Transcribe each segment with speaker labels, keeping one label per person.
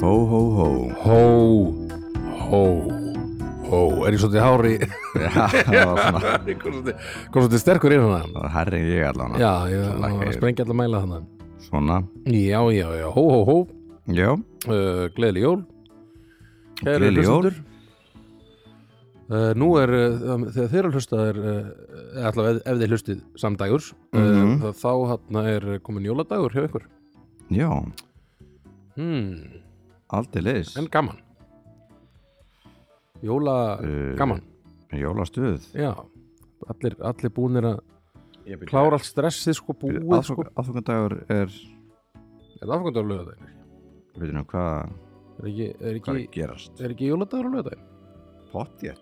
Speaker 1: Hó, hó, hó.
Speaker 2: Hó, hó, hó Er ég svolítið hári
Speaker 1: Já, það var svona,
Speaker 2: Kom svolítið kom svolítið sterkur inn hana
Speaker 1: það var herrið ég allan.
Speaker 2: Já, ég það
Speaker 1: Lækka
Speaker 2: var
Speaker 1: yfir.
Speaker 2: að sprengja allar mæla hana
Speaker 1: Svona,
Speaker 2: Já, já, já, hó, hó, hó
Speaker 1: já,
Speaker 2: uh, Gleðli jól Kæru
Speaker 1: Gleðileg jól.
Speaker 2: hlustendur. Uh, nú er, uh, þegar þeirra hlusta er, uh, allavega ef, ef þið hlustið samdægurs, mm
Speaker 1: Mhm.
Speaker 2: uh, þá hann er komin jóladagur hjá ykkur.
Speaker 1: já,
Speaker 2: Hmm,
Speaker 1: aldrei leis.
Speaker 2: en gaman. Jóla,
Speaker 1: Uh,
Speaker 2: gaman,
Speaker 1: Jólastuð.
Speaker 2: já. Allir, allir búinir að klára allt stressið sko búið sko.
Speaker 1: Aðfokandagur er,
Speaker 2: Er það aðfangandagur lögadaginn?
Speaker 1: við veitum hvað,
Speaker 2: Er ekki, er
Speaker 1: hvað er
Speaker 2: ekki,
Speaker 1: að gerast.
Speaker 2: er ekki jóladagur á lögadaginn?
Speaker 1: Pottjett.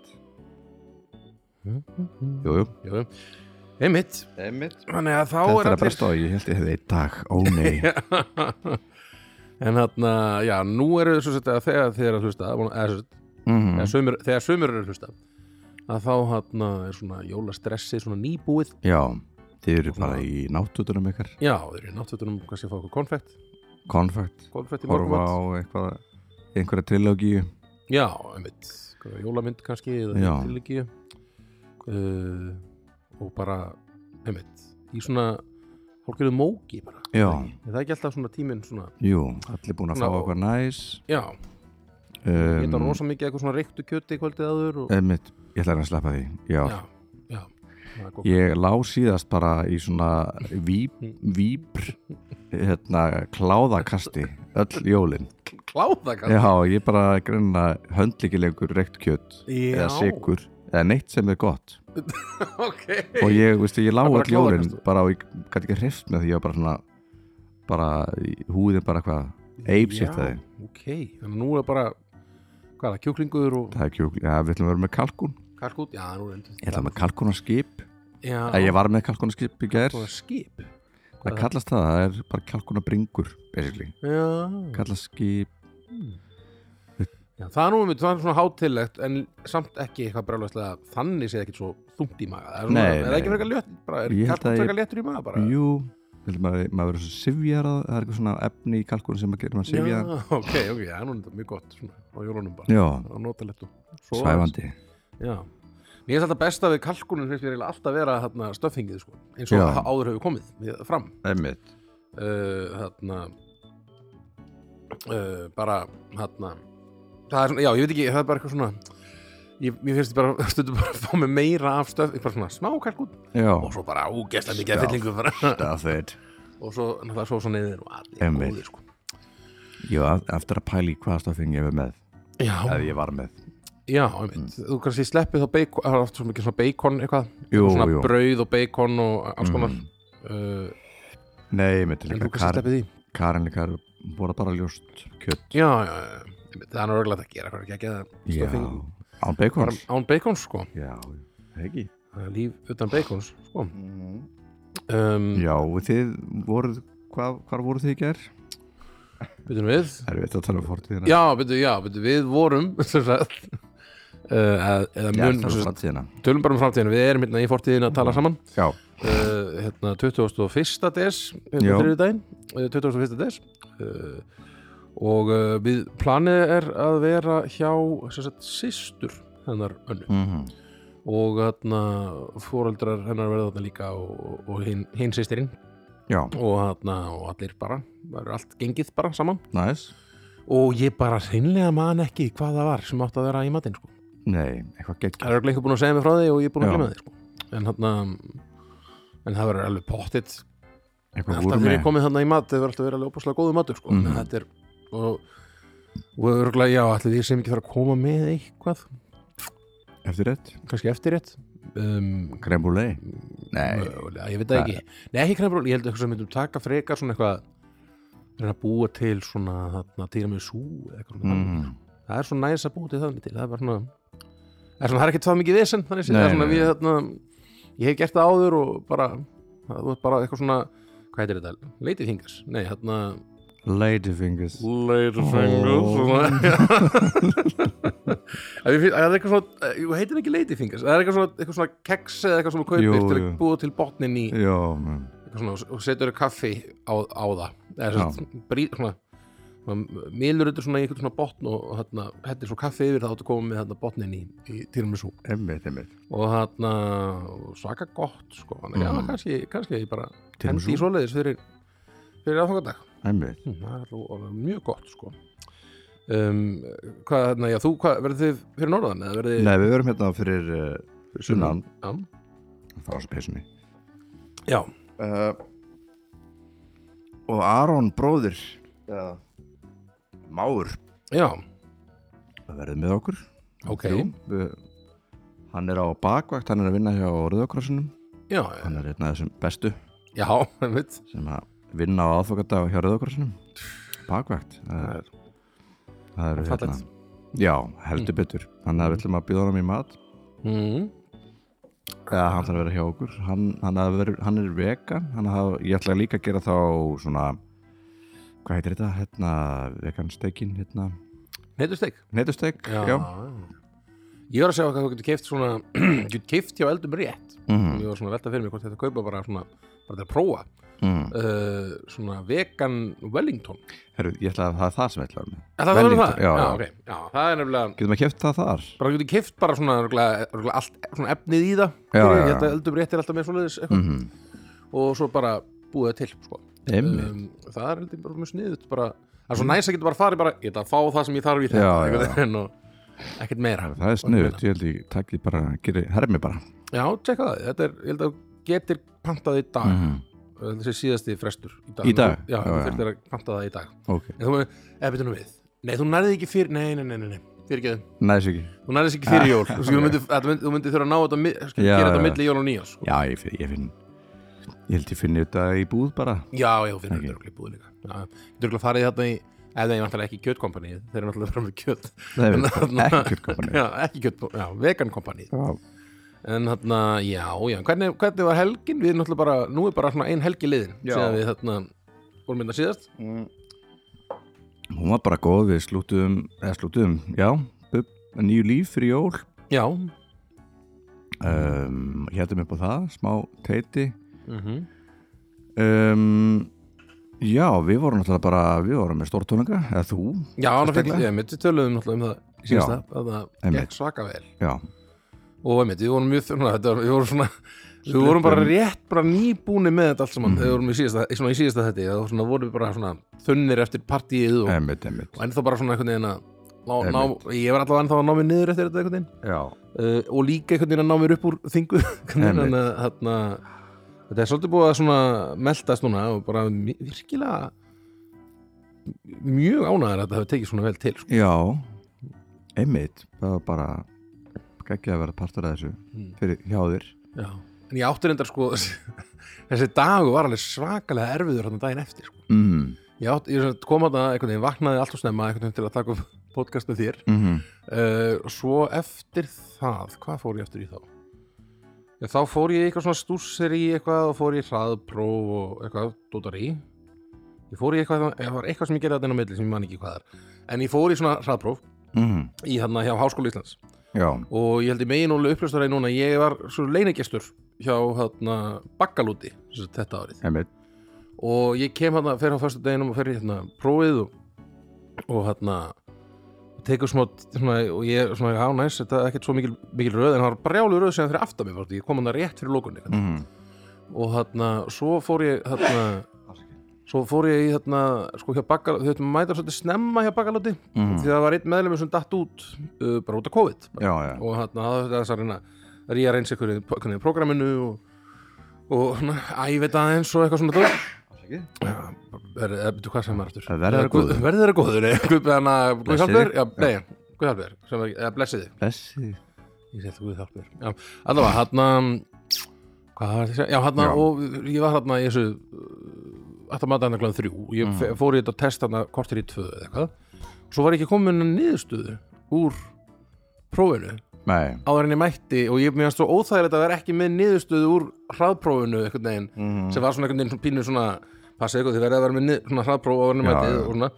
Speaker 2: Mm -hmm.
Speaker 1: Jú, jú.
Speaker 2: Jú, jú. Einmitt.
Speaker 1: Emmitt.
Speaker 2: Þannig að þá
Speaker 1: Þetta er að
Speaker 2: er allir...
Speaker 1: bresta og ég held ég hefði í dag, ó nei.
Speaker 2: en hérna, já, nú eru svo sett að þegar þið eru að hlusta eða, eða,
Speaker 1: Mhm.
Speaker 2: mm. sömur, þegar sömur eru að hlusta að þá hérna er svona jólastressi svona nýbúið,
Speaker 1: Já, þið eru bara í náttutunum ykkar.
Speaker 2: já, þeir eru í náttúrunum kannski að fá okkur konfekt,
Speaker 1: Konfekt.
Speaker 2: konfekt í
Speaker 1: Horfa
Speaker 2: morgumat
Speaker 1: á eitthvað, einhverja trilógíu.
Speaker 2: já, einmitt, einhverja jólamynd
Speaker 1: Já.
Speaker 2: kannski eða tilíki uh, og bara einmitt, í svona hálfgerðu móki bara
Speaker 1: Já.
Speaker 2: er það ekki alltaf svona tíminn svona,
Speaker 1: Jú, allir búin að fá
Speaker 2: Ná.
Speaker 1: eitthvað næs.
Speaker 2: já, um,
Speaker 1: Um,
Speaker 2: geta rosa mikið eitthvað svona reyktu kjöti kvöldið aður og,
Speaker 1: Einmitt, ég ætla að reyna að sleppa því Já.
Speaker 2: Sko. já, já, það er gott.
Speaker 1: Ég lá síðast bara í svona víp,
Speaker 2: Mm.
Speaker 1: vípr hérna, kláðakasti öll jólin
Speaker 2: kláða kannski
Speaker 1: Já, ég bara grunna höndlíkilegur reykt kjött eða sigur eða neitt sem er gott
Speaker 2: ok
Speaker 1: og ég, veistu, ég lá
Speaker 2: Það er bara
Speaker 1: öll jólin
Speaker 2: kláðakasti.
Speaker 1: bara og ég gæti ekki hrift með því ég var bara svona bara í húðin bara hvað
Speaker 2: Já,
Speaker 1: eipsittaði,
Speaker 2: ok, þannig að nú er bara hvað er það, kjúklingur og
Speaker 1: það er kjúkli Já, við ætlum að vera með kalkun
Speaker 2: kalkút já, nú er endur
Speaker 1: Ég ætla með kalkunarskip
Speaker 2: já,
Speaker 1: Eða ég var með kalkunarskip í gær
Speaker 2: svona skip
Speaker 1: Það kallast það, það er bara kalkunarbringur basically
Speaker 2: já.
Speaker 1: kallast skip
Speaker 2: já, það er nú einmitt, það er svona hátilegt en samt ekki eitthvað brjálæslega þannig séð ekkert svo þungt í maga það er, svona,
Speaker 1: Nei,
Speaker 2: er það ekki
Speaker 1: nei.
Speaker 2: frekar létt bara, er
Speaker 1: Ég held
Speaker 2: kalkút
Speaker 1: að ég-
Speaker 2: frekar léttur í maga bara
Speaker 1: Jú, heldur maður, maður verður svo sivjarað það er eitthvað svona efni í kalkunum sem maður gerir maður
Speaker 2: já,
Speaker 1: sivjarað
Speaker 2: ok, ok, það er nú einmitt mjög gott svona, á jólunum bara,
Speaker 1: Já,
Speaker 2: það er notalegt og svo
Speaker 1: svæfandi
Speaker 2: Já, mér finnst þetta besta við kalkunum finnst mér eiginlega alltaf vera þarna stöffingið sko, eins og
Speaker 1: Já.
Speaker 2: Já. áður hefur komið við- fram
Speaker 1: Einmitt
Speaker 2: uh, þarna uh, bara þarna það er svona, já, ég veit ekki, það er bara eitthvað svona ég, mér finnst ég bara stundum bara að fá mig meira af stöf, bara svona smá kalkun
Speaker 1: Já,
Speaker 2: og svo bara úgeslega mikið
Speaker 1: Stuff.
Speaker 2: af fyllingu bara.
Speaker 1: það er
Speaker 2: og svo, náttúrulega svo svo neyðir og allir
Speaker 1: Einmitt.
Speaker 2: góðir sko
Speaker 1: Jú, ef- eftir að pæla í hvaða stofing ég var með
Speaker 2: Já,
Speaker 1: eða ég var með
Speaker 2: já, einmitt, þú kannski sleppið þá bacon, það er oft svo mikið svona bacon eitthvað,
Speaker 1: Jú,
Speaker 2: svona
Speaker 1: jú, Mm.
Speaker 2: brauð og bacon og alls konar uh,
Speaker 1: nei, ég myndi
Speaker 2: en
Speaker 1: líka
Speaker 2: þú kannski
Speaker 1: Karen,
Speaker 2: sleppið því
Speaker 1: Karen líka voru bara ljóst kjött
Speaker 2: Já, já, já, einmitt, það er örgulega að gera eitthvað ekki að
Speaker 1: Já,
Speaker 2: stöffing
Speaker 1: án beikons
Speaker 2: án bacons sko
Speaker 1: Já, ekki
Speaker 2: Það er líf utan bacons sko. um,
Speaker 1: Mhm. Já, og þið voruð, hvað, hvar voruð þið í gær?
Speaker 2: byrjum við
Speaker 1: Það er veit að tala um fortíðina
Speaker 2: já, byrjum, já, byrjum við vorum sem sagt, uh, eða
Speaker 1: Já, það
Speaker 2: mun sem
Speaker 1: er
Speaker 2: sagt,
Speaker 1: fortíðina
Speaker 2: tölum bara um framtíðina, við erum hérna í fortíðina að tala saman
Speaker 1: Já,
Speaker 2: uh, hérna 21. des
Speaker 1: Já.
Speaker 2: hérna þriðu daginn, uh, 21. des uh, og uh, við planið er að vera hjá sem sagt, systur hennar önnu
Speaker 1: mm
Speaker 2: og hérna fóreldrar hennar verða þarna líka og, og- og hinn hin systirinn
Speaker 1: já,
Speaker 2: og, hérna, og allir bara, það er allt gengið bara saman
Speaker 1: næs
Speaker 2: og ég bara hreinlega man ekki hvað það var sem átt að vera í matinn sko.
Speaker 1: Nei, eitthvað gegn
Speaker 2: það er örugglega eitthvað búin að segja mig frá því og ég er
Speaker 1: Já.
Speaker 2: búin að glemja því sko. en hann en það verður alveg pottitt
Speaker 1: Eitthvað
Speaker 2: alltaf
Speaker 1: voru
Speaker 2: þegar
Speaker 1: með
Speaker 2: ég komið þannig í mat það verður alltaf verið alveg opaslega góðu matur sko.
Speaker 1: Mhm.
Speaker 2: mm. þetta er og, og örgulega já, allir því sem ekki þarf að koma með eitthvað,
Speaker 1: Eftir rétt
Speaker 2: kannski eftir rétt um,
Speaker 1: Krembúlei Nei,
Speaker 2: mögulega, ég veit það ekki Nei, ekki krembrúl, ég held eitthvað sem myndum taka frekar svona eitthvað reyna að búa til svona þarna týra með sú eitthvað svona
Speaker 1: mm,
Speaker 2: það er svona næs að búa til það til það er bara svona það er, svona, það er ekkert það mikið vesen þannig séð,
Speaker 1: Nei,
Speaker 2: það er svona
Speaker 1: nei,
Speaker 2: við þarna ég hef gert það áður og bara það þú ert bara eitthvað svona hvað heitir þetta, leitifingers nei, hérna- þarna
Speaker 1: Ladyfingers
Speaker 2: leitifingers svona En mér finnst- það er eitthvað svona eh, jú, heitir ekki leitifingers, það er eitthvað svona, eitthvað svona keks eða eitthvað
Speaker 1: Jú,
Speaker 2: svona kaupir til að
Speaker 1: jú.
Speaker 2: búa til botnin í
Speaker 1: Já, mm,
Speaker 2: eitthvað svona, og setur kaffi á, á það eða
Speaker 1: Já.
Speaker 2: svona, brý, svona Mílur þetta svona í einhvern svona botn og hérna, hættir svo kaffi yfir þá áttu að koma með hérna, botnin í, í tiramisu
Speaker 1: Einmitt, einmitt.
Speaker 2: og hérna svaka gott sko, þannig að
Speaker 1: Mm.
Speaker 2: kannski, kannski ég bara
Speaker 1: Tiramisu.
Speaker 2: hendi í svoleiðis fyrir, fyrir aðfangadag
Speaker 1: Einmitt.
Speaker 2: Hm, það er alveg alveg mjög gott sko um, hvað, hérna, já, þú, hvað, verður þið fyrir norðan eða verður þið
Speaker 1: Nei, við verum hérna fyrir uh, sunnan
Speaker 2: Já.
Speaker 1: Það var svo peysunni
Speaker 2: já,
Speaker 1: uh, Og Aron bróðir Já Már
Speaker 2: já,
Speaker 1: Það verður með okkur
Speaker 2: ok
Speaker 1: Jú, við, Hann er á bakvakt, hann er að vinna hjá Rauðakrossinum
Speaker 2: já,
Speaker 1: Hann er einn af þessum bestu
Speaker 2: já, einmitt
Speaker 1: sem að vinna á aðfokadag hjá Rauðakrossinum Bakvakt Það er,
Speaker 2: Það er-
Speaker 1: það er
Speaker 2: fallegt.
Speaker 1: Já, heldur betur Þannig að við ætlum að býða honum í mat
Speaker 2: mm.
Speaker 1: Já, hann þarf að vera hjá okkur Hann, hann, að vera, hann er vegan hann haf, Ég ætla líka að gera þá svona Hvað heitir þetta? Hérna, vegan steikin hérna.
Speaker 2: heitur steik
Speaker 1: Neitusteik
Speaker 2: já. ég var að segja hvað þú getur keift svona getur keift hjá eldum rétt
Speaker 1: Mhm.
Speaker 2: ég var svona að velta fyrir mig hvort þetta kaupa bara svona bara til að prófa
Speaker 1: Mm.
Speaker 2: uh, svona vegan Wellington
Speaker 1: Herru, ég ætla að það er það sem ég ætla að vera með
Speaker 2: Er það verður
Speaker 1: Wellington,
Speaker 2: það?
Speaker 1: já,
Speaker 2: já,
Speaker 1: já.
Speaker 2: ok. já, það er nefnilega
Speaker 1: Getum að kæfta það þar?
Speaker 2: bara getur keift bara svona, örugglega- örugglega allt, svona efnið í það
Speaker 1: Já, já, já.
Speaker 2: þetta eldum rétt er alltaf með svoleiðis eitthvað,
Speaker 1: Mm -hmm.
Speaker 2: og svo bara búið það til sko.
Speaker 1: Einmitt. Mm.
Speaker 2: það er heldur bara mjög sniðut bara, það er svo næs að geta bara farið bara, ég ætla að fá það sem ég þarf í þetta
Speaker 1: Já, já, já.
Speaker 2: einhvern veginn, og ekkert meira
Speaker 1: Það er snuðt, ég held ég takk ég bara geri, Hermi bara
Speaker 2: já, tjekka það, þetta er, ég held að þú getur pantað í dag
Speaker 1: Mhm.
Speaker 2: þessi síðasti frestur
Speaker 1: Í dag?
Speaker 2: já,
Speaker 1: Já,
Speaker 2: þú
Speaker 1: já.
Speaker 2: þurftir að panta það í dag
Speaker 1: Ok,
Speaker 2: en þú með, eða betur nú við nei, þú nærði ekki fyrir, nei, nei, nei, nei, nei. fyrir ekki
Speaker 1: næs ekki
Speaker 2: þú nærði þessi ekki fyrir jól þú, skilur, þú myndir, þetta mynd, þú myndir þurfa að ná þetta, mi- skilur,
Speaker 1: Ah. Já,
Speaker 2: gera þetta
Speaker 1: já.
Speaker 2: milli jól og nýjás sko.
Speaker 1: Já, ég, finn- ég finn Ég held ég finni þetta í búð bara
Speaker 2: já, já, þú finnur þetta okay. búið líka já, þú þurfa að fara í þetta í ef það er náttúrulega ekki kjötkompani þeir eru náttúrulega bara með kjöt
Speaker 1: Það er
Speaker 2: En þarna-
Speaker 1: ekki kjötkompani
Speaker 2: já, ekki kjöt, já, vegankompani
Speaker 1: Já,
Speaker 2: en þarna, já, já, hvernig, hvernig var helgin við náttúrulega bara, nú er bara svona ein helgi liðin
Speaker 1: Já.
Speaker 2: síðan við þarna vorum mynda síðast
Speaker 1: Hún var bara góð, við slúttum, eða slúttum, já, bub, nýju líf fyrir jól,
Speaker 2: já,
Speaker 1: um, héttum upp á það, smá teiti.
Speaker 2: mm -hmm.
Speaker 1: Mhm. Um, já, við vorum náttúrulega bara, við vorum með stórtónleika, eða þú,
Speaker 2: já, ná, fyrir,
Speaker 1: Sérstaklega?
Speaker 2: ég myndi töluðum náttúrulega um það
Speaker 1: Já.
Speaker 2: síðast að það
Speaker 1: Einmitt.
Speaker 2: gekk svaka vel
Speaker 1: já,
Speaker 2: og einmitt, við vorum mjög þurna þetta, var- við vorum svona við vorum bara rétt bara nýbúni með þetta allt saman þegar við vorum í síðasta, í svona, í síðasta þetta og svona vorum við bara svona þunnir eftir partíið og,
Speaker 1: emmitt, emmitt.
Speaker 2: og ennþá bara svona einhvern veginn að ná, ná,
Speaker 1: Einmitt.
Speaker 2: ég var allavega ennþá að ná mér niður eftir þetta einhvern
Speaker 1: Já,
Speaker 2: veginn uh, og líka einhvern veginn að ná mér upp úr þingu einhvern
Speaker 1: Einmitt.
Speaker 2: veginn að þarna þetta er svolítið búið að svona meldast núna og bara mi- virkilega mjög ánæður að þetta hefur tekið svona vel til sko.
Speaker 1: já, emmitt, það var bara geggja að vera partur af þessu fyrir hjá þér.
Speaker 2: Já. En ég átti reyndar sko þessi dagur var alveg svakalega erfiður hann daginn eftir sko.
Speaker 1: Mm,
Speaker 2: Ég, átti, ég svona kom að það einhvern veginn, vaknaði allt og snemma einhvern veginn til að taka upp podcast með þér
Speaker 1: mm -hmm.
Speaker 2: uh, og svo eftir það hvað fór ég eftir í þá? Ég, þá fór ég í eitthvað svona stússeri í eitthvað og fór ég í hraðpróf og eitthvað dótari ég fór í eitthvað, það var eitthvað sem ég gerði að á milli sem ég man ekki hvað er en ég fór í svona hraðpróf í þarna hjá Háskóla Íslands
Speaker 1: Mhm. já,
Speaker 2: og ég held ég megin ólega uppljóstaraði núna ég var svo leinigestur hjá hérna, Bakkalúti sem sagt, þetta árið
Speaker 1: emmitt,
Speaker 2: og ég kem hérna, fer á fyrstu deginum og fer í hérna prófið og, og hérna tekur smá, svona, og ég svona, já næs, þetta er ekkert svo mikil, mikil röð en það var brjálu röð sem fyrir aftan mér, fórstu, ég kom hann rétt fyrir lókunni
Speaker 1: mm,
Speaker 2: og hérna, svo fór ég hérna, svo fór ég í hérna, sko hjá Bakkalúti, þau veitum mæta svolítið snemma hjá Bakkalúti,
Speaker 1: Mhm.
Speaker 2: því það var einn meðlum sem datt út, uh, bara út af COVID
Speaker 1: já, já,
Speaker 2: og hann hafði þess að reyna að ríja reyns ykkur í prógraminu og, og svona, æfita aðeins og eitthvað svona dót. Já, verður, eða betur hvað sem er aftur Eh,
Speaker 1: Það verður að vera góður.
Speaker 2: verður þeirra góður nei, guð hana, guð
Speaker 1: Blessi
Speaker 2: hjálpir
Speaker 1: þig.
Speaker 2: já, nei, guð hjálpir sem er, eða blessið þig
Speaker 1: blessi,
Speaker 2: ég segi guð hjálpir já, allavega, hann hvað var það að segja, já, hann
Speaker 1: Já.
Speaker 2: og ég var hann í þessu eh, aftur að mata hann kláðum þrjú ég mm. fór í þetta test hann kortir í tvö eða eitthvað svo var ég ekki komin að niðurstöðu úr prófinu
Speaker 1: nei,
Speaker 2: áður en ég mætti og ég mér finnst svo óþægilegt að vera ekki með niðurstöðu úr hraðprófinu einhvern veginn
Speaker 1: Mm.
Speaker 2: sem var svona einhvern veginn svona pínu svona passið eitthvað því verðið að vera með nið, svona hraðpróf áður en ég
Speaker 1: Já,
Speaker 2: mætti
Speaker 1: já.
Speaker 2: og svona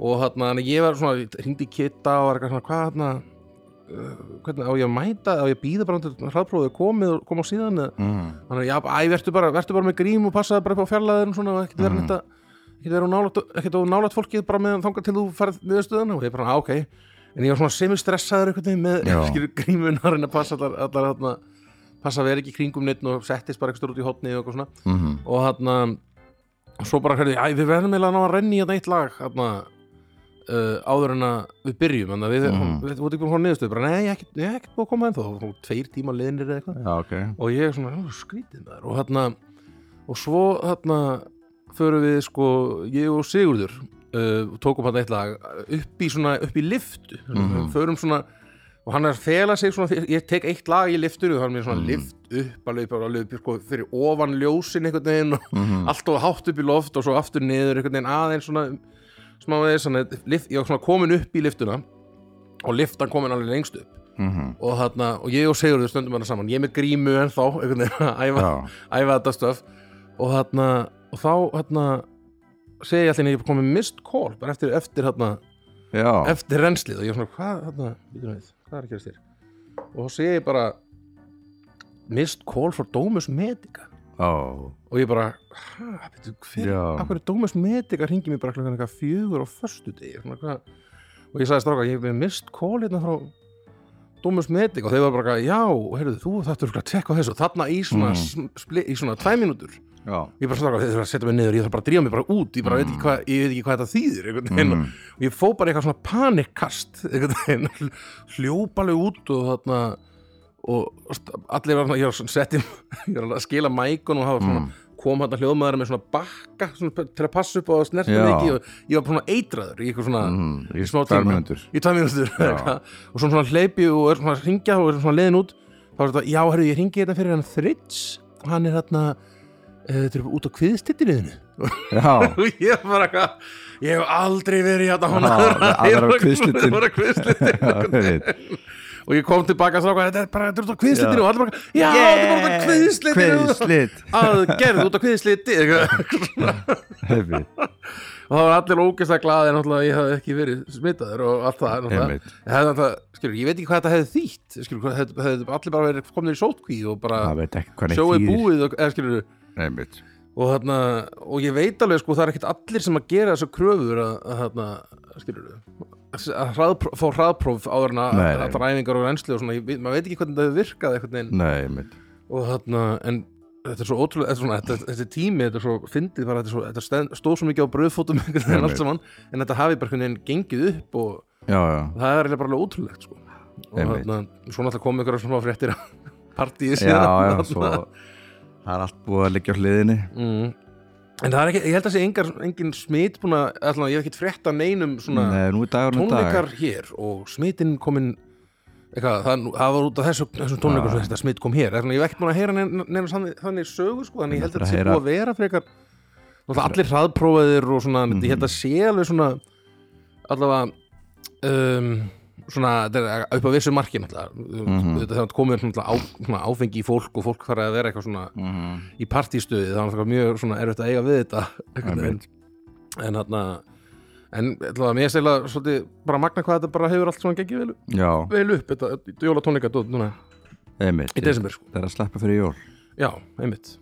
Speaker 2: og þarna þannig ég var svona hringdi í kitta og var eitthvað svona hvað þarna uh, hvernig á ég að mæta á ég að býða bara um til hraðprófið komið og kom á síðan eða
Speaker 1: mm, Mhm.
Speaker 2: þannig að já, æ, vertu bara, vertu bara með grím og passaði bara upp á fjarlæðin og svona og ekkert vera neitt að ekkert verið of nálægt- ekkert of nálægt fólkið bara meðan þangar til þú færð niðurstöðan og ég bara, "Ah, ok en ég var svona semistressaður einhvern veginn með
Speaker 1: Já.
Speaker 2: skilur grímun að reyna að passa allar, allar þarna passa að vera ekki í kringum neitt og settist bara eitthvað út í hotni og eitthvað svona
Speaker 1: Mhm.
Speaker 2: og þarna og svo bara hérði, æ, við verðum eiginlega að ná að renni í þetta eitt lag þarna uh, áður en að við byrjum þannig að við, mm.
Speaker 1: Mhm.
Speaker 2: við, við, við ekki búin að horfa niðurstöð bara, nei, ég er ekkert- ég er ekkert búin að koma ennþá og tveir tíma liðinir eða eitthvað
Speaker 1: Já, ok
Speaker 2: og ég er svona, "Ó, skrítið maður og þarna, og svo þarna förum við sko, ég og Sigurður uh, tókum hann eitt lag upp í svona, upp í liftu
Speaker 1: Mhm.
Speaker 2: förum svona og hann er að fela sig svona, ég tek eitt lag í liftur og hann er svona
Speaker 1: Mhm.
Speaker 2: lift upp alveg, bara alveg sko, fyrir ofan ljósin einhvern veginn og
Speaker 1: Mhm.
Speaker 2: allt of hátt upp í loft og svo aftur niður einhvern veginn aðeins svona smá aðeins, svona, lift, ég var svona komin upp í liftuna og liftan komin alveg lengst upp
Speaker 1: Mhm.
Speaker 2: og, þarna, og ég og Sigurður stöndum hana saman ég er með grímu ennþá einhvern veginn að æfa,
Speaker 1: Já,
Speaker 2: æfa þetta stöf og, þarna, og þá þarna, segi ég alltaf en ég komið mist call bara eftir, eftir, þarna,
Speaker 1: já
Speaker 2: eftir renslið og ég er svona hvað, þarna, bíddu nú við, hvað er að gerast þér og þá segi ég bara mist call for Domus Medica
Speaker 1: Ó,
Speaker 2: og ég bara, hæ, betur, hver
Speaker 1: Já.
Speaker 2: af hverju Dómas Medica ringi mér bara klokkan eitthvað fjögur á förstu degi svona, hvað? og ég sagði stráka, ég hef með mist call hérna frá Dómas Medica og þeir var bara, eitthvað, já, heyrðu, þú þetta er að tekka á þessu, þarna í svona,
Speaker 1: Mhm.
Speaker 2: mm. spli, í svona tvæ mínútur
Speaker 1: já
Speaker 2: ég bara stráka, þeir þurfa að setja mig niður, ég þarf bara að drífa mig bara út ég bara veit, ekki hvað, ég veit ekki hvað þetta þýðir einhvern veginn
Speaker 1: Mhm.
Speaker 2: og ég fó bara eitthvað svona panikkast einhvern veginn, hljópa alveg út og þarna og st- allir var svona, ég var svona setjum ég var alveg að skila mækun og hafa svona kom hann að hljóðmaður með svona bakka svona, til að passa upp á að snerta
Speaker 1: Já.
Speaker 2: mig ekki og ég var bara svona eitraður í eitthvað svona
Speaker 1: Mhm. Í
Speaker 2: smá
Speaker 1: tvær
Speaker 2: tíma.
Speaker 1: mínútur
Speaker 2: í tvær mínútur
Speaker 1: Já.
Speaker 2: og svona, svona hleypi og er svona að ringja og er svona leiðin út þá er þetta, já, herru, ég ringi þetta fyrir hann Thrids hann er þarna eh, þetta er út á kviðstittirliðinu
Speaker 1: Já,
Speaker 2: og ég var bara eitthvað ég hef aldrei verið hérna hún
Speaker 1: Já, að vera á kviðslitin.
Speaker 2: að vera kviðslitin
Speaker 1: einmitt.
Speaker 2: og ég kom tilbaka og stráka þetta er bara þetta er út á
Speaker 1: Já.
Speaker 2: kviðslitinu og allir bara já, þetta er bara út á kviðslitinu
Speaker 1: Kviðslit
Speaker 2: aðgerð út á kviðsliti eitthvað
Speaker 1: Einmitt.
Speaker 2: og það var allir ógeðslega glaðið náttúrulega að ég hafði ekki verið smitaður og allt það náttúrulega.
Speaker 1: Einmitt.
Speaker 2: Ég hefði náttúrulega, skilur, ég veit ekki hvað þetta hefði þýtt skilur, hvað hefði, hefði allir bara verið komnir í sótkví og bara
Speaker 1: Það veit ekki hvað neitt
Speaker 2: sjóið
Speaker 1: þýðir.
Speaker 2: búið og, eða, skilur,
Speaker 1: Einmitt.
Speaker 2: og, þarna, og ég veit alveg sko, það er ekkert allir sem að gera þessu kröfur að, að, þarna, skilur, að hraðpróf, fá hraðpróf áður en að
Speaker 1: Nei, nei.
Speaker 2: allar æfingar og reynslu og svona, ég, veit- maður veit ekki hvernig það hefði virkað einhvern veginn
Speaker 1: Nei, einmitt
Speaker 2: og þarna, en þetta er svo ótrúlega, þetta er svona, þetta, þessi tími þetta er svo fyndið bara, þetta, er svo, þetta stend, stóð svo mikið á bröðfótum einhvern veginn allt saman, en þetta hafi bara einhvern veginn gengið upp og
Speaker 1: Já, já
Speaker 2: það er eiginlega bara alveg ótrúlegt sko. og
Speaker 1: Einmitt.
Speaker 2: þarna, svo náttúrulega kom ykkur svona fréttir af partíi
Speaker 1: Já, já,
Speaker 2: þarna.
Speaker 1: svo Það er allt búið að liggja á hliðinni
Speaker 2: mm. en það er ekki, ég held að sé engar, engin smit búin að, allan, ég hef ekkert frétta neinum svona
Speaker 1: Nei, nú er dagurinn í dag
Speaker 2: tónleikar hér og smitinn komin eitthvað, það, það var út af þessu, þessum tónleikum sem þetta smitt kom hér, þannig að ég hef ekkert búin að heyra neina nein, þannig, þannig sögu sko, þannig ég held að þetta sé
Speaker 1: Heyra-
Speaker 2: búið að vera frekar náttúrulega allir hraðprófaðir og svona, ég held að sé alveg svona allavega um, svona, þetta er upp á vissu marki náttúrulega, þetta þannig komið náttúrulega á, svona áfengi í fólk og fólk þarf að vera eitthvað svona
Speaker 1: Mhm.
Speaker 2: í partístöði, það var náttúrulega mjög svona erfitt að eiga við þetta einhvern veginn
Speaker 1: Einmitt.
Speaker 2: en þarna en ætlaði, mér segla svolítið bara magna hvað þetta bara hefur allt svona gengið vel,
Speaker 1: Já,
Speaker 2: vel upp þetta jólatónleika dót núna
Speaker 1: einmitt
Speaker 2: í desember sko,
Speaker 1: Það er að sleppa fyrir jól
Speaker 2: já, einmitt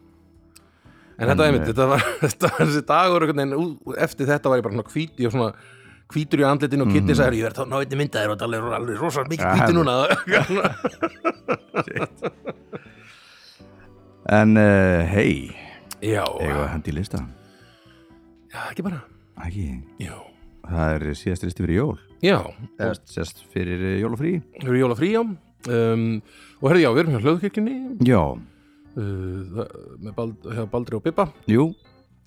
Speaker 2: en þetta einmitt, þetta var þetta var þessi dagur einhvern veginn, ú- eftir þetta var ég bara svona hvíti og svona hvítur í andlitinu og kitti sagði ég verð þá náðinni myndaðir og þetta er alveg- alveg rosa
Speaker 1: Ja,
Speaker 2: mikið hvíti
Speaker 1: einmitt.
Speaker 2: núna
Speaker 1: En uh, hei,
Speaker 2: já,
Speaker 1: eigum við hendi í lista
Speaker 2: já, ekki bara
Speaker 1: Ekki,
Speaker 2: já,
Speaker 1: það er síðast listi fyrir jól
Speaker 2: já,
Speaker 1: Eða Sérst fyrir eh, jól og frí
Speaker 2: það eru jólafrí já um, og herði já, við erum hjá hlöðkirkjunni
Speaker 1: Já,
Speaker 2: uh, það- með Bald, hjá Baldri og Bibba
Speaker 1: jú,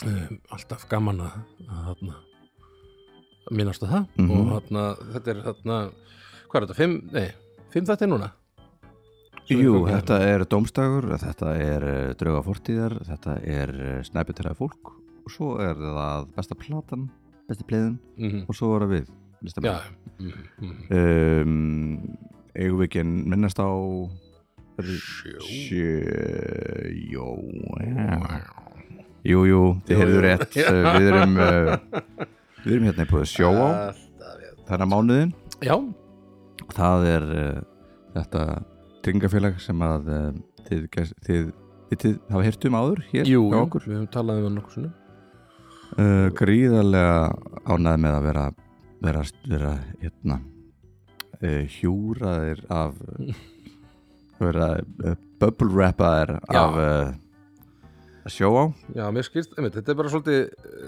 Speaker 2: um, alltaf gaman að, að, að, að minnast að það
Speaker 1: Mhm.
Speaker 2: og þarna, þetta er þarna, hvað er þetta, fimm, nei, fimm þetta er núna Sem við
Speaker 1: jú
Speaker 2: komum hérna.
Speaker 1: Þetta er dómstagur, þetta er eh, drauga fortíðar Þetta er snæpitræða fólk Og svo er það besta platan, besti pleiðin
Speaker 2: Mhm.
Speaker 1: Og svo er það við,
Speaker 2: já,
Speaker 1: listamenn
Speaker 2: mhm, mhm.
Speaker 1: um, eigum við ekki að minnast á
Speaker 2: Sjó.
Speaker 1: sjö jó já. jú, jú, þið heyrðu rétt uh, við erum uh, við erum hérna búið sjó á
Speaker 2: Alltaf, já.
Speaker 1: þennan mánuðin
Speaker 2: já,
Speaker 1: það er uh, þetta tryggingafélag sem að uh, þið, gæs- þið, þið, þið hafa heyrt um áður hér
Speaker 2: jú,
Speaker 1: hjá
Speaker 2: jú,
Speaker 1: okkur
Speaker 2: við höfum talað um hann okkur sinni
Speaker 1: uh, gríðarlega ánæði með að vera vera, vera hérna uh, hjúraðir af vera uh, bubble rappaðir
Speaker 2: Já.
Speaker 1: af uh, að sjó á
Speaker 2: Já, mér skilst, einmitt, þetta er bara svolítið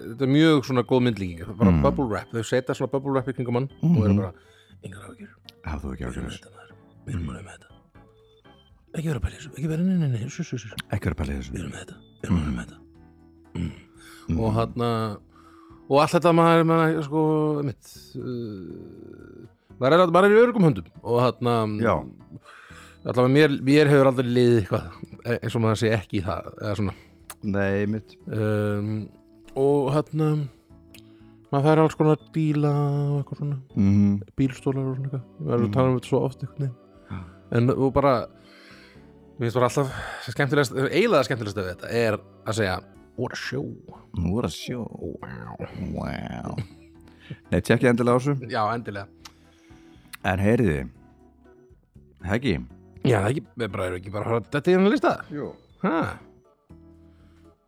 Speaker 2: þetta er mjög svona góð myndlíking bara
Speaker 1: Mm.
Speaker 2: bubble wrap, þau setja svona bubble wrap í kringum hann og
Speaker 1: Mhm.
Speaker 2: eru bara, engar áhyggjur
Speaker 1: hafðu ekki
Speaker 2: við erum
Speaker 1: ákveður
Speaker 2: með þetta maður, við erum alveg með þetta ekki vera að pæla í þessu, ekki vera, nei, nei, nei, nei, sus, sus, sus
Speaker 1: ekki verið að pæla í
Speaker 2: við
Speaker 1: þessu
Speaker 2: erum með þetta, við erum alveg með þetta
Speaker 1: Mm.
Speaker 2: og hann og allt þetta maður, maður sko, mitt uh, maður, er, maður er í örgum höndum og hann
Speaker 1: Já.
Speaker 2: allavega mér, mér hefur aldrei liðið eitthvað e- eins og maður sé ekki í það eða svona
Speaker 1: nei mitt
Speaker 2: um, og hann maður fær alls konar bíla og eitthvað svona
Speaker 1: mm.
Speaker 2: bílstólar og svona eitthvað við
Speaker 1: Mhm.
Speaker 2: erum að tala um þetta svo oft einhvern veginn en og bara mér finnst bara alltaf sem skemmtilegast eiginlega það skemmtilegast við þetta er að segja what a show
Speaker 1: nú er að sjó
Speaker 2: wow.
Speaker 1: wow. nei tjekki endilega á þessu
Speaker 2: já endilega
Speaker 1: en heyriði heggi
Speaker 2: já það er ekki við bara erum ekki bara að horfa þetta í hennar lista
Speaker 1: Jú.
Speaker 2: ha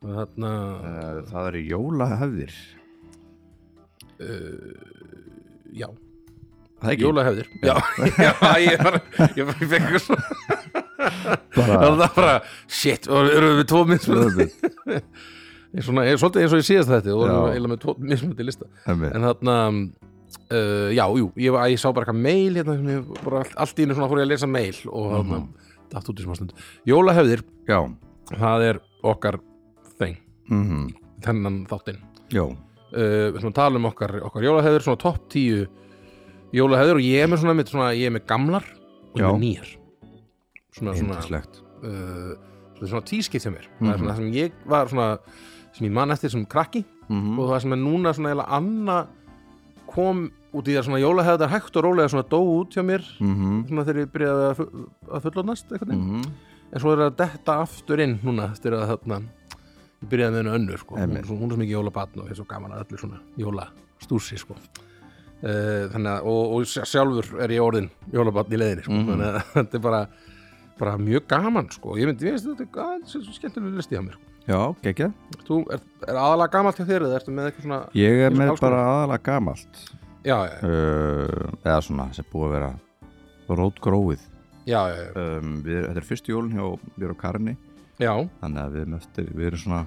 Speaker 2: og þarna
Speaker 1: Eh, það eru jólahefðir
Speaker 2: uh, já
Speaker 1: það ekki
Speaker 2: jólahefðir já, já ég bara ég bara fekk eitthvað svona
Speaker 1: Bara-
Speaker 2: það var bara shit og erum við tvo mismunandi
Speaker 1: Jólahefðir.
Speaker 2: svona er svolítið eins og ég síðast þetta og
Speaker 1: Já.
Speaker 2: erum eiginlega með tvo mismunandi lista
Speaker 1: Einmitt.
Speaker 2: en þarna uh, já, jú, ég, var- ég sá bara eitthvað mail hérna, sem ég bara allt, allt í einu svona fór ég að lesa mail og þarna, mm -hmm. datt út í smá stund Jólahefðir,
Speaker 1: já
Speaker 2: það er okkar þeng,
Speaker 1: mm
Speaker 2: þennan þáttinn uh,
Speaker 1: já
Speaker 2: við ætlum að tala um okkar, okkar jólahefðir svona topp tíu jólahefðir og ég er með svona, mitt, svona ég er með gamlar og ég
Speaker 1: Já.
Speaker 2: er með nýjar svona, svona, uh,
Speaker 1: Yndislegt
Speaker 2: svona, svona tískipt hjá mér það er svona það sem ég var svona sem ég man eftir sem krakki
Speaker 1: Mhm.
Speaker 2: og það sem er núna svona eiginlega anna kom út í það svona jólahefðar hægt og rólega svona dó út hjá mér
Speaker 1: Mhm.
Speaker 2: svona þegar ég byrjaði að, fu- að fullornast einhvern veginn,
Speaker 1: Mhm.
Speaker 2: en svo er það að detta aftur inn núna eftir að þarna ég byrjaði með hennu önnur sko, hún,
Speaker 1: Einmitt.
Speaker 2: er svo- hún er svo mikið jólabatn og ég er svo gaman að öllu svona jólastúsi sko Uh, þannig að, og, og sj- sjálfur er ég orðin jólabatn í leiðinni sko. þannig að þetta er bara, bara mjög gaman sko. ég myndi, ég veist þetta er gaman, skemmtilega listi hjá mér sko.
Speaker 1: já, geggjað
Speaker 2: Þú, er, er aðalega gamalt hjá þér eða ertu með eitthvað svona
Speaker 1: Ég er
Speaker 2: Eins og
Speaker 1: með
Speaker 2: alls konar.
Speaker 1: bara aðalega gamalt
Speaker 2: já, já, já,
Speaker 1: uh, eða svona sem búið að vera rótgróið
Speaker 2: já, já, já.
Speaker 1: um, við, Þetta er fyrstu jólun hjá mér og Karni
Speaker 2: Já,
Speaker 1: þannig að við, möttir, við erum svona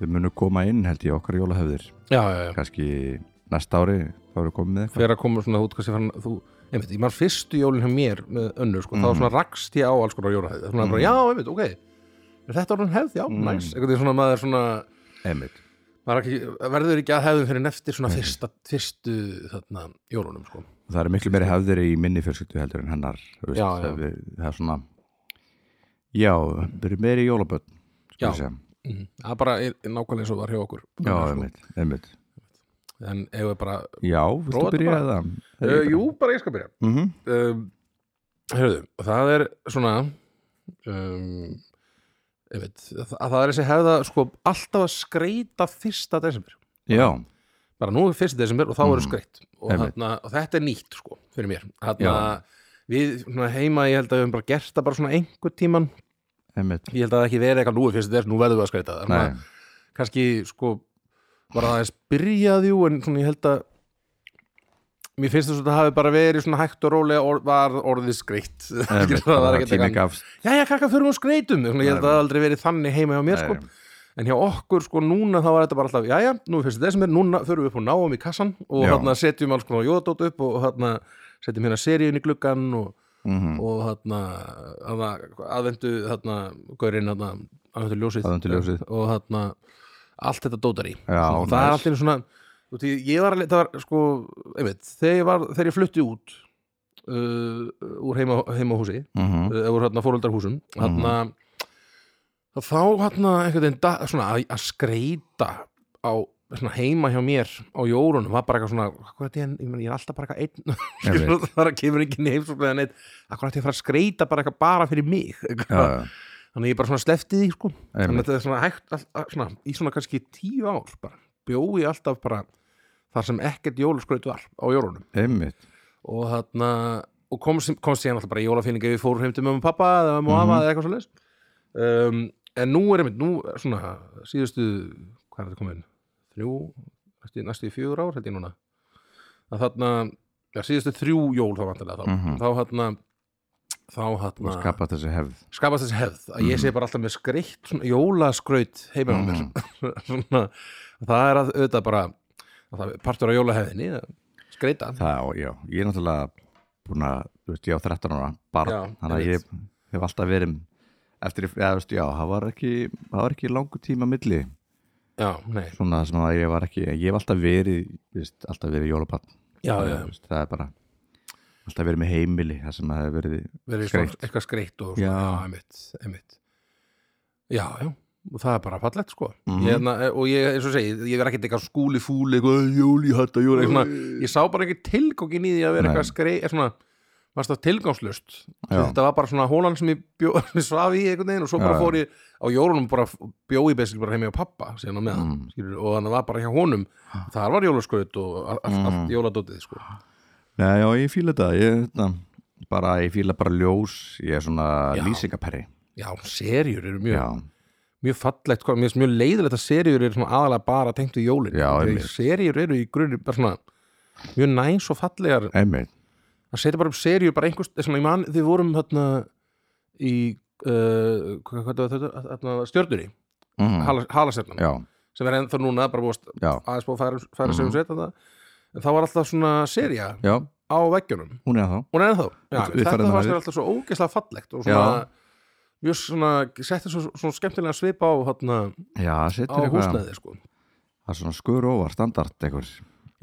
Speaker 1: við munum koma inn held ég okkar jólahöfðir
Speaker 2: já, já, já.
Speaker 1: kannski næsta ári þá erum við komið með eitthvað
Speaker 2: Hver að koma svona út, hvað sé fann þú einmitt, ég maður fyrstu jólin hjá mér með önnu, sko, þá
Speaker 1: Mhm.
Speaker 2: svona rakst ég á alls konar jólahæði, svona bara, já, einmitt, ok er þetta orðin hefð, já,
Speaker 1: Mm.
Speaker 2: næs einhvern veginn svona maður svona,
Speaker 1: Einmitt.
Speaker 2: maður ekki, verður ekki að hefðum fyrir en eftir svona fyrsta, fyrstu þarna, jólunum, sko,
Speaker 1: Það eru miklu meiri hefðir í minni fjölskyldu heldur en hennar þú veist,
Speaker 2: Já, já.
Speaker 1: það, við, það er svona Já, við erum meiri jólaböld
Speaker 2: Já. Mhm. það er bara er- er nákvæmlega eins og var hjá okkur
Speaker 1: Já,
Speaker 2: Sko.
Speaker 1: einmitt, einmitt
Speaker 2: en ef við bara,
Speaker 1: Já, viltu
Speaker 2: Prófaðu
Speaker 1: byrja
Speaker 2: bara.
Speaker 1: það?
Speaker 2: uh, jú, bara ég skal byrja
Speaker 1: mm
Speaker 2: um, Hörðu, það er svona um, ég veit, að það er þessi hefða sko alltaf að skreita fyrsta desember
Speaker 1: Já,
Speaker 2: bara nú er fyrsta desember og þá
Speaker 1: Mm.
Speaker 2: eru skreitt og,
Speaker 1: Einmitt.
Speaker 2: þarna, og þetta er nýtt sko fyrir mér þarna,
Speaker 1: Já.
Speaker 2: við svona, heima ég held að við höfum bara gert það bara svona einhver tíman
Speaker 1: einmitt
Speaker 2: ég held að það ekki verið eitthvað nú er fyrsta desember nú verðum við að skreita það
Speaker 1: Nei,
Speaker 2: Svona, kannski sko var það aðeins byrjað jú en svona ég held að mér finnst þess að það hafi bara verið svona hægt og rólega or, var orðið skreitt
Speaker 1: einmitt,
Speaker 2: það var
Speaker 1: bara
Speaker 2: ekkert
Speaker 1: tími
Speaker 2: eitthvað
Speaker 1: gafst
Speaker 2: já já kakka fyrir um skreitum svona, ég held að það hafi aldrei verið þannig heima hjá mér sko
Speaker 1: Nei.
Speaker 2: en hjá okkur sko núna þá var þetta bara alltaf já já nú er fyrst desember núna förum við upp og náum í kassan og
Speaker 1: Já.
Speaker 2: þarna setjum alls konar jóðdótt upp og þarna setjum hérna seríun í gluggan og,
Speaker 1: Mhm.
Speaker 2: og þarna, þarna aðvendu þarna gaurinn þarna aðvendu ljósið,
Speaker 1: Aðventu ljósið.
Speaker 2: og þarna allt þetta dótar í
Speaker 1: Já,
Speaker 2: og það er
Speaker 1: nice.
Speaker 2: allt einu svona þú veist, ég var, alveg- það var sko einmitt, þegar, ég var, þegar ég flutti út uh, úr heima, heimahúsi
Speaker 1: Mhm.
Speaker 2: eða voru hérna fóröldarhúsum
Speaker 1: Mm.
Speaker 2: hérna þá hérna einhvern veginn da- svona að, að skreita á svona heima hjá mér á jórunum var bara eitthvað svona hvað er ég, ég, meina, ég er alltaf bara eitthvað einn
Speaker 1: Ég veit.
Speaker 2: Skilurðu, það er- kemur enginn í heimsókn eða neitt að hvað ætti ég að fara að skreita bara eitthvað bara fyrir mig
Speaker 1: Já, já,
Speaker 2: þannig að ég bara svona slefti því sko þannig að
Speaker 1: einmitt
Speaker 2: þetta er svona hægt all, all, svona, í svona kannski tíu ár bara bjói alltaf bara þar sem ekkert jóluskraut var á jórunum
Speaker 1: Einmitt,
Speaker 2: og þarna og komst, komst ég alltaf bara í jólafýlinga við fórum heim til mömmu og pappa eða mömmu og
Speaker 1: Mhm.
Speaker 2: afa eða eitthvað svo leis um, en nú er einmitt, nú er svona síðustu, hvað er þetta komin þrjú, næstu, næstu í fjögur ár held ég núna að þarna, já síðustu þrjú jól þá vantilega þá,
Speaker 1: Mhm.
Speaker 2: þá þarna þá
Speaker 1: og
Speaker 2: þarna
Speaker 1: skapa þessi hefð
Speaker 2: skapast þessi hefð að ég sé bara alltaf með skreitt, svona jólaskraut heima á mér
Speaker 1: Mhm.
Speaker 2: svona, það er að auðvitað bara að það er partur á jólahefðinni að skreita
Speaker 1: það, já, ég er náttúrulega búin að, þú veist, ég á 13 ára barn,
Speaker 2: Já,
Speaker 1: þannig að
Speaker 2: einmitt.
Speaker 1: ég hef alltaf verið eftir, eða, þú veist, já, það var ekki það var ekki langu tíma milli
Speaker 2: já, nei,
Speaker 1: svona sem að ég var ekki, ég hef alltaf verið þú veist, alltaf verið jólabann
Speaker 2: já, já,
Speaker 1: það er bara alltaf verið með heimili, það sem að það hefur verið
Speaker 2: verið
Speaker 1: Skreytt.
Speaker 2: svona eitthvað skreitt og
Speaker 1: Já.
Speaker 2: svona, já, einmitt, einmitt já, já, og það er bara fallegt sko
Speaker 1: Mhm.
Speaker 2: ég, hérna, og ég, eins og segi, ég er ekkert eitthvað skúli fúli eitthvað jóli, hætta, jóli eitthvað, svona, ég sá bara ekki tilgókin í því að vera
Speaker 1: Nei.
Speaker 2: eitthvað skreitt svona, varst það tilgangslust
Speaker 1: Já.
Speaker 2: þetta var bara svona hólan sem ég bjó, svaf í einhvern veginn og svo bara
Speaker 1: Já, já.
Speaker 2: fór ég á jólunum bara bjó í besil bara heim hjá pappa síðan á meðan,
Speaker 1: Mm.
Speaker 2: skilur, og þannig að það var bara hjá honum þar var jólaskraut og allt,
Speaker 1: Mm.
Speaker 2: allt jóladótið sko.
Speaker 1: Nei, já, ég fíla þetta, ég, þetta bara, ég fíla bara ljós, ég er svona
Speaker 2: Já.
Speaker 1: lýsingaperri,
Speaker 2: já, serjur eru mjög
Speaker 1: já,
Speaker 2: mjög fallegt, hvað, mér finnst mjög leiðilegt að serjur eru svona aðalega bara tengt við jólin
Speaker 1: Já, einmitt.
Speaker 2: serjur eru í grunni bara svona mjög næs og fallegar
Speaker 1: einmitt
Speaker 2: að setja bara upp serjur bara einhvers, svona ég man þið vorum hérna í uh, hvað, hvað var þetta, hérna, stjörnunni
Speaker 1: mm.
Speaker 2: hala, halastjörnunni,
Speaker 1: Já,
Speaker 2: sem er ennþá núna bara búast
Speaker 1: já,
Speaker 2: aðeins búið að færa, færa mm. sem sveit en þá var alltaf svona serja
Speaker 1: já,
Speaker 2: á veggjunum
Speaker 1: hún er þá
Speaker 2: hún er ennþá, já,
Speaker 1: Við- við
Speaker 2: þetta
Speaker 1: færðum
Speaker 2: fannst
Speaker 1: það
Speaker 2: þér alltaf svo ógeðslega fallegt og svona
Speaker 1: Já.
Speaker 2: mjög svona, setti svo, svona skemmtilega svipa á hérna,
Speaker 1: Já,
Speaker 2: á
Speaker 1: setur eitthvað,
Speaker 2: húsnæði sko
Speaker 1: það er svona skur óvar, standart eitthvað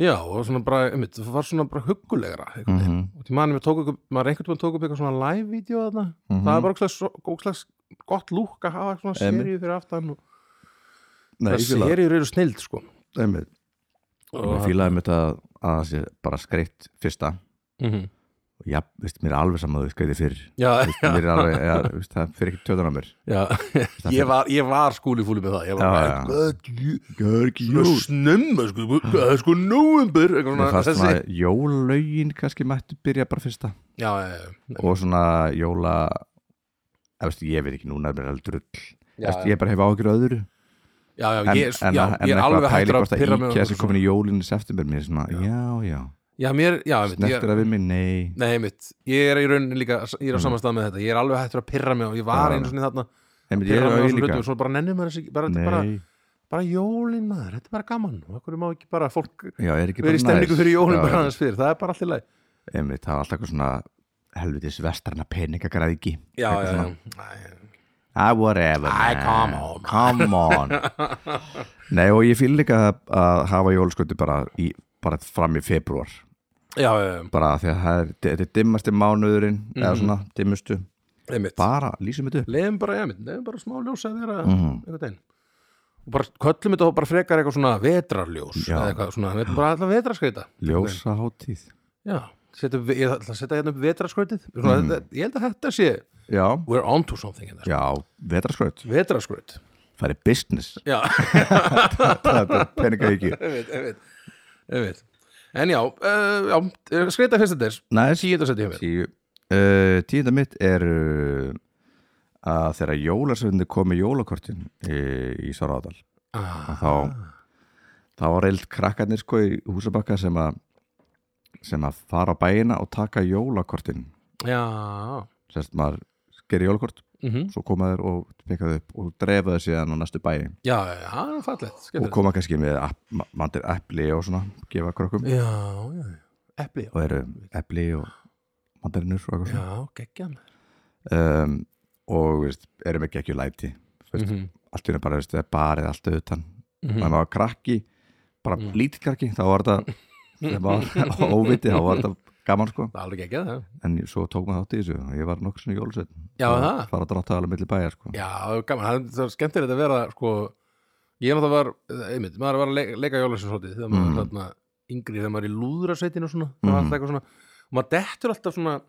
Speaker 2: Já, og svona bara, einmitt, það var svona bara huggulegra einhvern
Speaker 1: mm
Speaker 2: veginn. Og því manni, tók ykkur, maður einhvern veginn tók upp eitthvað svona live-vídeó þarna. Það er bara ókslega, ókslega gott lúk að hafa svona
Speaker 1: Mhm. Einmitt.
Speaker 2: seríu fyrir aftan og
Speaker 1: Nei,
Speaker 2: það
Speaker 1: ég fíla,
Speaker 2: seríur eru snild, sko.
Speaker 1: einmitt Ég
Speaker 2: hérna.
Speaker 1: fílaði mitt að að það sé bara skreitt fyrsta
Speaker 2: Mm
Speaker 1: og já, veist, mér er alveg saman að þú skreitir fyrr
Speaker 2: Já, já,
Speaker 1: mér er alveg, já, veist, það fyrir ekki tjóðan á mér
Speaker 2: já. Ég var, ég var skúli fúli með það. Ég var
Speaker 1: Já,
Speaker 2: bara,
Speaker 1: já.
Speaker 2: hvað, djú-
Speaker 1: Görg,
Speaker 2: svona snemma, sko, hvað, sko, november, eitthvað
Speaker 1: Mér
Speaker 2: svona,
Speaker 1: fannst
Speaker 2: þessi.
Speaker 1: svona jólaugin kannski mættu byrja bara fyrsta
Speaker 2: Já, já, já.
Speaker 1: og svona jóla eða, veist, ég veit ekki núna mér er alveg drull
Speaker 2: Já,
Speaker 1: Veist,
Speaker 2: já.
Speaker 1: ég bara hef áhyggjur af öðru
Speaker 2: Já, já,
Speaker 1: en,
Speaker 2: ég,
Speaker 1: en,
Speaker 2: já,
Speaker 1: en
Speaker 2: ég er alveg hættur að
Speaker 1: hvort að
Speaker 2: pyrra með
Speaker 1: íkja sem komin í jólinni september mér er svona, já, já,
Speaker 2: Já, mér, já, einmitt, ég,
Speaker 1: snertir það við mig, nei
Speaker 2: Nei, mitt, ég er í rauninni líka ég er á saman stað með þetta, ég er alveg hættur að pyrra mig og ég var
Speaker 1: Mm. Já.
Speaker 2: einu svona þarna að
Speaker 1: Nei, ég
Speaker 2: pyrra
Speaker 1: er
Speaker 2: mig
Speaker 1: auðvitað
Speaker 2: á svona hlutum
Speaker 1: líka
Speaker 2: og svo bara nennir maður þessi ekki- bara, þetta er bara,
Speaker 1: Nei,
Speaker 2: bara jólin maður, þetta er bara gaman og okkur má ekki bara fólk
Speaker 1: já, er ekki bara
Speaker 2: vera í stemningu fyrir jólin
Speaker 1: Já,
Speaker 2: bara
Speaker 1: já.
Speaker 2: aðeins fyrir, það er bara allt í lagi
Speaker 1: einmitt, það var alltaf eitthvað svona helvitis vestrana peningagræðiki
Speaker 2: Já,
Speaker 1: Eitthvað
Speaker 2: já,
Speaker 1: svona,
Speaker 2: já,
Speaker 1: Ah, whatever
Speaker 2: Æ,
Speaker 1: man.
Speaker 2: come on.
Speaker 1: Come on Nei og ég fíl líka að- að hafa jólaskötu bara, í, bara fram í februar
Speaker 2: já, já, já,
Speaker 1: bara því að það er, þetta er dimmasti mánuðurinn eða svona dimmustu
Speaker 2: einmitt
Speaker 1: bara lýsum þetta upp
Speaker 2: Leðum bara, já, mitt, leðum bara smá ljósa þeirra
Speaker 1: Mhm.
Speaker 2: einhvern veginn og bara köllum þetta þá bara frekar eitthvað svona vetrarljós
Speaker 1: Já.
Speaker 2: eða eitthvað svona, þetta er bara alltaf vetraskreita
Speaker 1: ljósa hátíð
Speaker 2: Já, setjum, við- ég ætla að setja hérna upp vetraskrautið svona,
Speaker 1: Mhm.
Speaker 2: þetta, Ég held að þetta sé
Speaker 1: já,
Speaker 2: We're on to something hérna
Speaker 1: já, vetraskraut
Speaker 2: Vetraskraut
Speaker 1: það er business,
Speaker 2: Já,
Speaker 1: þetta er peninga ekki
Speaker 2: ég veit, ég veit, ég veit En já, uh, já eh, skreita fyrsta des
Speaker 1: næs,
Speaker 2: Tíunda setja ég mér
Speaker 1: tíu uh, tíunda mitt er uh, að þegar jólarsöfundi komi jólakortin eh, í, í Svaráðal
Speaker 2: ah,
Speaker 1: þá- þá var reyld krakkarnir sko í húsabakka sem að sem að fara á bæina og taka jólakortin
Speaker 2: Já
Speaker 1: sérst maður gerir jólakort
Speaker 2: mm
Speaker 1: svo koma þér og pekka þau upp og drefa þau síðan á næstu bæi
Speaker 2: Já, já, það er fallegt
Speaker 1: og
Speaker 2: skemmtilegt.
Speaker 1: koma kannski með app, ma- mandir epli og svona, gefa krökkum
Speaker 2: Já, já, já. epli
Speaker 1: og eru epli og mandarinur og eitthvað
Speaker 2: Já, geggjan
Speaker 1: svona um, og veist, eru með geggju læti mm -hmm.
Speaker 2: Mhm.
Speaker 1: allt í henni bara, veist, það er barið allt auðvitað
Speaker 2: Mhm.
Speaker 1: þannig að maður var krakki bara mm. lítið krakki, þá var þetta þegar maður var óviti, þá var þetta gaman sko,
Speaker 2: Það er alveg geggjað það
Speaker 1: en svo tók maður þátt í þessu og ég var nokkur sinni jólusveit
Speaker 2: Já, það?
Speaker 1: fara að dráta alveg milli bæja sko
Speaker 2: Já, það er gaman, það er- það er skemmtilegt að vera sko, ég náttúrulega var eh, einmitt, maður var að leika, leika jólæsinsótið þegar maður
Speaker 1: Mhm.
Speaker 2: var þarna yngri, þegar maður er í lúðrasveitinu og svona, það var
Speaker 1: Mhm.
Speaker 2: alltaf eitthvað svona og maður dettur alltaf svona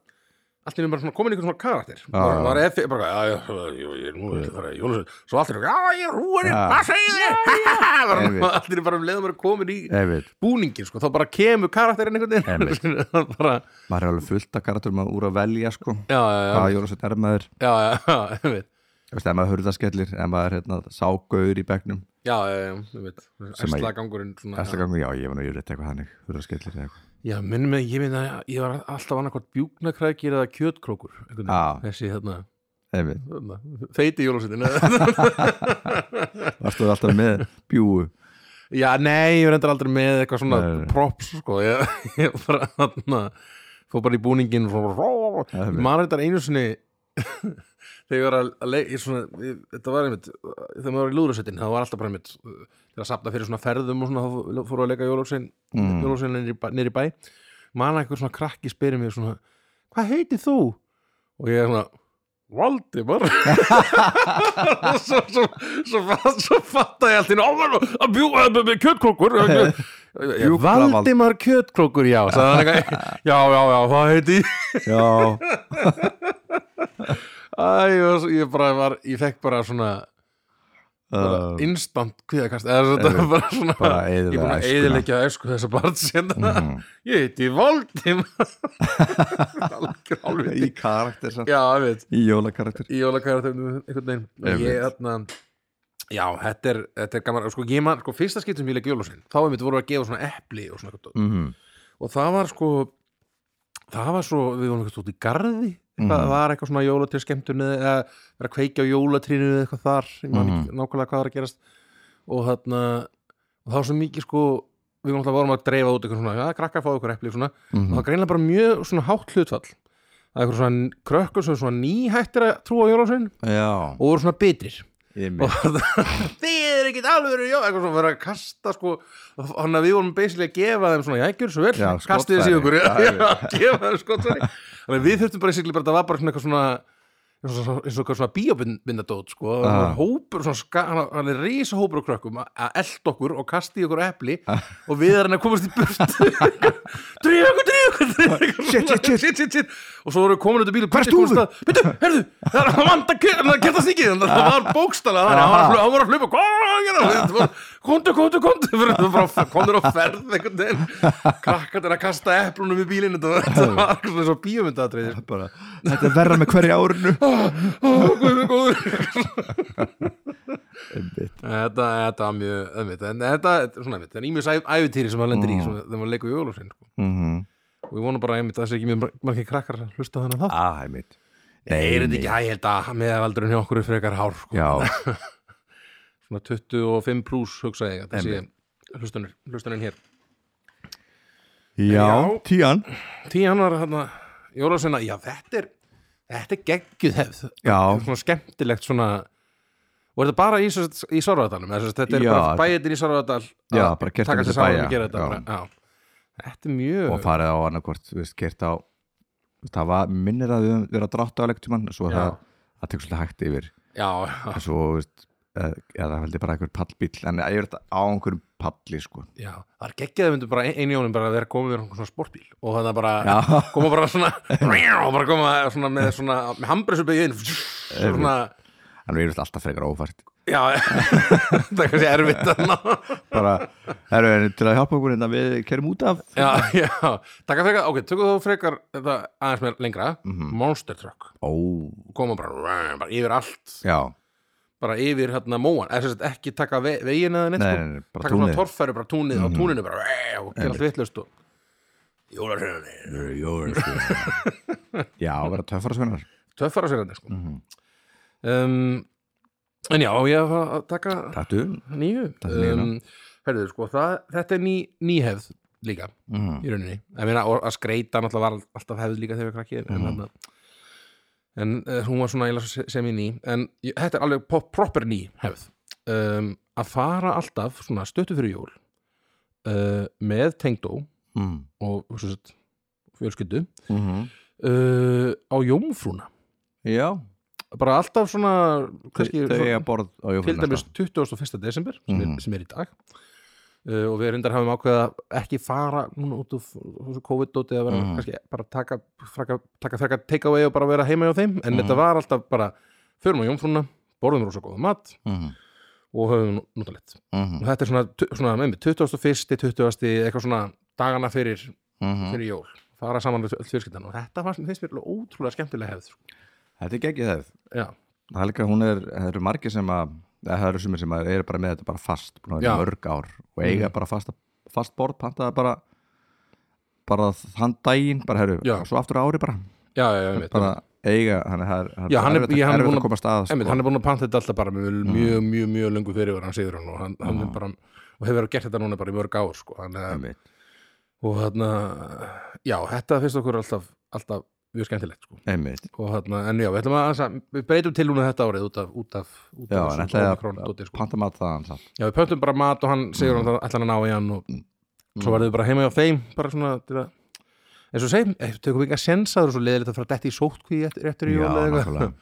Speaker 2: allt í einu bara svona komin einhvern svona karakter
Speaker 1: Já,
Speaker 2: maður,
Speaker 1: já.
Speaker 2: maður er eftir, bara, já, já, já, ég er nú ekki að fara í jólæsins svo allt í einu, já, ég er húinni,
Speaker 1: Já.
Speaker 2: hvað segir þið
Speaker 1: Einmitt.
Speaker 2: allt í einu bara um leiðum maður er komin í
Speaker 1: Efitt,
Speaker 2: búningin, sko, þá bara kemur karakterinn einhvern veginn Það bara,
Speaker 1: maður er alveg fullt að karakterum að úr að velja sko
Speaker 2: já, já, já,
Speaker 1: hvað jólusveit er maður
Speaker 2: já, já, já, einmitt.
Speaker 1: Þú veist, ef maður hurðaskellir, ef maður hérna, ságauður í bekknum
Speaker 2: já, já, já, ég veit
Speaker 1: Sem að ég-
Speaker 2: Ærslagangurinn svona
Speaker 1: Æsta gangu, já, ég var nú yfirleitt eitthvað hannig Hurðaskellir eða eitthvað
Speaker 2: Já, minnum mig, ég minna að ég var alltaf annarkvæmt bjúknakrækir eða kjötkrókur einhvern
Speaker 1: Já.
Speaker 2: veginn. Þessi hérna,
Speaker 1: Einmitt.
Speaker 2: hérna feiti jólasetin
Speaker 1: Varstu alltaf með bjúu
Speaker 2: Já, nei, ég var endur aldrei með eitthvað svona
Speaker 1: Nei, nei.
Speaker 2: props, sko ég, ég bara, hérna, fór bara í búningin og svona, ró,
Speaker 1: Já,
Speaker 2: ró,
Speaker 1: einmitt.
Speaker 2: maður þetta einu sinni þegar ég var að, að leik, ég svona, ég, þetta var einmitt þegar maður var í lúðursetin, það var alltaf bara einmitt til að sapna fyrir svona ferðum og svona þá fór að leika jólasetin
Speaker 1: Mm.
Speaker 2: jólasveina niður, í bæ- niður í bæ man einhver svona krakki spyrir mig svona hvað heitir þú? og ég er svona Valdimar Og svo, svo, svo, svo, svo fatta ég allt í einu kjötkrókur Ég- ég-
Speaker 1: Bjúklavald.
Speaker 2: Valdimar kjötkrókur, já sagði hann eitthvað, já, já, já, hvað heiti ég?
Speaker 1: Já,
Speaker 2: Æ, ég, var, svo- ég bara var, ég fekk bara svona
Speaker 1: uh,
Speaker 2: bara instant kviðakast eða þetta var Ah. bara svona
Speaker 1: bara
Speaker 2: ég er búin
Speaker 1: eðilega
Speaker 2: að eðilegja esku þessa barns hérna ég heiti Voldemar algjör
Speaker 1: Í
Speaker 2: álviti
Speaker 1: karakter samt
Speaker 2: já, ég veit,
Speaker 1: Í jólakarakter
Speaker 2: í jólakaratefnum einhvern veginn,
Speaker 1: Ég
Speaker 2: og ég þarna já, þetta er, þetta er gaman sko, ég man, sko, fyrsta skipt sem ég leik jólasinn þá einmitt voru að gefa svona epli og svona eitthvað.
Speaker 1: Mhm.
Speaker 2: og það var sko það var svo, við vorum eitthvað út í garði það
Speaker 1: Mhm.
Speaker 2: var eitthvað svona jólatrið skemmtun eða vera að kveikja á jólatrinu eða eitthvað þar, ég man ekki nákvæmlega hvað var að gerast og þarna og það var svo mikið sko, við náttúrulega vorum að dreifa út eitthvað svona, já, krakkar fá ykkur epli svona og
Speaker 1: Mhm.
Speaker 2: það var greinlega bara mjög svona hátt hlutfall það er eitthvað svona krökkur sem er svona nýhættir að trúa jólasvein
Speaker 1: Já,
Speaker 2: og voru svona bitrir
Speaker 1: einmitt.
Speaker 2: og þið er ekkit alveg jó, eitthvað svona verið að kasta sko þannig að við vorum basically að gefa þeim svona já, gjör svo vel,
Speaker 1: Já,
Speaker 2: kastið þessi
Speaker 1: skotfæri.
Speaker 2: ykkur já,
Speaker 1: Já,
Speaker 2: já, gefa þeim skotfæri þannig að við þurftum bara basically bara, það var bara svona eitthvað svona eins og eins og eitthvað svona bíóbindadót sko, það var
Speaker 1: Ah.
Speaker 2: hópur, svona ska, hann- hann er risa hópur á krökkum að- að elda okkur og kasta í okkur epli og við erum að komast í burt drýja okkur, drýja okkur drýja okkur,
Speaker 1: Shit, shit, shit.
Speaker 2: shit, shit, shit. og svo voru komin út af bílu
Speaker 1: Hvar er stúfur?
Speaker 2: Bittu, herðu, það er að vanda kertast ekki það var bókstala þannig hann var að fl- hann var að hlupa "Hvað er að gera?" Þetta var, komdu, komdu, komdu fyrir þetta var bara komður á ferð einhvern veginn krakkandir að kasta eplunum í bílinn þetta var- þetta var eitthvað svona svo bíómyndatriði
Speaker 1: Bara, Þetta er verra með hverja árinu Einmitt.
Speaker 2: þetta þetta var mjög öðmitt en þetta þetta er svona öðmitt en ímjög æfitýri sem maður lendir í svona, þegar maður leikur í jólusinn sko.
Speaker 1: Mhm.
Speaker 2: og ég vona bara einmitt að þessi ekki mjög margir krakkar að hlusta á þennan þátt
Speaker 1: Ah, einmitt
Speaker 2: Nei, er
Speaker 1: Nei,
Speaker 2: þetta ekki,
Speaker 1: nei.
Speaker 2: já, ég held að meðavaldurinn hjá okkur er frekar hár sko.
Speaker 1: Já,
Speaker 2: svona 25 pluss hugsa ég að þessi hlustunir, hlustunir hér
Speaker 1: já, tían
Speaker 2: Tíðan var hérna Jólasveina, já þetta er þetta er geggjuð hefð
Speaker 1: Já.
Speaker 2: svona skemmtilegt svona og er þetta bara í, sem sagt í Sárvadalum þetta er
Speaker 1: Já,
Speaker 2: bara
Speaker 1: þetta-
Speaker 2: bæðin í Sárvadal að
Speaker 1: Já, bara gert á
Speaker 2: taka
Speaker 1: milli
Speaker 2: sér saman
Speaker 1: bæja,
Speaker 2: og gera þetta
Speaker 1: já.
Speaker 2: bara, já. þetta er mjög
Speaker 1: og farið á annarkvort þú veist, gert á þú veist, það var minnir að við höfum verið að drátta á lektumann svo
Speaker 2: Já.
Speaker 1: það, það tekur svolítið hægt yfir
Speaker 2: já, já,
Speaker 1: en svo, þú veist, eða ja, það heldur bara einhver pallbíll en ég er þetta á einhverjum palli sko.
Speaker 2: já, það er geggjað að myndu bara ein- einu jónum bara að vera komið með svona sportbíl og þannig að bara
Speaker 1: Já.
Speaker 2: koma bara svona og bara koma svona með svona með hambreysubið inn svona,
Speaker 1: en við erum þetta alltaf frekar ófært
Speaker 2: já það er kannski erfitt að ná
Speaker 1: bara, herru, en til að hjálpa okkur hérna, við kerum út af
Speaker 2: já, já, taka frekar, ok, tökum þú frekar þetta aðeins með lengra, monster truck
Speaker 1: ó,
Speaker 2: koma bara, bara yfir allt
Speaker 1: já,
Speaker 2: bara yfir hérna móan, eða sem sagt ekki taka ve veginn eða neitt,
Speaker 1: Nei, nei,
Speaker 2: sko.
Speaker 1: nei, bara
Speaker 2: taka svona
Speaker 1: túnið.
Speaker 2: torfæru, bara túnið á túninu bara, eh, og gera allt vitlaust og jólarhjörðinni,
Speaker 1: já, vera töffara Mhm. svennar
Speaker 2: töffara sér hann sko. um, en já, ég hef að taka
Speaker 1: tættu
Speaker 2: nýju
Speaker 1: Taka nýjuna.
Speaker 2: um, herðu, sko, það, þetta er ný, nýhefð líka
Speaker 1: mm.
Speaker 2: í rauninni ég meina, og að skreita náttúrulega var alltaf hefð líka þegar við krakkið en, mm. en uh, hún var svona eiginlega se- sem í ný en ég, þetta er alveg po- proper ný hefð um, að fara alltaf svona stöttu fyrir jól uh, með tengdó
Speaker 1: Mm.
Speaker 2: og svo sett fjölskyldu
Speaker 1: Mm
Speaker 2: Mhm. uh, á jómfrúna
Speaker 1: já,
Speaker 2: bara alltaf svona kannski,
Speaker 1: þau
Speaker 2: svona-
Speaker 1: eiga borð á
Speaker 2: til
Speaker 1: jófrunasta
Speaker 2: dæmis 21. desember sem,
Speaker 1: Mhm.
Speaker 2: er, sem er í dag uh, og við reyndar hafum ákveða ekki fara núna út úr COVID-dóti að vera
Speaker 1: Mhm.
Speaker 2: kannski bara taka fraka, taka fraka takeaway og bara vera heima hjá þeim en
Speaker 1: Mhm.
Speaker 2: þetta var alltaf bara förum á jómfrúna, borðum rosa góða mat
Speaker 1: mm.
Speaker 2: og höfum nú- notalegt og
Speaker 1: Mm.
Speaker 2: þetta er svona, tu- svona með mig, 21. 20. eitthvað svona dagana fyrir,
Speaker 1: Mm.
Speaker 2: fyrir jól fara saman við öll fjörskiptan og þetta fannst- finnst mér alveg ótrúlega skemmtilega hefð sko.
Speaker 1: þetta er geggið það
Speaker 2: já,
Speaker 1: það er líka, hún er, það eru margir sem að eða það eru sumir sem að eru bara með þetta bara fast búin að vera
Speaker 2: Já. Mhm.
Speaker 1: í mörg ár og eiga bara fast, fast borð, pantaða bara bara þann daginn bara herru,
Speaker 2: Já.
Speaker 1: og svo aftur á ári bara,
Speaker 2: já, já, já, einmitt,
Speaker 1: bara eiga, þannig að það er- það er
Speaker 2: Já, hann er-
Speaker 1: erfitt,
Speaker 2: ég- hann er
Speaker 1: erfitt
Speaker 2: búinn
Speaker 1: að
Speaker 2: að-
Speaker 1: komast að sko.
Speaker 2: einmitt, hann er búin að panta þetta alltaf bara með
Speaker 1: Mm.
Speaker 2: mjög, mjög, mjög löngu fyrirvara hann síður hann og hann, hann er bara og hefur gert þetta núna bara í mörg ár sko, hann, um,
Speaker 1: einmitt.
Speaker 2: og hann já, þetta finnst okkur alltaf, alltaf mjög skemmtilegt sko.
Speaker 1: einmitt
Speaker 2: og hann, en já, við, ætlum að, aðeins að, við breytum til núna þetta árið út af, út af, út
Speaker 1: Já,
Speaker 2: af
Speaker 1: en
Speaker 2: þessum
Speaker 1: ætlaði
Speaker 2: Omicron dóti,
Speaker 1: að
Speaker 2: sko.
Speaker 1: panta mat þaðan samt
Speaker 2: já, við pöntum bara mat og hann sigur hann mm. ætlar að ná í hann og
Speaker 1: Mm.
Speaker 2: svo verðum við bara heima hjá þeim bara svona til að eins og segjum, eh, tökum við ekki að sensa það og svo leiðilegt að fara dætt í sótkví eftir, eftir
Speaker 1: Já,
Speaker 2: jól eða eitthvað.
Speaker 1: nákvæmlega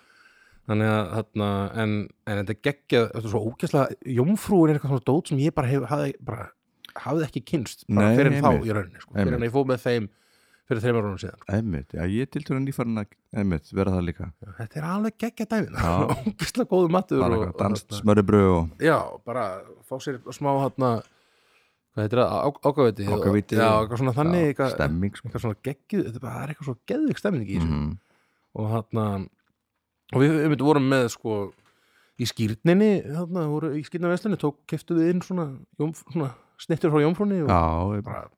Speaker 2: þannig að þarna, en, en þetta geggjað, þetta er svo ógæslega jómfrúin er eitthvað svona dót sem ég bara, hef, hafði, bara hafði ekki kynst bara
Speaker 1: Nei,
Speaker 2: fyrir en þá
Speaker 1: einmitt.
Speaker 2: í rauninni sko,
Speaker 1: Einmitt.
Speaker 2: fyrir en ég fóð með þeim fyrir þreymur rónum síðan
Speaker 1: Einmitt, já ég er til törnum nýfarinn að einmitt, vera það líka
Speaker 2: sko. þetta er alveg geggjað dæmin
Speaker 1: Já.
Speaker 2: ógæslega góðu matur
Speaker 1: bara
Speaker 2: og-
Speaker 1: eitthvað sko.
Speaker 2: og
Speaker 1: danst
Speaker 2: þarna-
Speaker 1: smörubröð og
Speaker 2: já, bara fá sér smá hátna hvað heitir það, ágaviti
Speaker 1: Ákaviti.
Speaker 2: já, eitthvað svona þannig
Speaker 1: Já,
Speaker 2: eitthvað,
Speaker 1: stemming sko
Speaker 2: eitthvað svona geggjuð, þetta er bara- það er eitthvað svo geðvik stemning í þessu
Speaker 1: Mhm.
Speaker 2: og þarna og við einmitt vorum með sko í skýrninni, þarna voru í skýrnaveslunni tók, keftu við inn svona, jómf, svona snittur frá jómfrúnni og
Speaker 1: Já,
Speaker 2: bara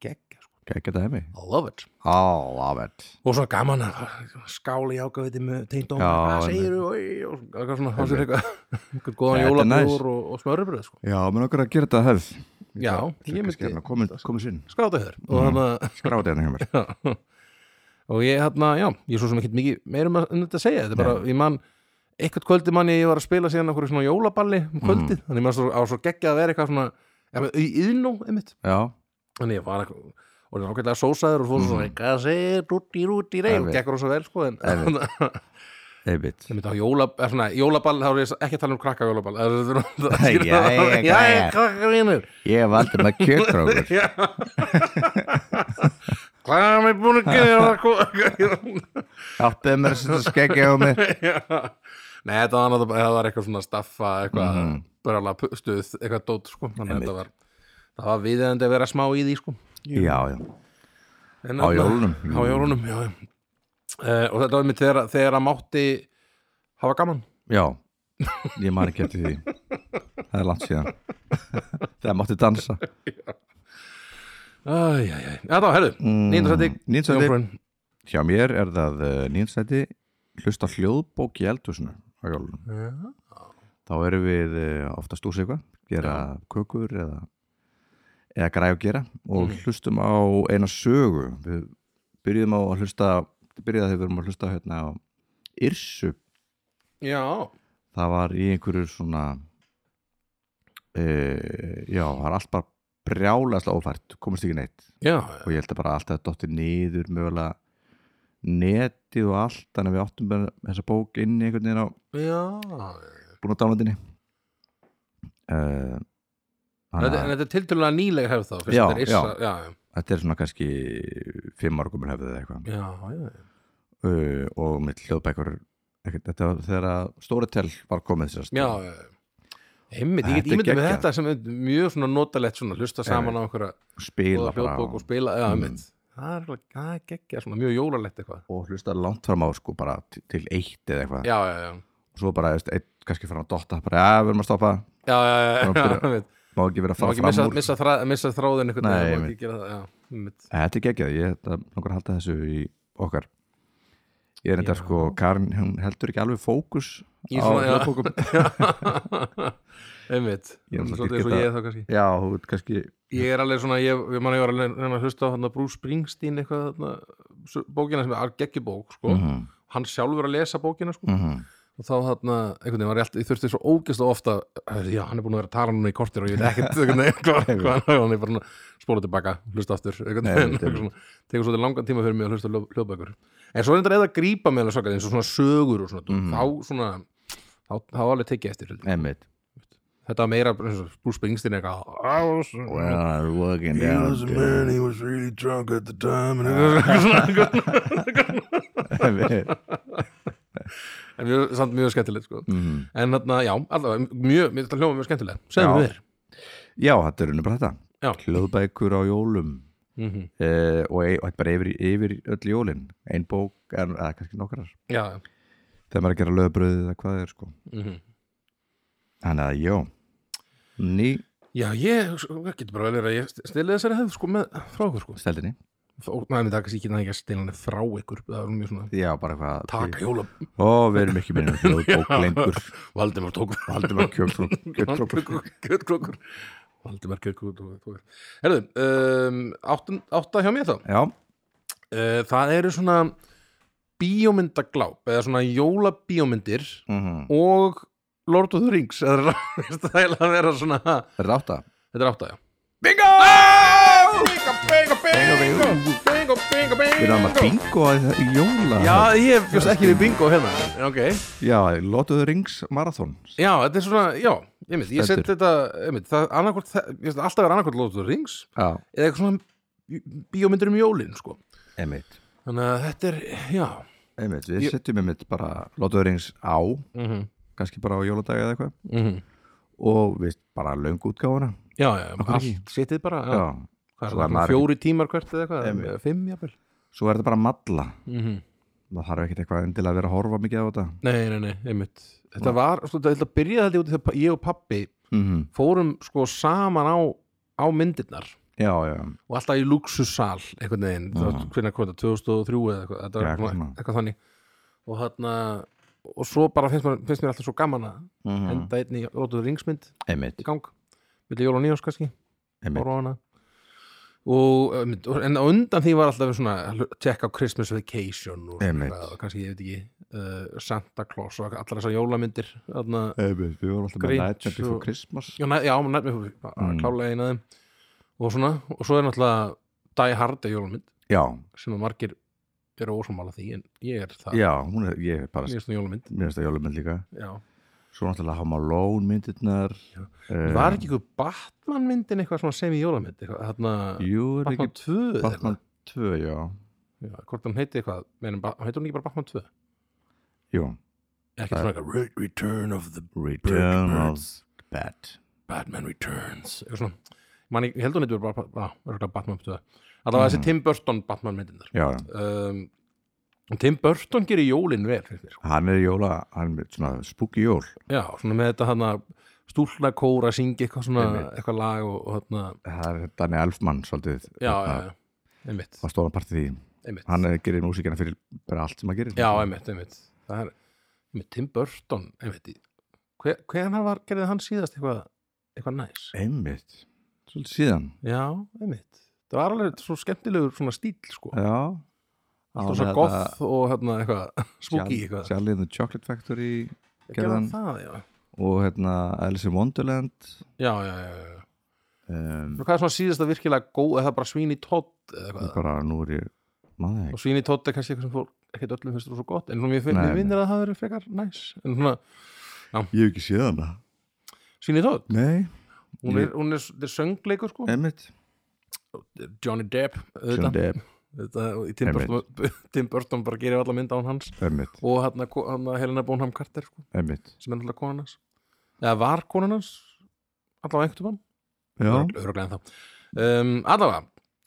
Speaker 2: geggja, sko,
Speaker 1: ekki þetta heimi
Speaker 2: I love it
Speaker 1: All of it
Speaker 2: og svona gaman að skála í ágafiti með teindóm,
Speaker 1: Já,
Speaker 2: hvað
Speaker 1: einmitt.
Speaker 2: segir þú og eitthvað svona, þá sér
Speaker 1: Einmitt.
Speaker 2: eitthvað einhvern góðan
Speaker 1: Þetta er
Speaker 2: jólabjór og, og smörrebröð sko.
Speaker 1: Já, menn okkur að gera þetta hefð
Speaker 2: Já, ég
Speaker 1: ég
Speaker 2: myndi-
Speaker 1: myndi Komið komi sinn,
Speaker 2: skráta þér
Speaker 1: Mhm.
Speaker 2: og þarna
Speaker 1: skráti hérna hjá mér
Speaker 2: og ég hérna, já, ég er svo sem ekkert mikið meirum að um þetta að segja, þetta er bara, ég man eitthvað kvöldi manni ég var að spila síðan okkur svona jólaballi
Speaker 1: Mhm.
Speaker 2: um kvöldið, þannig maður svo, á svo geggjað að vera eitthvað svona, ja, í yðnó einmitt,
Speaker 1: Já,
Speaker 2: þannig ég var eitthvað og það er ágætlega sósaður og fór svona eitthvað að segja, rúti, rúti, rey,
Speaker 1: Mhm.
Speaker 2: og
Speaker 1: Einmitt.
Speaker 2: gekkur rosa vel sko, en einmitt
Speaker 1: einmitt
Speaker 2: á jóla, er svona, jólaball, þá er ég ekki að tala um krakka jólaball
Speaker 1: Jæja, jæja,
Speaker 2: jæja,
Speaker 1: jæja.
Speaker 2: krakka vinnur
Speaker 1: Ég valdi með kjökrókur
Speaker 2: Já. hvað er mér búin að gera
Speaker 1: Áttið mér að setja skeggja á mig
Speaker 2: Já. Nei, þetta var, annað- það var eitthvað svona staffa eitthvað mm -hmm. brjála stuð, eitthvað dót sko. þannig að
Speaker 1: Mhm. Einmitt.
Speaker 2: þetta var það var viðeðandi að vera smá í því sko.
Speaker 1: Já, já,
Speaker 2: en,
Speaker 1: Á
Speaker 2: þarna-
Speaker 1: jólunum.
Speaker 2: á jólunum, já, já. Uh, og þetta var mér þegar, þegar að mátti hafa gaman
Speaker 1: já Ég man ekki eftir því Það er langt síðan Það mátti dansa
Speaker 2: Æ, já, já. þetta var, herðu,
Speaker 1: Mm,
Speaker 2: nýndasætti
Speaker 1: níunda sæti. Hjá mér er það nýjensæti Hlusta á hljóðbók í eldhúsinu á jólunum þá erum við eh, oftast úr sig eitthvað gera kökur eða, eða græja að gera og hlustum á eina sögu við byrjuðum á að hlusta byrjuðum að við vorum að hlusta hérna á Yrsu,
Speaker 2: já,
Speaker 1: það var í einhverju svona e, já, það var allt bara brjálæðslega ófært, komist ekki neitt
Speaker 2: já,
Speaker 1: og ég held að bara allt að dottir niður mögulega netið og allt þannig að við áttum bara þessa bók inn í einhvern veginn á
Speaker 2: já
Speaker 1: búin á dánlandinni uh,
Speaker 2: þetta, en þetta er tiltölulega nýlega hefð þá fyrst
Speaker 1: Já,
Speaker 2: þetta er issa,
Speaker 1: já.
Speaker 2: já, já,
Speaker 1: þetta er svona kannski fimm ára komin hefðið eða eitthvað
Speaker 2: já, já, já.
Speaker 1: uh, og mitt hljóðbækur ekkert, þetta var þegar að Storytel var komið sérst
Speaker 2: já, já, já. Einmitt,
Speaker 1: Þetta
Speaker 2: ég get
Speaker 1: er
Speaker 2: ímyndið með
Speaker 1: geggjað.
Speaker 2: þetta sem er mjög svona notalegt svona, hlusta saman á einhverja
Speaker 1: spila
Speaker 2: góða
Speaker 1: bara
Speaker 2: hljóðbók og
Speaker 1: og, Mm.
Speaker 2: spila, já, einmitt það er alveg- það er geggja, svona mjög jólalegt eitthvað
Speaker 1: og hlusta langt fram á sko bara til, til eitt eða eitthvað
Speaker 2: já, já, já,
Speaker 1: og svo bara eitt, kannski fram að dotta bara að við erum að stoppa,
Speaker 2: já, já, já, já,
Speaker 1: Bara
Speaker 2: já
Speaker 1: byrja-
Speaker 2: einmitt.
Speaker 1: má ekki vera að
Speaker 2: má
Speaker 1: fara
Speaker 2: ekki
Speaker 1: fram
Speaker 2: missa,
Speaker 1: úr
Speaker 2: missa, þra, missa þráðin einhvern
Speaker 1: Nei,
Speaker 2: veginn, má
Speaker 1: einmitt.
Speaker 2: ekki gera það, já, einmitt
Speaker 1: En Þetta er geggjað, ég þetta langar að halda þessu í okkar Ég er þetta
Speaker 2: Já.
Speaker 1: sko, Karin hún heldur ekki alveg fókus
Speaker 2: Í
Speaker 1: á
Speaker 2: svona, já.
Speaker 1: hljóðbókum
Speaker 2: einmitt,
Speaker 1: Ég er
Speaker 2: Svona
Speaker 1: náttúrulega ekki
Speaker 2: svolítið eins og
Speaker 1: geta-
Speaker 2: ég þá kannski
Speaker 1: Já, þú veit kannski
Speaker 2: ég er alveg svona, ég, ég man ég var alveg að hlusta á þarna Bruce Springsteen eitthvað þarna, s- bókina sem er geggjubók, sko
Speaker 1: Mhm,
Speaker 2: hann sjálfur að lesa bókina, sko
Speaker 1: mhm.
Speaker 2: og þá þarna, einhvern veginn var ég alltaf, ég þurfti svo ógæst og ofta, "Heyrðu, já, hann er búin að vera að tala núna í kortir og ég veit ekkert, einhvern veginn, hvað hvað hann er, hann er bara að spóla tilbaka, hlusta aftur, einhvern
Speaker 1: Nei,
Speaker 2: veginn,
Speaker 1: einmitt,
Speaker 2: eitthvað svona, tekur svolítið langan tíma fyrir mig að hlusta á ljó- hljóðbækur. En svo er þetta eða að grípa með alveg svakað, eins og svona sögur og svona,
Speaker 1: Mhm.
Speaker 2: þá svona, þá, þá alveg tekið eftir, heldur.
Speaker 1: Einmitt
Speaker 2: þetta var meira, bara eins og Bruce Springsteen eitthvað, "I was-
Speaker 1: I was walking
Speaker 2: he was a man, he was really drunk at the time, and eitthvað svona, eitthvað svona, en mjög- samt mjög skemmtilegt, sko.
Speaker 1: Mhm.
Speaker 2: En þarna, já, allavega, mjög, mér- þetta hljómar mjög skemmtilega. Segðu
Speaker 1: Já.
Speaker 2: mér meir.
Speaker 1: Já, þetta er unni bara þetta
Speaker 2: Já.
Speaker 1: Hljóðbækur á jólum e,
Speaker 2: Mhm.
Speaker 1: eh, og, og þetta er bara yfir, yfir öll jólin Ein bók, en, eða kannski nokkrar
Speaker 2: Já, Mhm. já.
Speaker 1: þegar maður er að gera lögbröðið eða hvað það er sko þannig að já ný
Speaker 2: Já, ég ég getur bara vel verið að ég stila þessari hefð sko með frá okkur sko
Speaker 1: stældinni
Speaker 2: og næmi það kannski ekki nægja að stila henni frá ykkur það var mjög svona
Speaker 1: já bara hvað
Speaker 2: taka hjóla
Speaker 1: og við erum ekki minnum hljóðbók lengur
Speaker 2: Valdimar tók
Speaker 1: Valdimar Kjöfrún Kjöfrún
Speaker 2: Kjötkrókur Valdimar Kjötkrókur Herðu, um, áttun- átta hjá mér þá
Speaker 1: já
Speaker 2: uh, Það eru svona bíómyndagláp eða svona jólabíómyndir
Speaker 1: mhm.
Speaker 2: og Lord of the Rings eða það er að vera svona þetta
Speaker 1: er það átta
Speaker 2: er átta, já
Speaker 1: bingo
Speaker 2: Bingo, bingo, bingo Bingo, bingo,
Speaker 1: við erum að
Speaker 2: bingo
Speaker 1: bingo að í jóla
Speaker 2: Já, ég bjóst ekki við bingo hérna En Ok,
Speaker 1: já lotuðu rings marathon
Speaker 2: já, þetta er svona, já Ég mynd, ég set
Speaker 1: Stendur.
Speaker 2: þetta, ég mynd Það annarkvort, það- ég set alltaf er annarkvort Lord of the Rings
Speaker 1: já
Speaker 2: eða eitthvað svona bíómyndir um jólin sko.
Speaker 1: einmitt
Speaker 2: þannig að þetta er, já
Speaker 1: einmitt við
Speaker 2: Ég-
Speaker 1: setjum einmitt bara lotuðu rings á
Speaker 2: mm -hmm.
Speaker 1: kannski bara á jóladagi eða eitthvað
Speaker 2: mhm.
Speaker 1: og við bara löngu útgáfuna
Speaker 2: já, já,
Speaker 1: hverju
Speaker 2: allt
Speaker 1: ekki?
Speaker 2: setið bara já.
Speaker 1: já
Speaker 2: Hvað er
Speaker 1: Svo er
Speaker 2: það,
Speaker 1: maður-
Speaker 2: fjóri tímar hvert eða eitthvað
Speaker 1: Einmitt.
Speaker 2: eða fimm jafnvel
Speaker 1: svo er þetta bara madla
Speaker 2: mm -hmm.
Speaker 1: maður þarf ekkert eitthvað endilega að vera að horfa mikið á þetta
Speaker 2: nei, nei, nei, einmitt þetta var, sko, þetta þetta byrjaði þetta út í þegar pa- ég og pappi
Speaker 1: mhm
Speaker 2: fórum sko saman á, á myndirnar
Speaker 1: já já
Speaker 2: og alltaf í luxussal einhvern veginn,
Speaker 1: Já.
Speaker 2: það var hvernig hvað, 2003 eða eitthvað, þetta var
Speaker 1: Já, eitthvað
Speaker 2: eitthvað,
Speaker 1: svona.
Speaker 2: eitthvað þannig og þarna og svo bara finnst, maður, finnst mér alltaf svo gaman að
Speaker 1: mhm.
Speaker 2: enda einni í Lord of the Rings mynd
Speaker 1: einmitt
Speaker 2: í gang milli jól og nýjós kannski,
Speaker 1: einmitt
Speaker 2: ára á hana og um, en á undan því var alltaf svona hl- tjekka á Christmas Vacation og,
Speaker 1: Einmitt.
Speaker 2: og kannski ég veit ekki uh, Santa Claus og allar þessar jólamyndir þarna,
Speaker 1: einmitt við vorum alltaf með
Speaker 2: Grinch
Speaker 1: Night Before
Speaker 2: og-
Speaker 1: Christmas
Speaker 2: já, næ, já nærmið mm.
Speaker 1: Mm.
Speaker 2: klálega eina þeim og svona, og svo er náttúrulega Die Hard er jólamynd
Speaker 1: já
Speaker 2: sem að margir eru ósámála því en ég er það,
Speaker 1: já hún er ég er bara
Speaker 2: ég er svona jólamynd
Speaker 1: mér finnst það jólumynd líka
Speaker 2: já.
Speaker 1: svo náttúrulega hafa maður lón myndirnar eh,
Speaker 2: var ekki ykkur Batman myndin eitthvað svona sem í jólamynd eitthvað, þarna,
Speaker 1: jú er ekki
Speaker 2: Batman 2 eða
Speaker 1: Batman
Speaker 2: eitthvað?
Speaker 1: 2 já
Speaker 2: Já, hvort hann heiti eitthvað meðan ba- heitir hún ekki bara Batman 2
Speaker 1: jú
Speaker 2: ekki svona eitthvað "Re- Return of the
Speaker 1: Return
Speaker 2: Bird-
Speaker 1: of Bat
Speaker 2: Batman Returns eitthvað svona Man, ég held hún heitir bara ba- á, örugglega Batman 2 allavega
Speaker 1: Mm.
Speaker 2: þessi Tim Burton Batman myndinnar
Speaker 1: já já.
Speaker 2: um, og Tim Burton gerir jólin vel finnst mér sko.
Speaker 1: hann er í jóla hann er svona spooky jól
Speaker 2: já, svona með þetta hana stúlna kóra syngi eitthvað svona
Speaker 1: Einmitt.
Speaker 2: eitthvað lag og, og hana,
Speaker 1: það er Danny Elfman svolítið hérna,
Speaker 2: já, já, já, einmitt,
Speaker 1: var stóðan partið því
Speaker 2: einmitt
Speaker 1: hann eh, gerir músíkina fyrir bara allt sem hann gerir
Speaker 2: já, einmitt, einmitt það er, einmitt, Tim Burton einmitt, í- hver, hvernig var, gerði hann síðast eitthvað, eitthvað næs
Speaker 1: einmitt svolítið síðan
Speaker 2: Já, einmitt Það var alveg svo skemmtilegur svona stíl sko
Speaker 1: já
Speaker 2: Alltaf svo goth og hérna eitthvað Spooky eitthvað
Speaker 1: Charlie and the Chocolate Factory
Speaker 2: Gerði
Speaker 1: gerðan
Speaker 2: hann það, já
Speaker 1: og hérna Alice in Wonderland
Speaker 2: Já, já, já, já, já
Speaker 1: um,
Speaker 2: Nú, Hvað er svona síðasta virkilega góð eða það er bara svín í tótt eða
Speaker 1: og
Speaker 2: eitthvað
Speaker 1: bara nú er ég maður það
Speaker 2: Og svín í tótt er kannski eitthvað sem fólk ekkert öllum finnst þú svo gott En svona mér finnir
Speaker 1: Nei,
Speaker 2: mér vinnir að það hafa verið frekar næs En svona
Speaker 1: ekki ég hef ekki séð hana
Speaker 2: svín í tótt
Speaker 1: nei
Speaker 2: Hún er, hún er, þetta er söngleikur sko
Speaker 1: einmitt
Speaker 2: Johnny Depp
Speaker 1: Johnny
Speaker 2: auðvitað.
Speaker 1: Depp
Speaker 2: Þetta, og í Tim Burton, Tim Burton bara gerir allar mynd án hans
Speaker 1: einmitt
Speaker 2: Og hérna, hérna Helena Bonham Carter sko
Speaker 1: einmitt
Speaker 2: sem er náttúrulega konan hans eða var konan hans allavega einhvern tímann
Speaker 1: já
Speaker 2: öruglega en þá um, allavega,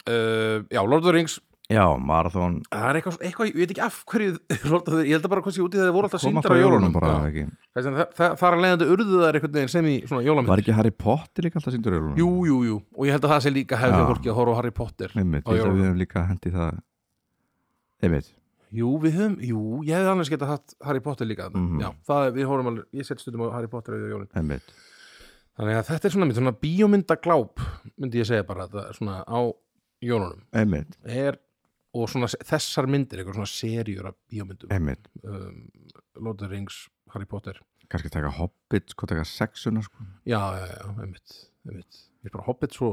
Speaker 2: uh, já, Lord of the Rings
Speaker 1: já marathon
Speaker 2: það er eitthvað, eitthvað ég veit ekki af hverju Lord of the, ég held að bara hvað sé út í það þeir voru alltaf
Speaker 1: kom
Speaker 2: sýndar
Speaker 1: alltaf
Speaker 2: á
Speaker 1: jólunum
Speaker 2: jólunum
Speaker 1: bara
Speaker 2: Já.
Speaker 1: ekki
Speaker 2: Þess vegna það, það, það er að leiðandi urðu þar einhvern veginn sem í svona jólamynd
Speaker 1: var ekki Harry Potter líka alltaf sýndur á jólunum
Speaker 2: jú, jú, jú, og ég held að það sé líka hefði
Speaker 1: Já.
Speaker 2: fólki að horfa á Harry Potter
Speaker 1: einmitt
Speaker 2: á
Speaker 1: ég held að
Speaker 2: jólunum.
Speaker 1: við höfum líka hendi það einmitt
Speaker 2: jú, við höfum, jú, ég hefði annars getað hatt Harry Potter líka þarna.
Speaker 1: Mhm.
Speaker 2: já, það, er- við horfum alveg, ég set stundum á Harry Potter auðvitað á jólun
Speaker 1: einmitt
Speaker 2: Þannig að þetta er svona, mynd, svona bíómyndagláp myndi ég segja bara þetta, svona á jólunum
Speaker 1: einmitt
Speaker 2: er, og svona se- þessar myndir eitthvað svona serjur af bíómyndum
Speaker 1: einmitt
Speaker 2: um, Lord of the Rings, Harry Potter
Speaker 1: kannski taka Hobbit sko taka sexuna sko
Speaker 2: Já, já, já, einmitt, einmitt. Ég er bara hoppið svo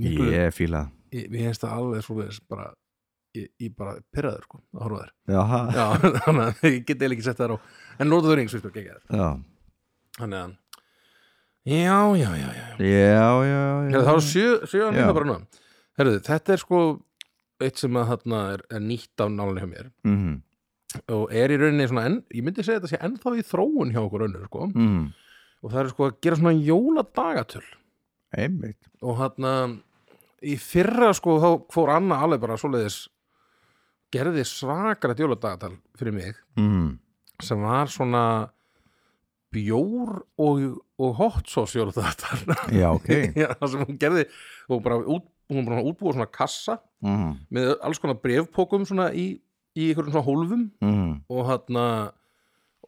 Speaker 2: miklu,
Speaker 1: ég fíla það.
Speaker 2: ég, ég hefst það alveg svo þess bara, ég, ég bara pyrraður sko, að horfa á þær
Speaker 1: já ha.
Speaker 2: Já, þannig að ég get eiginlega ekki sett þær á en Lord of the Rings, veist þú, ekki þær
Speaker 1: já
Speaker 2: Þannig að, já, já, já, já
Speaker 1: já já já
Speaker 2: Herðu, það var Hérna, sjö, sjö
Speaker 1: Já.
Speaker 2: annað bara núna Herðu, þetta er sko eitt sem að þarna er, er nýtt af nálinni hjá mér
Speaker 1: mhm
Speaker 2: og er í rauninni svona, en, ég myndi segja þetta sé ennþá í þróun hjá okkur önnur sko
Speaker 1: mhm
Speaker 2: og það er sko að gera svona jóladagatöl
Speaker 1: einmitt
Speaker 2: og þarna í fyrra sko þá fór Anna alveg bara svoleiðis gerði svakrætt jóladagatal fyrir mig
Speaker 1: mhm
Speaker 2: sem var svona bjór og, og hot sauce jóru þetta
Speaker 1: Já, ok
Speaker 2: Já, það sem hún gerði hún bara, út, hún bara útbúið svona kassa
Speaker 1: mm,
Speaker 2: með alls konar brefpókum svona í, í einhverjum svona hólfum
Speaker 1: mm,
Speaker 2: og hann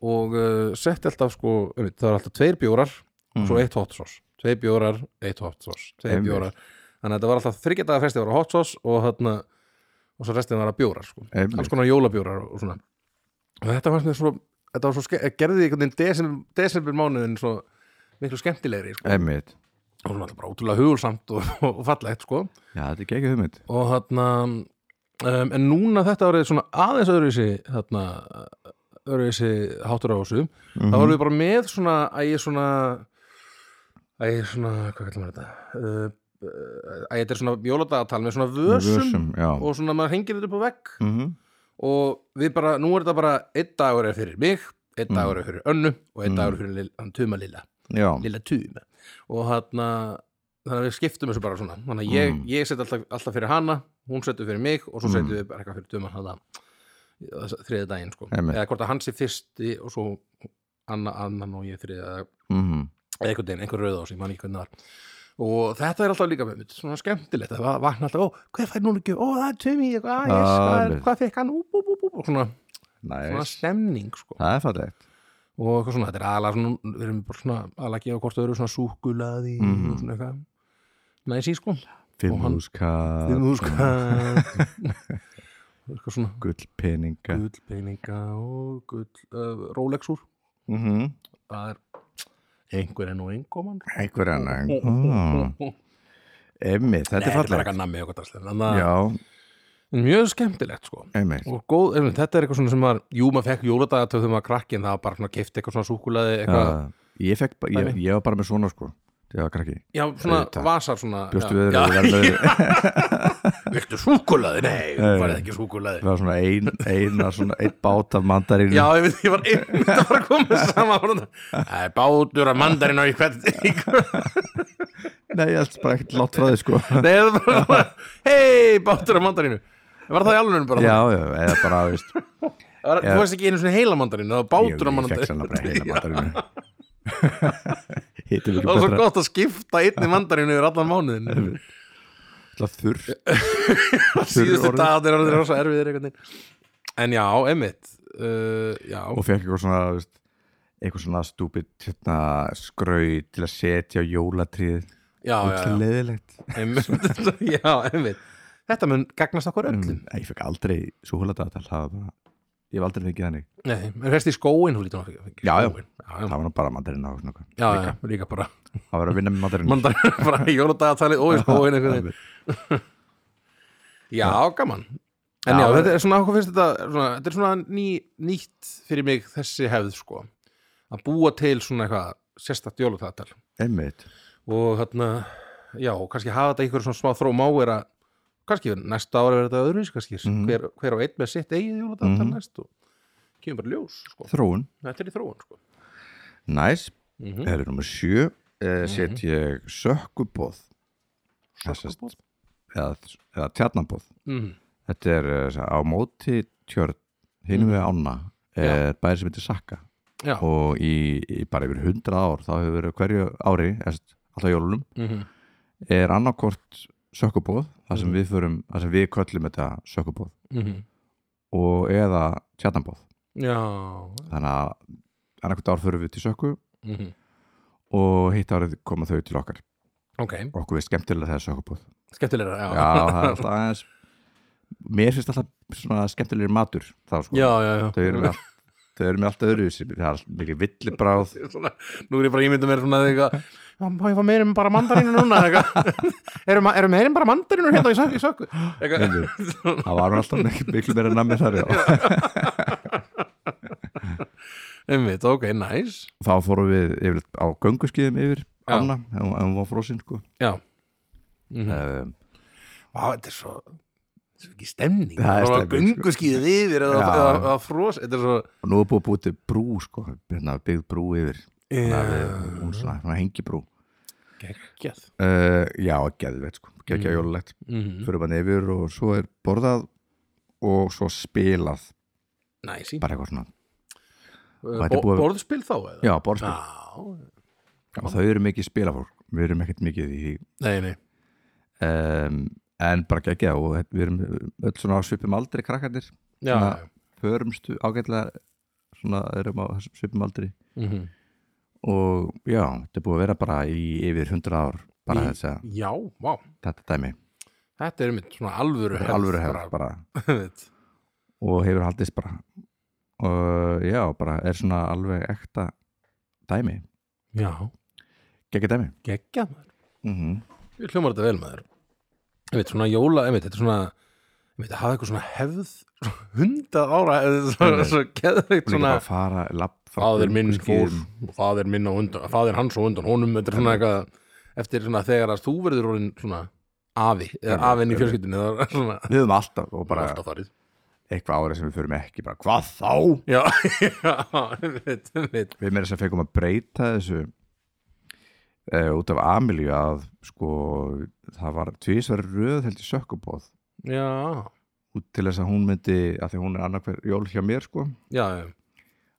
Speaker 2: og uh, setti alltaf sko einmitt, það var alltaf tveir bjórar og svo eitt hot sauce tveir bjórar, eitt hot sauce tveir
Speaker 1: Mhm. Einmitt.
Speaker 2: bjórar, þannig að þetta var alltaf þryggjadaga festi var hot sauce og hann og svo restin var að bjórar sko,
Speaker 1: Einmitt.
Speaker 2: alls konar jólabjórar og svona og þetta var svona, þetta var svo ske- gerði einhvern veginn desember, desember mánuðin svo miklu skemmtilegri sko.
Speaker 1: Einmitt
Speaker 2: og svona alltaf bara útrúlega hugulsamt og, og fallegt sko
Speaker 1: Já, þetta er ekki ekki hugmynd
Speaker 2: og þarna um, en núna þetta árið svona aðeins öðruvísi þarna öðruvísi hátur á þessu þá erum við bara með svona æg svona æg svona, hvað kallar maður þetta uh, æg þetta er svona jóladagatal með svona vösum,
Speaker 1: já
Speaker 2: og svona maður hengir þetta upp á vegg
Speaker 1: mm
Speaker 2: og við bara, nú er þetta bara einn dagur er fyrir mig, einn dagur er fyrir önnu og einn
Speaker 1: Mhm.
Speaker 2: dagur er fyrir Lil- hann Tuma Lilla
Speaker 1: Já,
Speaker 2: lilla tuma og þarna þannig að við skiptum þessu bara svona þannig að ég,
Speaker 1: Mm.
Speaker 2: ég set alltaf, alltaf fyrir hana hún setur fyrir mig og svo
Speaker 1: Mm.
Speaker 2: setjum við bara eitthvað fyrir tuma hana þriði daginn sko
Speaker 1: Einmitt.
Speaker 2: eða hvort að hann sé fyrsti og svo anna, annan og ég þriði eða
Speaker 1: mhm,
Speaker 2: eða einhvern veginn, einhver rauð á sig, mann ekki hvernig það var og þetta er alltaf líka með mitt, svona skemmtilegt það var- vakna alltaf, ó, hver fær núna ekki, ó, það er tumi eitthvað, ah, yes, hvað, er-
Speaker 1: Alveg.
Speaker 2: hvað fekk hann, ú, bú, bú, bú, og svona, svona
Speaker 1: næs
Speaker 2: stemning sko
Speaker 1: Það er fallegt
Speaker 2: og eitthvað svona, þetta er aðalega svona, við erum bara svona aðalega að gefa hvort öðru svona súkulaði
Speaker 1: Mhm.
Speaker 2: og svona eitthvað næsí sko, Og hann-
Speaker 1: Fimmhúskat
Speaker 2: við múska eitthvað svona
Speaker 1: Gullpeninga
Speaker 2: gull peninga og gull uh, Rolexur,
Speaker 1: Mhm.
Speaker 2: það er einhver enn og einkoman
Speaker 1: Einhver annan Mm. Einmitt, þetta er
Speaker 2: bara
Speaker 1: fallegt
Speaker 2: eitthvað nammi og eitthvað drasl, en það-
Speaker 1: Já,
Speaker 2: en mjög skemmtilegt sko
Speaker 1: einmitt
Speaker 2: og góð, ef, þetta er eitthvað svona sem var jú, maður fekk jóladagatjóð þegar maður var krakkin það var bara svona keift eitthvað svona súkulaði eitthvað,
Speaker 1: Já, ég, fekk, ba- ég,
Speaker 2: Dæmi?
Speaker 1: ég var bara með svona sko þegar ég var krakki,
Speaker 2: já, svona
Speaker 1: auðvitað.
Speaker 2: vasar svona
Speaker 1: bjóstu
Speaker 2: já,
Speaker 1: við
Speaker 2: já,
Speaker 1: öðru við verðum öðru.
Speaker 2: Viltu súkulaði? Nei, þú
Speaker 1: Nei.
Speaker 2: farið ekki súkulaði
Speaker 1: það var svona ein, eina svona einn bát af mandarínu
Speaker 2: Já, ég veit, ég var einmitt að fara að koma með sama orða. Það er bátur að mandarinn á í hvert Nei,
Speaker 1: nei, ég held bara ekkert látt frá því sko já,
Speaker 2: það var bara Hei, bátur að mandarinu Var það í alveg bara?
Speaker 1: já, eða bara, veist ég,
Speaker 2: það var,
Speaker 1: já.
Speaker 2: Þú veist ekki einu svona heila mandarinu Það var bátur að
Speaker 1: ég fekk
Speaker 2: mandarinu
Speaker 1: svona bara heila mandarínu hittum
Speaker 2: Það
Speaker 1: ekki
Speaker 2: var svo
Speaker 1: betra
Speaker 2: gott að skipta einni mandarinu yfir allan mánuðin
Speaker 1: alltaf þurr
Speaker 2: Síðustu
Speaker 1: orðið.
Speaker 2: dagarnir eru rosa erfiðir einhvern veginn En já, einmitt uh, Já,
Speaker 1: og fekk eitthvað svona, veist eitthvað svona stúpid hérna, skrau til að setja á jólatrið
Speaker 2: já, já, já.
Speaker 1: leðilegt
Speaker 2: Einmitt, já, einmitt Þetta mun gagnast okkur öllum
Speaker 1: ég fekk aldrei súhuladatal ég hef aldrei fengið þannig
Speaker 2: Nei, en hérst í skóin þú lítur náttúrulega
Speaker 1: Já, já.
Speaker 2: já, já,
Speaker 1: það var nú bara mandarinn á svona eitthvað.
Speaker 2: já, já, líka bara
Speaker 1: það var að vinna með mandarinn
Speaker 2: Mandar bara í jóladagatali og í skóin einhvern veginn Já, gaman En já,
Speaker 1: Já,
Speaker 2: þetta er svona, hvað finnst þetta svona, þetta er svona ný, nýtt fyrir mig þessi hefð, sko að búa til svona eitthvað sérstakt jóladagatali
Speaker 1: einmitt
Speaker 2: og þarna, já, og kannski hafa þetta einhverjum svona smá þróm á er að kannski næsta ára verður þetta öðruins, kannski
Speaker 1: Mhm.
Speaker 2: hver, hver á einn með sitt eigið jóladagatali
Speaker 1: Mhm.
Speaker 2: næst og kemur bara í ljós, sko
Speaker 1: þróun
Speaker 2: Þetta er í þróun, sko
Speaker 1: næs
Speaker 2: mm Mhm.
Speaker 1: Það eru nummer sjö eh, set ég sökkubóð
Speaker 2: Sökkubóð?
Speaker 1: eða, eða tjarnabóð
Speaker 2: -hmm.
Speaker 1: þetta er eh, sa- á móti tjörn hinum við ána er bæri sem heitir Sakka
Speaker 2: Mm. Já.
Speaker 1: og í, í bara yfir hundra ár þá hefur verið hverju ári eftir, alltaf jólunum
Speaker 2: Mhm.
Speaker 1: er annarkort sökkubóð þar sem
Speaker 2: Mhm.
Speaker 1: við förum, þar sem við köllum þetta sökkubóð
Speaker 2: Mhm.
Speaker 1: og eða tjarnabóð
Speaker 2: Já
Speaker 1: þannig að annarkort ár förum við til sökku
Speaker 2: Mhm.
Speaker 1: og hitt árið koma þau til okkar
Speaker 2: Ok,
Speaker 1: og okkur við skemmtilega þegar sökkubóð
Speaker 2: skemmtilegra, já
Speaker 1: Já, það er alltaf aðeins Mér finnst alltaf svona skemmtilegir matur þá sko
Speaker 2: Já, já, já
Speaker 1: Þau eru með allt Þau eru með allt öðru Það er alltaf mikið villibráð
Speaker 2: svona, Nú er ég bara ímynda mér svona eitthvað "Já, Má ég fá meira en bara mandarinu núna eitthvað. eru, ma- eru meira en bara mandarinu hérna í sökku, í sökku? Eitthvað,
Speaker 1: Það var nú alltaf mikið miklu meira nammi þar já.
Speaker 2: Einmitt, ok, nice
Speaker 1: Þá fórum við yfir, á gönguskiðum yfir
Speaker 2: Já.
Speaker 1: Anna, ef hún ef hún var frósin sko
Speaker 2: Já Mhm.
Speaker 1: um,
Speaker 2: Vá, þetta er svo þetta er svo ekki stemning
Speaker 1: Það er
Speaker 2: Það var
Speaker 1: stemning, sko.
Speaker 2: gungu skýðið yfir eða,
Speaker 1: Já.
Speaker 2: eða, eða frós Þetta er svo
Speaker 1: Og nú er búið að búið til brú sko hérna, Byggð brú yfir Þannig að við- Hún svona, svona hengi brú
Speaker 2: Geggjað
Speaker 1: uh, Já, geðveit sko
Speaker 2: Mm.
Speaker 1: Gekkja jólulegt
Speaker 2: Mhm.
Speaker 1: Fyrir bara yfir og svo er borðað Og svo spilað
Speaker 2: Næsi
Speaker 1: Bara eitthvað svona þetta er
Speaker 2: Bo
Speaker 1: búið að-
Speaker 2: borðspil þá eða?
Speaker 1: já, borðspil
Speaker 2: Já,
Speaker 1: og þau eru mikið spilafólk, við erum ekkert mikið í
Speaker 2: nei, nei
Speaker 1: um, en bara geggja og þetta- við erum öll svona á svipum aldri krakkarnir
Speaker 2: Já,
Speaker 1: Svona-
Speaker 2: já.
Speaker 1: förumstu ágætlega svona erum á þessum svipum aldri
Speaker 2: Mhm.
Speaker 1: og já, þetta er búið að vera bara í yfir 100 ár bara
Speaker 2: Í-
Speaker 1: þessa,
Speaker 2: já, vá
Speaker 1: þetta dæmi
Speaker 2: Þetta er mitt svona alvöru
Speaker 1: Þetta er alvöru hefð bara
Speaker 2: hefð
Speaker 1: og hefur haldist bara og já, bara er svona alveg ekta dæmi,
Speaker 2: Já,
Speaker 1: geggja dæmi
Speaker 2: geggjað maður
Speaker 1: mm -hmm.
Speaker 2: Við hljómar þetta vel maður Einmitt svona jóla, einmitt, þetta er svona einmitt að hafa eitthvað svona hefð hundað ára, eða svona,
Speaker 1: Einmitt.
Speaker 2: svona geðveikt
Speaker 1: svona
Speaker 2: svona
Speaker 1: að fara, lapp,
Speaker 2: fadir minn fór og fadir minn á undan, fadir hans á undan honum, þetta er svona eitthvað eftir svona þegar að þú verður orðin svona afi, eða
Speaker 1: Einmitt,
Speaker 2: afinn í
Speaker 1: einmitt.
Speaker 2: fjölskyldinu eða svona
Speaker 1: við höfum alltaf og bara
Speaker 2: alltaf farið
Speaker 1: eitthvað árið sem við förum ekki bara, hvað þá?
Speaker 2: Já, já, einmitt, einmitt
Speaker 1: við meira þess að fegum að breyta þessu uh, út af Amelíu að sko það var tvísvar röð held í sökkubóð
Speaker 2: Já,
Speaker 1: út til þess að hún myndi, að því hún er annarkver jól hjá mér sko,
Speaker 2: já,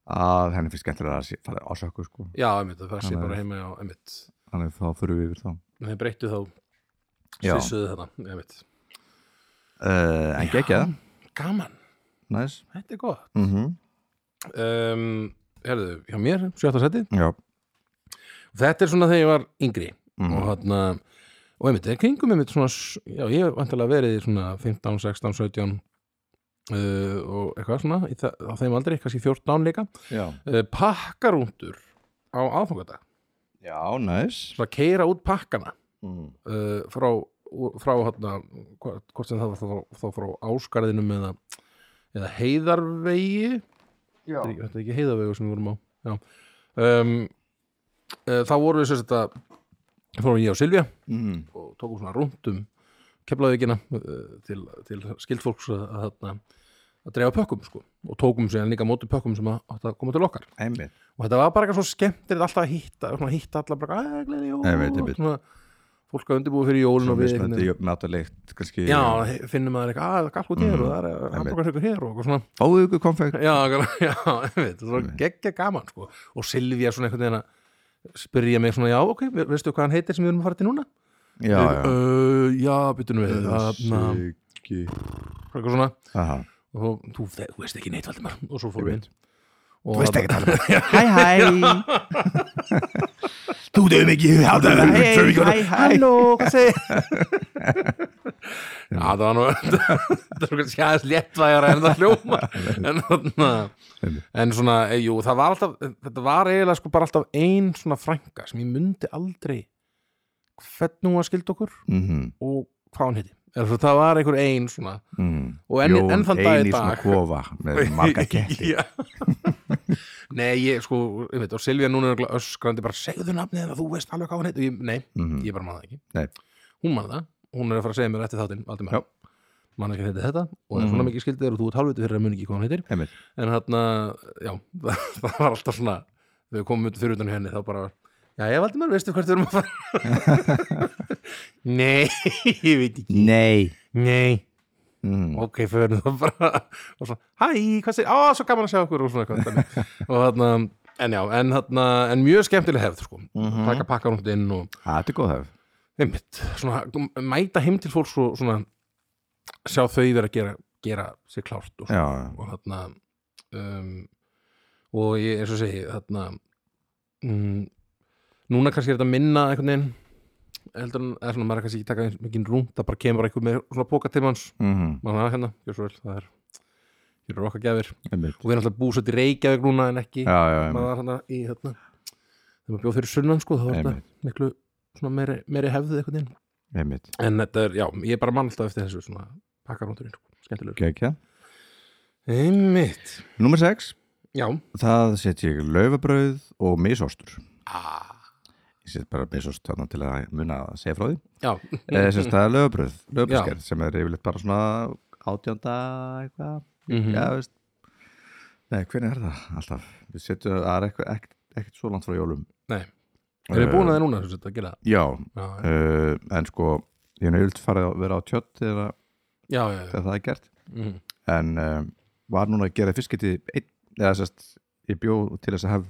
Speaker 1: að henni finnst skemmtilega að sé- fara á sökku sko,
Speaker 2: já, einmitt, það sé
Speaker 1: Þannig að-
Speaker 2: bara heima já, einmitt
Speaker 1: þannig þá fyrir við yfir þá
Speaker 2: Nei, breyttu þá,
Speaker 1: Já.
Speaker 2: svissuðu þetta, einmitt
Speaker 1: uh, en geggjað,
Speaker 2: Gaman,
Speaker 1: næs
Speaker 2: þetta er gott
Speaker 1: mm
Speaker 2: um, Herðu, hjá mér, sjötta seti
Speaker 1: já,
Speaker 2: Þetta er svona þegar ég var yngri
Speaker 1: Mhm.
Speaker 2: og hann og einmitt, er kringum einmitt svona s- já, ég hef vantilega verið í svona 15, 16, 17 uh, og eitthvað svona í þa- á þeim aldrei, kannski 14 líka
Speaker 1: já,
Speaker 2: uh, pakkarúndur á aðfangadag
Speaker 1: já, næs
Speaker 2: svona keira út pakkana
Speaker 1: mm.
Speaker 2: uh, frá, úr- frá hann hvort sem það var þá, þá frá áskarðinum eða, eða heiðarvegi
Speaker 1: já,
Speaker 2: Þetta er ekki- þetta er ekki heiðavegu sem við vorum á já. um, uh, þá vorum við sér þetta fórum ég og Silvja
Speaker 1: mm.
Speaker 2: og tókum svona rúnt um keflaðvíkina uh, til, til skildfólks að, að, þarna- að dreifa pökkum sko. og tókum sér líka móti pökkum sem að, átti að koma til okkar
Speaker 1: einmitt
Speaker 2: og þetta var bara eitthvað svo skemmtilegt alltaf að hitta svona, hitta alla bara að gleði jól
Speaker 1: Ég veit, ég veit.
Speaker 2: svona, fólk að undirbúið fyrir jólun
Speaker 1: svo
Speaker 2: og við einhvern
Speaker 1: mismöndi
Speaker 2: veginn-
Speaker 1: náttúrulegt, kannski
Speaker 2: já, finnum maður eitthvað að galku þér
Speaker 1: Mhm,
Speaker 2: og það er
Speaker 1: einmitt.
Speaker 2: hamburgarhaukur hér og eitthvað svona
Speaker 1: fáðu ykkur konfekt
Speaker 2: já, akkurat, já, einmitt, það var geggja gaman sko. og Silvía svona einhvern veginn að spyrja mig svona, já, ok, ve- veistu hvað hann heitir sem við erum að fara til núna?
Speaker 1: já, já,
Speaker 2: Uh, já, byttunum við þarna,
Speaker 1: Siggi.
Speaker 2: eitthvað svona
Speaker 1: Aha.
Speaker 2: og svo, þú, þú veist ekki neitt Valdimar og svo fór
Speaker 1: Ég
Speaker 2: við
Speaker 1: veit.
Speaker 2: inn og
Speaker 1: Þú veist
Speaker 2: þarna-
Speaker 1: ekki tala um það. Hæ, hæ. Þú döfum ekki. Hæ,
Speaker 2: halló, hvað segir Já, það var nú það var kannski aðeins léttvægjara en það hljóma en, þarna, en svona, eh, jú, það var alltaf þetta var eiginlega sko bara alltaf ein svona frænka sem ég mundi aldrei hvernig hún var skild okkur
Speaker 1: Mhm,
Speaker 2: og hvað hún heiti Eða svo, það var einhver ein svona
Speaker 1: mhm.
Speaker 2: og enn,
Speaker 1: Jón
Speaker 2: enn þann dag
Speaker 1: ein
Speaker 2: í
Speaker 1: í svona
Speaker 2: dag
Speaker 1: kofa með marga ketti.
Speaker 2: Já. Nei, ég sko, ég veit, og Silvía núna er örugglega öskrandi bara, segðu nafnið hennar, þú veist alveg hvað hún heit og ég, nei,
Speaker 1: Mhm.
Speaker 2: ég bara man það ekki
Speaker 1: Nei.
Speaker 2: hún man það, hún er að fara að segja mér eftir þáttinn aldrei
Speaker 1: Já.
Speaker 2: mér, man ekki heiti þetta og það er
Speaker 1: Mhm.
Speaker 2: svona mikið skildið og þú ert halvviti fyrir að muni ekki hvað hún heitir
Speaker 1: Einmitt.
Speaker 2: en þarna, já, það var alltaf svona þegar við komum ut fyrir utan hjá henni þá bara, já, ég valdi mér, veistu hvert við erum að fara Nei, ég veit ekki
Speaker 1: Nei.
Speaker 2: Nei,
Speaker 1: Mhm.
Speaker 2: ok, förum það bara og svona, hæ, hvað segir, á, svo gaman að sjá okkur og svona eitthvað þannig. og þarna, en já, en þarna en mjög skemmtileg hefð, sko
Speaker 1: Mhm.
Speaker 2: taka pakka rúnt inn og,
Speaker 1: Ha, Þetta er góð hefð.
Speaker 2: einmitt, svona mæta heim til fólks og svona sjá þau vera að gera, gera sér klárt og, svona.
Speaker 1: Já,
Speaker 2: og þarna um, og ég, eins og segi þarna mm, núna kannski er þetta minna einhvern veginn heldur en, eða svona maður er kannski ekki taka eins mikið rúnt, það bara kemur eitthvað með svona póka til manns
Speaker 1: Mhm,
Speaker 2: maður hafa hérna, gjör svo vel, það er hér eru okkar gefir og
Speaker 1: einmitt.
Speaker 2: við erum alltaf búsett í Reykjavík núna en ekki
Speaker 1: Já, já,
Speaker 2: maður
Speaker 1: einmitt.
Speaker 2: var hérna í hérna þegar maður bjóð fyrir sunnan sko, þá var
Speaker 1: Einmitt.
Speaker 2: þetta miklu svona meiri, meiri hefðið eitthvað inn
Speaker 1: einmitt.
Speaker 2: en þetta er, já, ég er bara mann alltaf eftir þessu svona pakkarúndurinn, sko, skemmtilegur
Speaker 1: Gekja.
Speaker 2: einmitt,
Speaker 1: Númer 6.
Speaker 2: já
Speaker 1: Það set ég laufabrauð og misostur.
Speaker 2: ah.
Speaker 1: Ég set bara misost þarna til að muna að segja frá því.
Speaker 2: já,
Speaker 1: Eh, sem sagt, Það er laufabrauð, laufbrauðskerð sem er yfirleitt bara svona átjönda eitthvað.
Speaker 2: mhm,
Speaker 1: Já, veist Nei, hvernig er það alltaf? Við setjum það er eitthvað ekkert, ekkert svo langt frá jólum
Speaker 2: nei erum við búin að það núna, sem þetta að gera það?
Speaker 1: Já,
Speaker 2: já,
Speaker 1: uh, en sko ég hef nöðult farið að vera á tjött þegar,
Speaker 2: já, já, já.
Speaker 1: þegar það er gert eh,
Speaker 2: mhm,
Speaker 1: en uh, var núna að gera fiskiti einn, eða sérst, ég bjó til þess að hef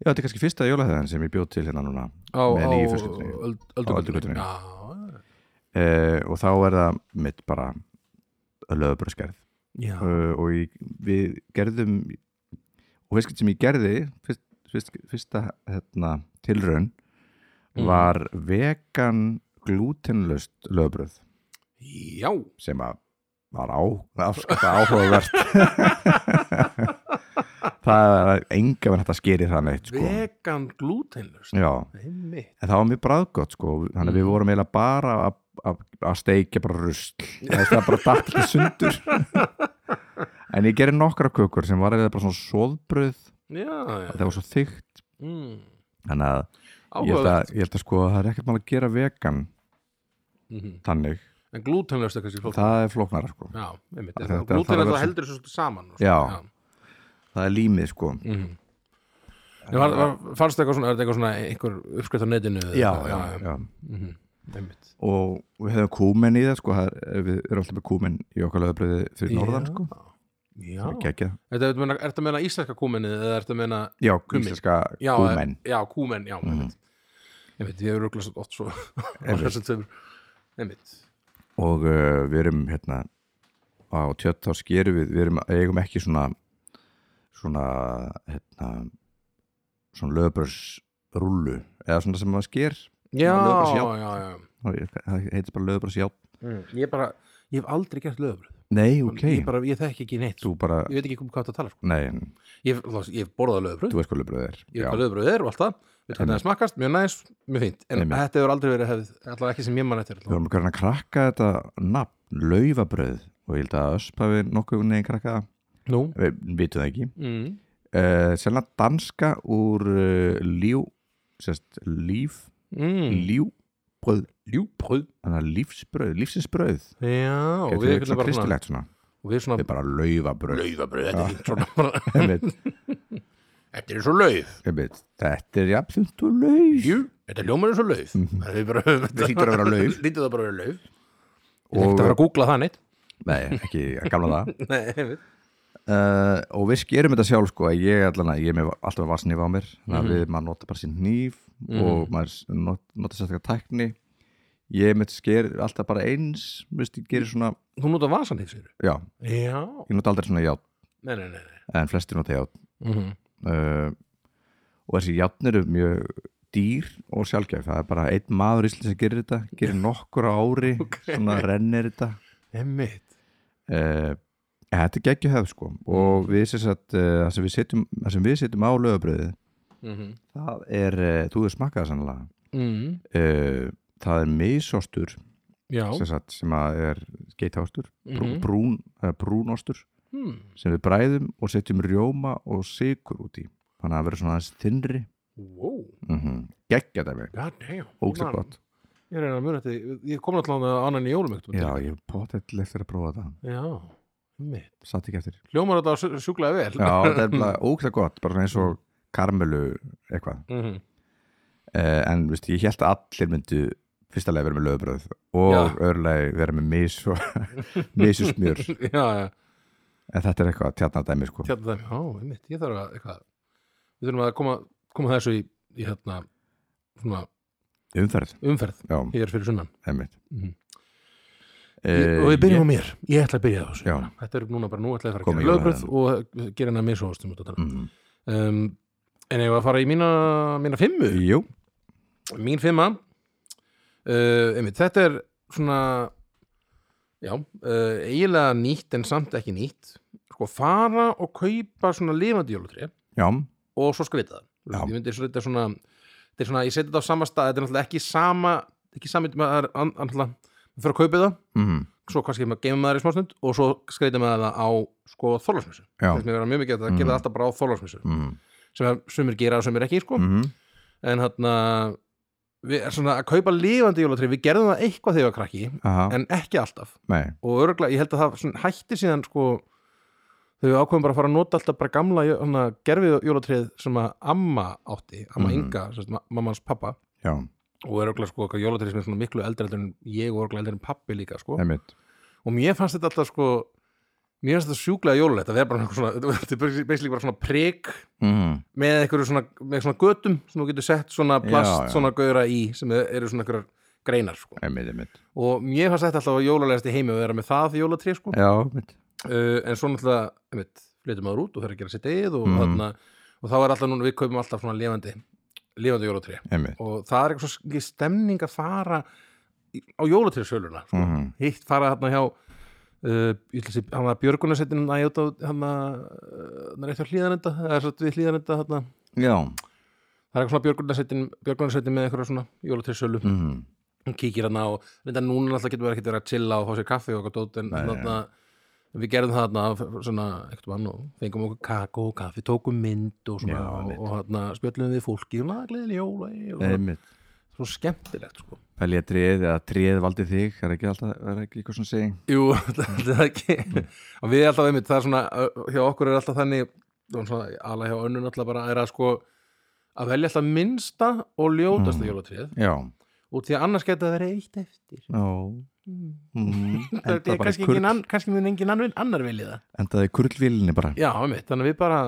Speaker 1: já, þetta er kannski fyrsta jólahæðan sem ég bjó til hérna núna
Speaker 2: á,
Speaker 1: Með
Speaker 2: á
Speaker 1: nýju fjölskyldunni.
Speaker 2: öld-
Speaker 1: Á
Speaker 2: öldugötunni
Speaker 1: Öldugötunni.
Speaker 2: Já,
Speaker 1: eh, og þá er það mitt bara löðubröðskerð
Speaker 2: já,
Speaker 1: uh, og ég, við gerðum og fiskinn sem ég gerði fyrst, fyrst, fyrsta hérna, tilraun
Speaker 2: Mhm.
Speaker 1: var vegan glútenlust löðubröð
Speaker 2: já
Speaker 1: sem að var á, afskata áhugavert það er enga verið hægt að skeri það neitt sko.
Speaker 2: vegan glutenlust
Speaker 1: já,
Speaker 2: einmitt
Speaker 1: en það var mjög bræðgott sko. þannig að við
Speaker 2: Mhm.
Speaker 1: vorum eiginlega bara að- að- að steikja bara rusl það er bara datt ekki sundur en ég gerði nokkra kökur sem var eiginlega bara svona sóðbröð
Speaker 2: já, já.
Speaker 1: það var svo þykkt
Speaker 2: Mm.
Speaker 1: þannig að ég held
Speaker 2: áhugavert
Speaker 1: að, ég held að sko að það er ekkert mál að gera vegan
Speaker 2: Mhm.
Speaker 1: þannig,
Speaker 2: en glutenlust er kannski flóknara.
Speaker 1: það er flóknara sko.
Speaker 2: Já, einmitt,
Speaker 1: Þetta- þetta þarf að
Speaker 2: glútenlega
Speaker 1: vera
Speaker 2: það
Speaker 1: sem-
Speaker 2: heldur þessu svolítið saman sko. og svona,
Speaker 1: Já. það er límið sko
Speaker 2: Mhm. En var, var, fannst eitthvað svona, er þetta eitthvað svona einhver uppskrift á netinu? eða eitthvað?
Speaker 1: já.
Speaker 2: Mhm, einmitt.
Speaker 1: og við hefum kúmen í það sko, það er, við erum alltaf með kúmen í okkar löðabröði fyrir norðan sko.
Speaker 2: Já,
Speaker 1: Það er geggjað.
Speaker 2: þetta er meina, ertu að meina íslenska kúmennið eða ertu að meina,
Speaker 1: já,
Speaker 2: Kúmen.
Speaker 1: íslenska
Speaker 2: já,
Speaker 1: kúmen
Speaker 2: eh, já, kúmenn, já,
Speaker 1: Mhm.
Speaker 2: einmitt. Einmitt, ég hefur rögglast oft svo á
Speaker 1: Einmitt.
Speaker 2: þessum tveimur. Einmitt.
Speaker 1: og uh, við erum hérna á tjött þá skerum við við erum, eigum ekki svona svona hérna, svona löðabröðs rúlu eða svona sem maður sker
Speaker 2: Já,
Speaker 1: lögbrauðs,
Speaker 2: já,
Speaker 1: já.
Speaker 2: já, já.
Speaker 1: það heitir bara löðabröðs já
Speaker 2: Mm. Ég bara, ég hef aldrei gert lögbröð.
Speaker 1: nei, ok,
Speaker 2: Ég bara, ég þekki ekki neitt.
Speaker 1: þú bara
Speaker 2: Ég veit ekki hvað það tala, sko.
Speaker 1: nei, en
Speaker 2: Ég, hef- þá- ég hef borðað lögbröð.
Speaker 1: þú veist hvað löðabröð er
Speaker 2: ég veit
Speaker 1: Já.
Speaker 2: hvað löðbröð er og allt það veit hvernig það smakkast, mjög næs, mjög fínt en
Speaker 1: Einmitt.
Speaker 2: þetta hefur aldrei verið hefð, allavega ekki sem ég mann eftir
Speaker 1: við vorum hvernig að krakka þetta nafn laufabröð og ég held að öspa við nokkuð neginn krakka það
Speaker 2: nú,
Speaker 1: við vitum það ekki
Speaker 2: mm.
Speaker 1: uh, sennilega danska úr uh, líf sérst, líf
Speaker 2: Mm.
Speaker 1: lífbröð
Speaker 2: ljúbröð
Speaker 1: þannig að lífsbröð, lífsinsbröð
Speaker 2: já, og
Speaker 1: Gæti
Speaker 2: við,
Speaker 1: verið
Speaker 2: við,
Speaker 1: svona
Speaker 2: bara svona,
Speaker 1: kristilegt svona
Speaker 2: og við
Speaker 1: þetta
Speaker 2: svona
Speaker 1: er bara laufabröð
Speaker 2: laufabröð, þetta er fínt svona bara,
Speaker 1: Einmitt,
Speaker 2: þetta er svo lauf,
Speaker 1: einmitt. þetta er jafn þungt og lauf
Speaker 2: jú, þetta ljómar er svo lauf
Speaker 1: Mhm.
Speaker 2: það er bara, þetta
Speaker 1: hlýtur að vera lauf.
Speaker 2: lítur það bara að vera lauf og
Speaker 1: Og-
Speaker 2: þetta að vera að googla það neitt
Speaker 1: nei, ekki að gamla það
Speaker 2: Nei, einmitt.
Speaker 1: uh, og við skerum þetta sjálf sko að ég allan að ég er með alltaf að vasnýfa á mér þannig
Speaker 2: Mhm.
Speaker 1: að við, maður nota bara sín hníf og maður s- not, nota sérstaklega tækni ég með sker alltaf bara eins veist, ég gerir svona,
Speaker 2: þú notar vasan hér sér
Speaker 1: já,
Speaker 2: já,
Speaker 1: ég nota aldrei svona játn
Speaker 2: nei, nei, nei, nei.
Speaker 1: en flestir nota játn
Speaker 2: Mm -hmm.
Speaker 1: uh, og þessi játn eru mjög dýr og sjálfgæf það er bara einn maður í Ísland sem gerir þetta gerir nokkur á ári, svona rennir þetta
Speaker 2: einmitt
Speaker 1: uh, þetta er geggjuð hefð sko
Speaker 2: Mm.
Speaker 1: og við sem sagt, uh, það sem við setjum, það sem við setjum á lögabröðið
Speaker 2: mm -hmm.
Speaker 1: Það er, eh, þú hefur smakkað það sannlega
Speaker 2: mm.
Speaker 1: uh, Það er misostur
Speaker 2: já
Speaker 1: sem, sagt, sem að er geitástur brún,
Speaker 2: Mhm.
Speaker 1: brún, eh, brúnostur
Speaker 2: mm.
Speaker 1: sem við bræðum og setjum rjóma og sykur út í þannig að það verður svona aðeins þinnri
Speaker 2: wow,
Speaker 1: mm -hmm. geggja dæmi,
Speaker 2: god damn
Speaker 1: ógstæð gott
Speaker 2: Ég reyna að muna þetta, ég kom náttúrulega að annan í jólum ekkert.
Speaker 1: Já, ég hef potið eftir að prófa það
Speaker 2: Já, mitt.
Speaker 1: satt ekki eftir
Speaker 2: Hljómar þetta sj- sjúklega vel.
Speaker 1: Já, það er ógstæð gott, bara svona eins og karmelu eitthvað
Speaker 2: Mm -hmm.
Speaker 1: uh, en veist, ég held að allir myndu fyrsta leið vera með löðbröð og öðrulega vera með mis og misusmjör
Speaker 2: Já, já,
Speaker 1: En þetta er eitthvað tjarnardæmi sko
Speaker 2: þetta dæmi. Hérna, Já, mitt, ég þarf að, eitthvað, við þurfum að koma, koma þessu í, í hérna, svona
Speaker 1: Umferð,
Speaker 2: umferð
Speaker 1: já,
Speaker 2: hér fyrir sunnan.
Speaker 1: einmitt
Speaker 2: Mhm.
Speaker 1: Eh,
Speaker 2: og við byrjum á mér, ég ætla að byrja á þessu.
Speaker 1: Já.
Speaker 2: Þetta er núna bara, nú ætla ég að fara að
Speaker 1: Komum
Speaker 2: gera
Speaker 1: í
Speaker 2: lögbröð og gera hana mér svo ástum út á þarna.
Speaker 1: mm,
Speaker 2: Um, en ég var að fara í mína, mína fimmu.
Speaker 1: Jú,
Speaker 2: mín fimma uh, einmitt, þetta er svona já, uh, eiginlega nýtt en samt ekki nýtt sko fara og kaupa svona lifandi jólutri
Speaker 1: já,
Speaker 2: og svo skrita það Þú veist,
Speaker 1: Já.
Speaker 2: ég myndi svo þetta er svona, þetta er svona ég seti þetta á sama stað, þetta er náttúrulega ekki sama ekki sami, maður er an- náttúrulega maður fyrir að kaupa það,
Speaker 1: mm,
Speaker 2: svo kannski maður geymir maður í smásnund og svo skreita maður það á sko þólarsmissu,
Speaker 1: já
Speaker 2: þetta er vera mjög mikið að það
Speaker 1: Mhm.
Speaker 2: gera það alltaf bara á þólarsmissu,
Speaker 1: mm,
Speaker 2: sem sumir gera og sumir ekki sko
Speaker 1: mm,
Speaker 2: en hérna við erum svona að kaupa lifandi jólatri við gerðum það eitthvað þegar ég var krakki
Speaker 1: Aha,
Speaker 2: en ekki alltaf
Speaker 1: nei,
Speaker 2: og örgulega, ég held að það svona, hætti síðan sko þegar við ákveðum bara að fara að nota alltaf bara gamla jó- hérna, gerfið jólatrið sem að amma átti, amma
Speaker 1: Mhm.
Speaker 2: Inga sem sagt, ma- mamma hans pappa
Speaker 1: já,
Speaker 2: og örgulega sko okkar jólatrið sem er svona miklu eldri heldur en ég og örgulega eldri en pappi líka sko
Speaker 1: einmitt
Speaker 2: og mér fannst þetta alltaf sko Mér finnst þetta sjúklega jólulegt að vera bara eitthvað svona, þetta er basically- basically bara svona prik
Speaker 1: mm.
Speaker 2: með einhverju svona, með svona götum sem þú getur sett svona plast,
Speaker 1: já.
Speaker 2: svona gauðra í sem eru svona einhverjar greinar sko.
Speaker 1: einmitt, einmitt
Speaker 2: og mér fannst þetta alltaf jólulegast í heimi að vera með það jólatrí sko.
Speaker 1: já, einmitt
Speaker 2: uh, en svo náttúrulega, einmitt, flytum maður út og fer að gera sitt eigið og,
Speaker 1: Mhm.
Speaker 2: mm. og þá er alltaf núna, við kaupum alltaf svona lifandi lifandi jólatrí
Speaker 1: einmitt
Speaker 2: og það er eitthvað svo mikið stemning að fara í- á jólatrísöluna sko.
Speaker 1: Mhm.
Speaker 2: hitt fara þarna hjá Uh, ég ætla að sé- hann að björgunarsettin að ég út á hann að hann er eitt á hlýðanenda það er satt við hlýðanenda hann
Speaker 1: já,
Speaker 2: það er eitthvað svona björgunarsveitin björgunarsveitin með einhverja svona jólatrísölu mm.
Speaker 1: mm.
Speaker 2: hún kíkir hann á og reynda núna alltaf getur verið ekkert verið að chilla og fá sér kaffi og eitthvað dót en þarna við gerðum það þarna svona ekkert mann og fengum okkur kakó og kaffi tókum mynd og svona
Speaker 1: Já,
Speaker 2: og,
Speaker 1: einmitt.
Speaker 2: og þarna spjöllum við fólki um og gleðileg jóla ey, og svona,
Speaker 1: einmitt
Speaker 2: svo skemmtilegt sko
Speaker 1: velja tríð eða tríð valdi þig það er ekki alltaf, það er ekki eitthvað svona seging
Speaker 2: Jú, það er ekki og við alltaf einmitt, það er svona ö, hjá okkur er alltaf þannig og svona, ala hjá önnun alltaf bara er að sko að velja alltaf minnsta og ljótasta mm. jólatrið
Speaker 1: já,
Speaker 2: og því að annars geta það verið eitt eftir
Speaker 1: já mm.
Speaker 2: það
Speaker 1: endaði
Speaker 2: er
Speaker 1: bara í
Speaker 2: kannski, engin
Speaker 1: kurl,
Speaker 2: ann, kannski mun engin annar, annar vilja það
Speaker 1: endaði í kurlvílinni bara
Speaker 2: já, einmitt, þannig að við bara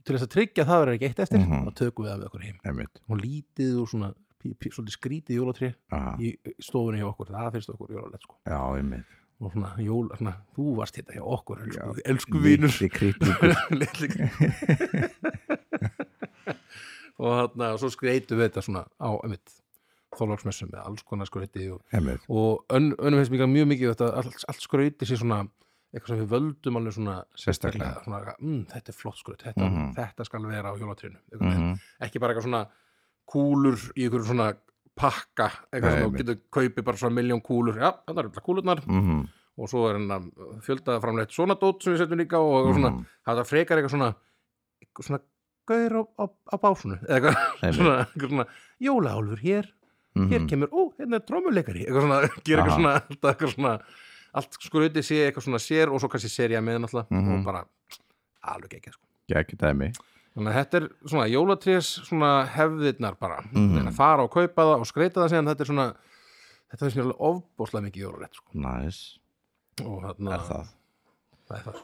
Speaker 2: til þess að tryggja að það verður ekki eitt eftir
Speaker 1: Mhm.
Speaker 2: þá tökum við það með okkur heim
Speaker 1: einmitt
Speaker 2: og lítið og svona pí- pí- svolítið skrítið jólatri
Speaker 1: Aha.
Speaker 2: í stofunni hjá okkur, það finnst okkur jólalegt sko.
Speaker 1: já, einmitt
Speaker 2: og svona, jóla, svona, þú varst þetta hjá okkur elsku, elsku Sko, vinur
Speaker 1: Litli kryddjúkur.
Speaker 2: Litli og þarna, og svo skreitum við þetta svona á, einmitt þólagsmessum með alls konar skreiti og
Speaker 1: einmitt
Speaker 2: og ön, önnum finnst mér mjög mikið þetta allt, allt skrauti sér svona eitthvað sem við völdum alveg svona
Speaker 1: Sérstaklega.
Speaker 2: svona, mm, þetta er flott skraut, þetta,
Speaker 1: Mhm.
Speaker 2: þetta skal vera á jólatrinu mm
Speaker 1: Mhm.
Speaker 2: ekki bara eitthvað svona kúlur í einhverjum svona pakka
Speaker 1: Nei,
Speaker 2: eitthvað sem þú
Speaker 1: einmitt.
Speaker 2: getur kaupið bara svona miljón kúlur já, þannig er alltaf kúlurnar
Speaker 1: Mhm.
Speaker 2: og svo er hann fjöldaða framleitt svona dót sem við setjum líka á og svona,
Speaker 1: Mhm.
Speaker 2: þetta frekar eitthvað svona eitthvað svona gaur á, á, á básunu eða eitthvað
Speaker 1: Einmitt.
Speaker 2: svona, eitthvað svona jólaálfur hér hér
Speaker 1: Mhm.
Speaker 2: kemur, ó, hérna er trómuleikari eitthvað svona, gera
Speaker 1: Aha.
Speaker 2: eitthvað svona, alltaf eitthvað svona allt skrutið sé eitthvað svona sér og svo kannski serja með náttúrulega
Speaker 1: Mhm.
Speaker 2: og bara alveg ekki sko.
Speaker 1: Gekk dæmi
Speaker 2: þannig að þetta er svona jólatrés svona hefðirnar bara
Speaker 1: Mhm.
Speaker 2: en að fara og kaupa það og skreita það síðan þetta er svona, þetta finnst mér alveg ofbóðslega mikið jólalegt sko.
Speaker 1: næs,
Speaker 2: og þarna,
Speaker 1: er það
Speaker 2: það er það sko.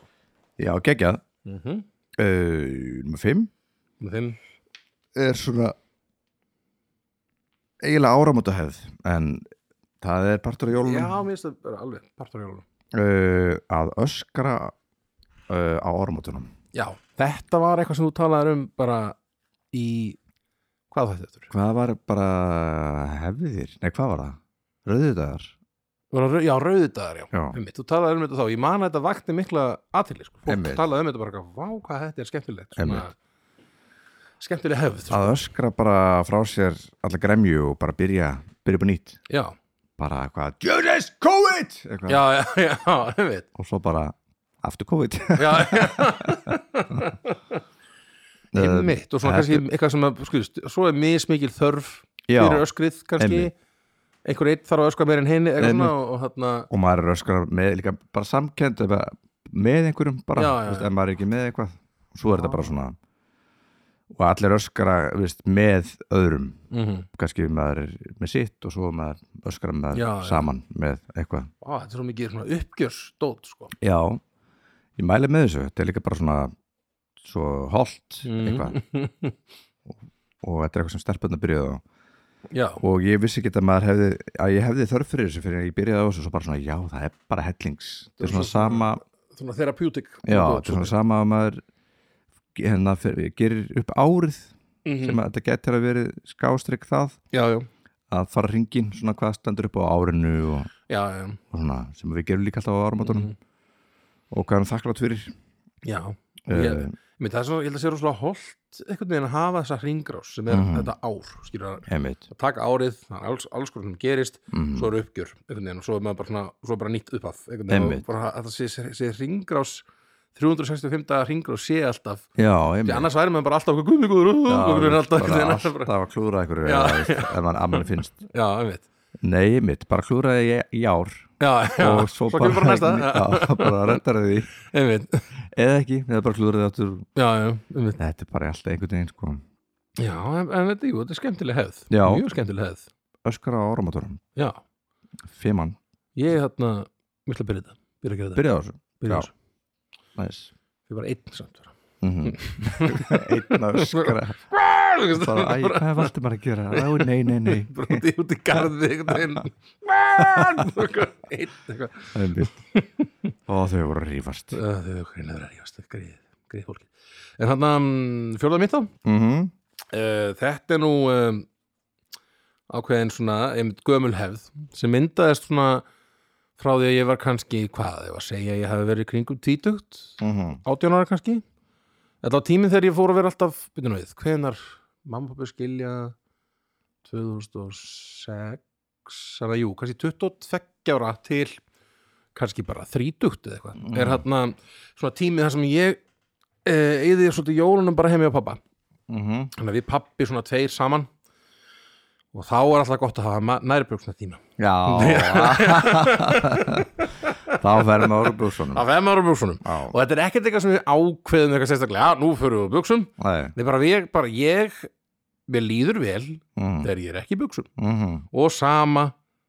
Speaker 1: já, geggjað
Speaker 2: mm -hmm.
Speaker 1: uh, nummer 5
Speaker 2: Þeim,
Speaker 1: er svona eiginlega áramótahefð en það er partur af
Speaker 2: já,
Speaker 1: jólunum
Speaker 2: mér finnst það bara alveg partur af jólunum
Speaker 1: uh, að öskra uh, á áramótunum
Speaker 2: já, þetta var eitthvað sem þú talaðir um bara í hvað var þetta eftir?
Speaker 1: hvað var bara hefðir, nei hvað var það? Rauðudagar
Speaker 2: Var það rau- Já, rauðudagar, já.
Speaker 1: Já.
Speaker 2: Einmitt, þú talaði um þetta þá, ég man að þetta vakti mikla aðtili, sko. Fólk
Speaker 1: Einmitt.
Speaker 2: talaði um þetta bara, eitthvað, vá, hvað þetta er skemmtilegt.
Speaker 1: Einmitt. Ah,
Speaker 2: skemmtileg hefð, sko.
Speaker 1: að öskra bara frá sér alla gremju og bara byrja byrja upp á nýtt
Speaker 2: Já,
Speaker 1: bara hvað, djöðlis, COVID eitthvað.
Speaker 2: já, já, já, einmitt.
Speaker 1: og svo bara aftur COVID
Speaker 2: Já, já. einmitt, og svona
Speaker 1: Eh, þetta-
Speaker 2: kannski eitthvað sem að, skuðust, svo er mismikil þörf
Speaker 1: Já.
Speaker 2: fyrir öskrið, kannski.
Speaker 1: Einmitt.
Speaker 2: Einhver eitt þarf að öskra meir en henni, eitthvað
Speaker 1: Einmitt.
Speaker 2: svona, og, og þarna,
Speaker 1: og maður er öskra með líka bara samkend eða með einhverjum bara,
Speaker 2: Já, já,
Speaker 1: veist,
Speaker 2: já.
Speaker 1: en maður er ekki með eitthvað svo er þetta bara svona og allir öskra veist, með öðrum
Speaker 2: mm
Speaker 1: kannski maður er með sitt og svo maður öskra maður
Speaker 2: Já, já.
Speaker 1: saman með eitthvað
Speaker 2: á, þetta er svo mikið svona uppgjörsdót, sko.
Speaker 1: já, ég mæli með þessu þetta er líka bara svona svo holt eitthvað og, og þetta er eitthvað sem stelpunna byrjuðu á
Speaker 2: Já,
Speaker 1: og ég vissi ekki að maður hefði að ég hefði þörf fyrir þessu fyrir en ég byrjaði á þessu og svo bara svona já, það er bara hellings þetta er svona sama
Speaker 2: svona therapeutic.
Speaker 1: Já,
Speaker 2: dót,
Speaker 1: þetta er svona sama að maður hérna, fer- gerir upp árið sem að þetta getur að verið skástrygg það
Speaker 2: Mhm. Já, já,
Speaker 1: að fara hringin, svona hvað stendur upp á árinu og,
Speaker 2: já, já,
Speaker 1: og svona sem við gerum líka alltaf á áramótunum
Speaker 2: Mhm.
Speaker 1: og hvað hann þakklátt fyrir
Speaker 2: já.
Speaker 1: Eh,
Speaker 2: Ég, Mér, það er svona, ég held að sé rosalega holdt einhvern veginn að hafa þessa ringrás sem er
Speaker 1: Mhm.
Speaker 2: þetta ár, skilur að
Speaker 1: einmitt
Speaker 2: að taka árið, það er alls, alls hvernig sem gerist
Speaker 1: Mhm.
Speaker 2: svo eru uppgjör, einhvern veginn og svo er maður bara, svona, svo er bara nýtt upphaf, einhvern veginn
Speaker 1: Einmitt.
Speaker 2: og bara að það sé, sé, sé ringrás 365 dagar ringrás sé alltaf
Speaker 1: Já,
Speaker 2: því
Speaker 1: einmitt
Speaker 2: annars væri maður bara alltaf okkur guðmíkuður
Speaker 1: Já,
Speaker 2: uh, okkur er alltaf einhvern
Speaker 1: bara
Speaker 2: veginn alltaf bara,
Speaker 1: alltaf að klúra ykkur
Speaker 2: Já,
Speaker 1: en mann amman finnst
Speaker 2: já, einmitt
Speaker 1: Nei, einmitt, bara klúraði ég í ár
Speaker 2: já, já,
Speaker 1: og svo,
Speaker 2: svo kemur bara næsta já,
Speaker 1: já, bara rettari því
Speaker 2: einmitt,
Speaker 1: eða ekki, eða bara klúraði aftur
Speaker 2: já, já, einmitt
Speaker 1: Þetta er bara alltaf einhvern veginn sko
Speaker 2: já, en, en þetta, jú, þetta er skemmtileg hefð
Speaker 1: Já.
Speaker 2: mjög skemmtileg hefð,
Speaker 1: öskara á áramótunum
Speaker 2: já
Speaker 1: Fimann,
Speaker 2: hérna, ég er þarna, mér ætla að byrja þetta byrja að gera þetta,
Speaker 1: byrjaði á þessu
Speaker 2: byrja
Speaker 1: já.
Speaker 2: þessu
Speaker 1: næs
Speaker 2: Ég var einn samt vera
Speaker 1: Mhm. Einn að öskra bara, æ,
Speaker 2: Sko, Bara
Speaker 1: hvað er Valdimar að gera? Ó, nei, nei, nei
Speaker 2: broti út í garði einhvern veginn Einn eitthvað
Speaker 1: Einmitt. og þau voru að rífast
Speaker 2: Það er okkur neður að rífast Greið, greið fólki En hann að fjórða mitt þá
Speaker 1: mhm,
Speaker 2: Eh, Þetta er nú um, ákveðin svona einmitt gömul hefð sem myndaðist svona frá því að ég var kannski, hvað, ég var að segja að ég hafi verið í kringum tvítugt
Speaker 1: mhm,
Speaker 2: 18 ára kannski Þetta á tíminn þegar ég fór að vera alltaf byrjun við, hvenar mamma og pappi skilja 2006 þannig að jú, kannski 22 ára til kannski bara 30 eða eitthvað,
Speaker 1: Mm.
Speaker 2: er hann svona tímið þar sem ég eh, eði svolítið jólunum bara heim hjá pappa
Speaker 1: mhm
Speaker 2: þannig að við pappi svona tveir saman og þá er alltaf gott að hafa nærbuksna tíma
Speaker 1: já þá verðum við ára búsunum
Speaker 2: að veða maður á buksunum
Speaker 1: Já.
Speaker 2: og þetta er ekkert eitthvað sem við ákveðum eitthvað sérstaklega, já, nú förum við á buksum
Speaker 1: nei,
Speaker 2: það er bara, ég, bara ég mér líður vel
Speaker 1: mhm,
Speaker 2: þegar ég er ekki í buksum
Speaker 1: mhm
Speaker 2: og sama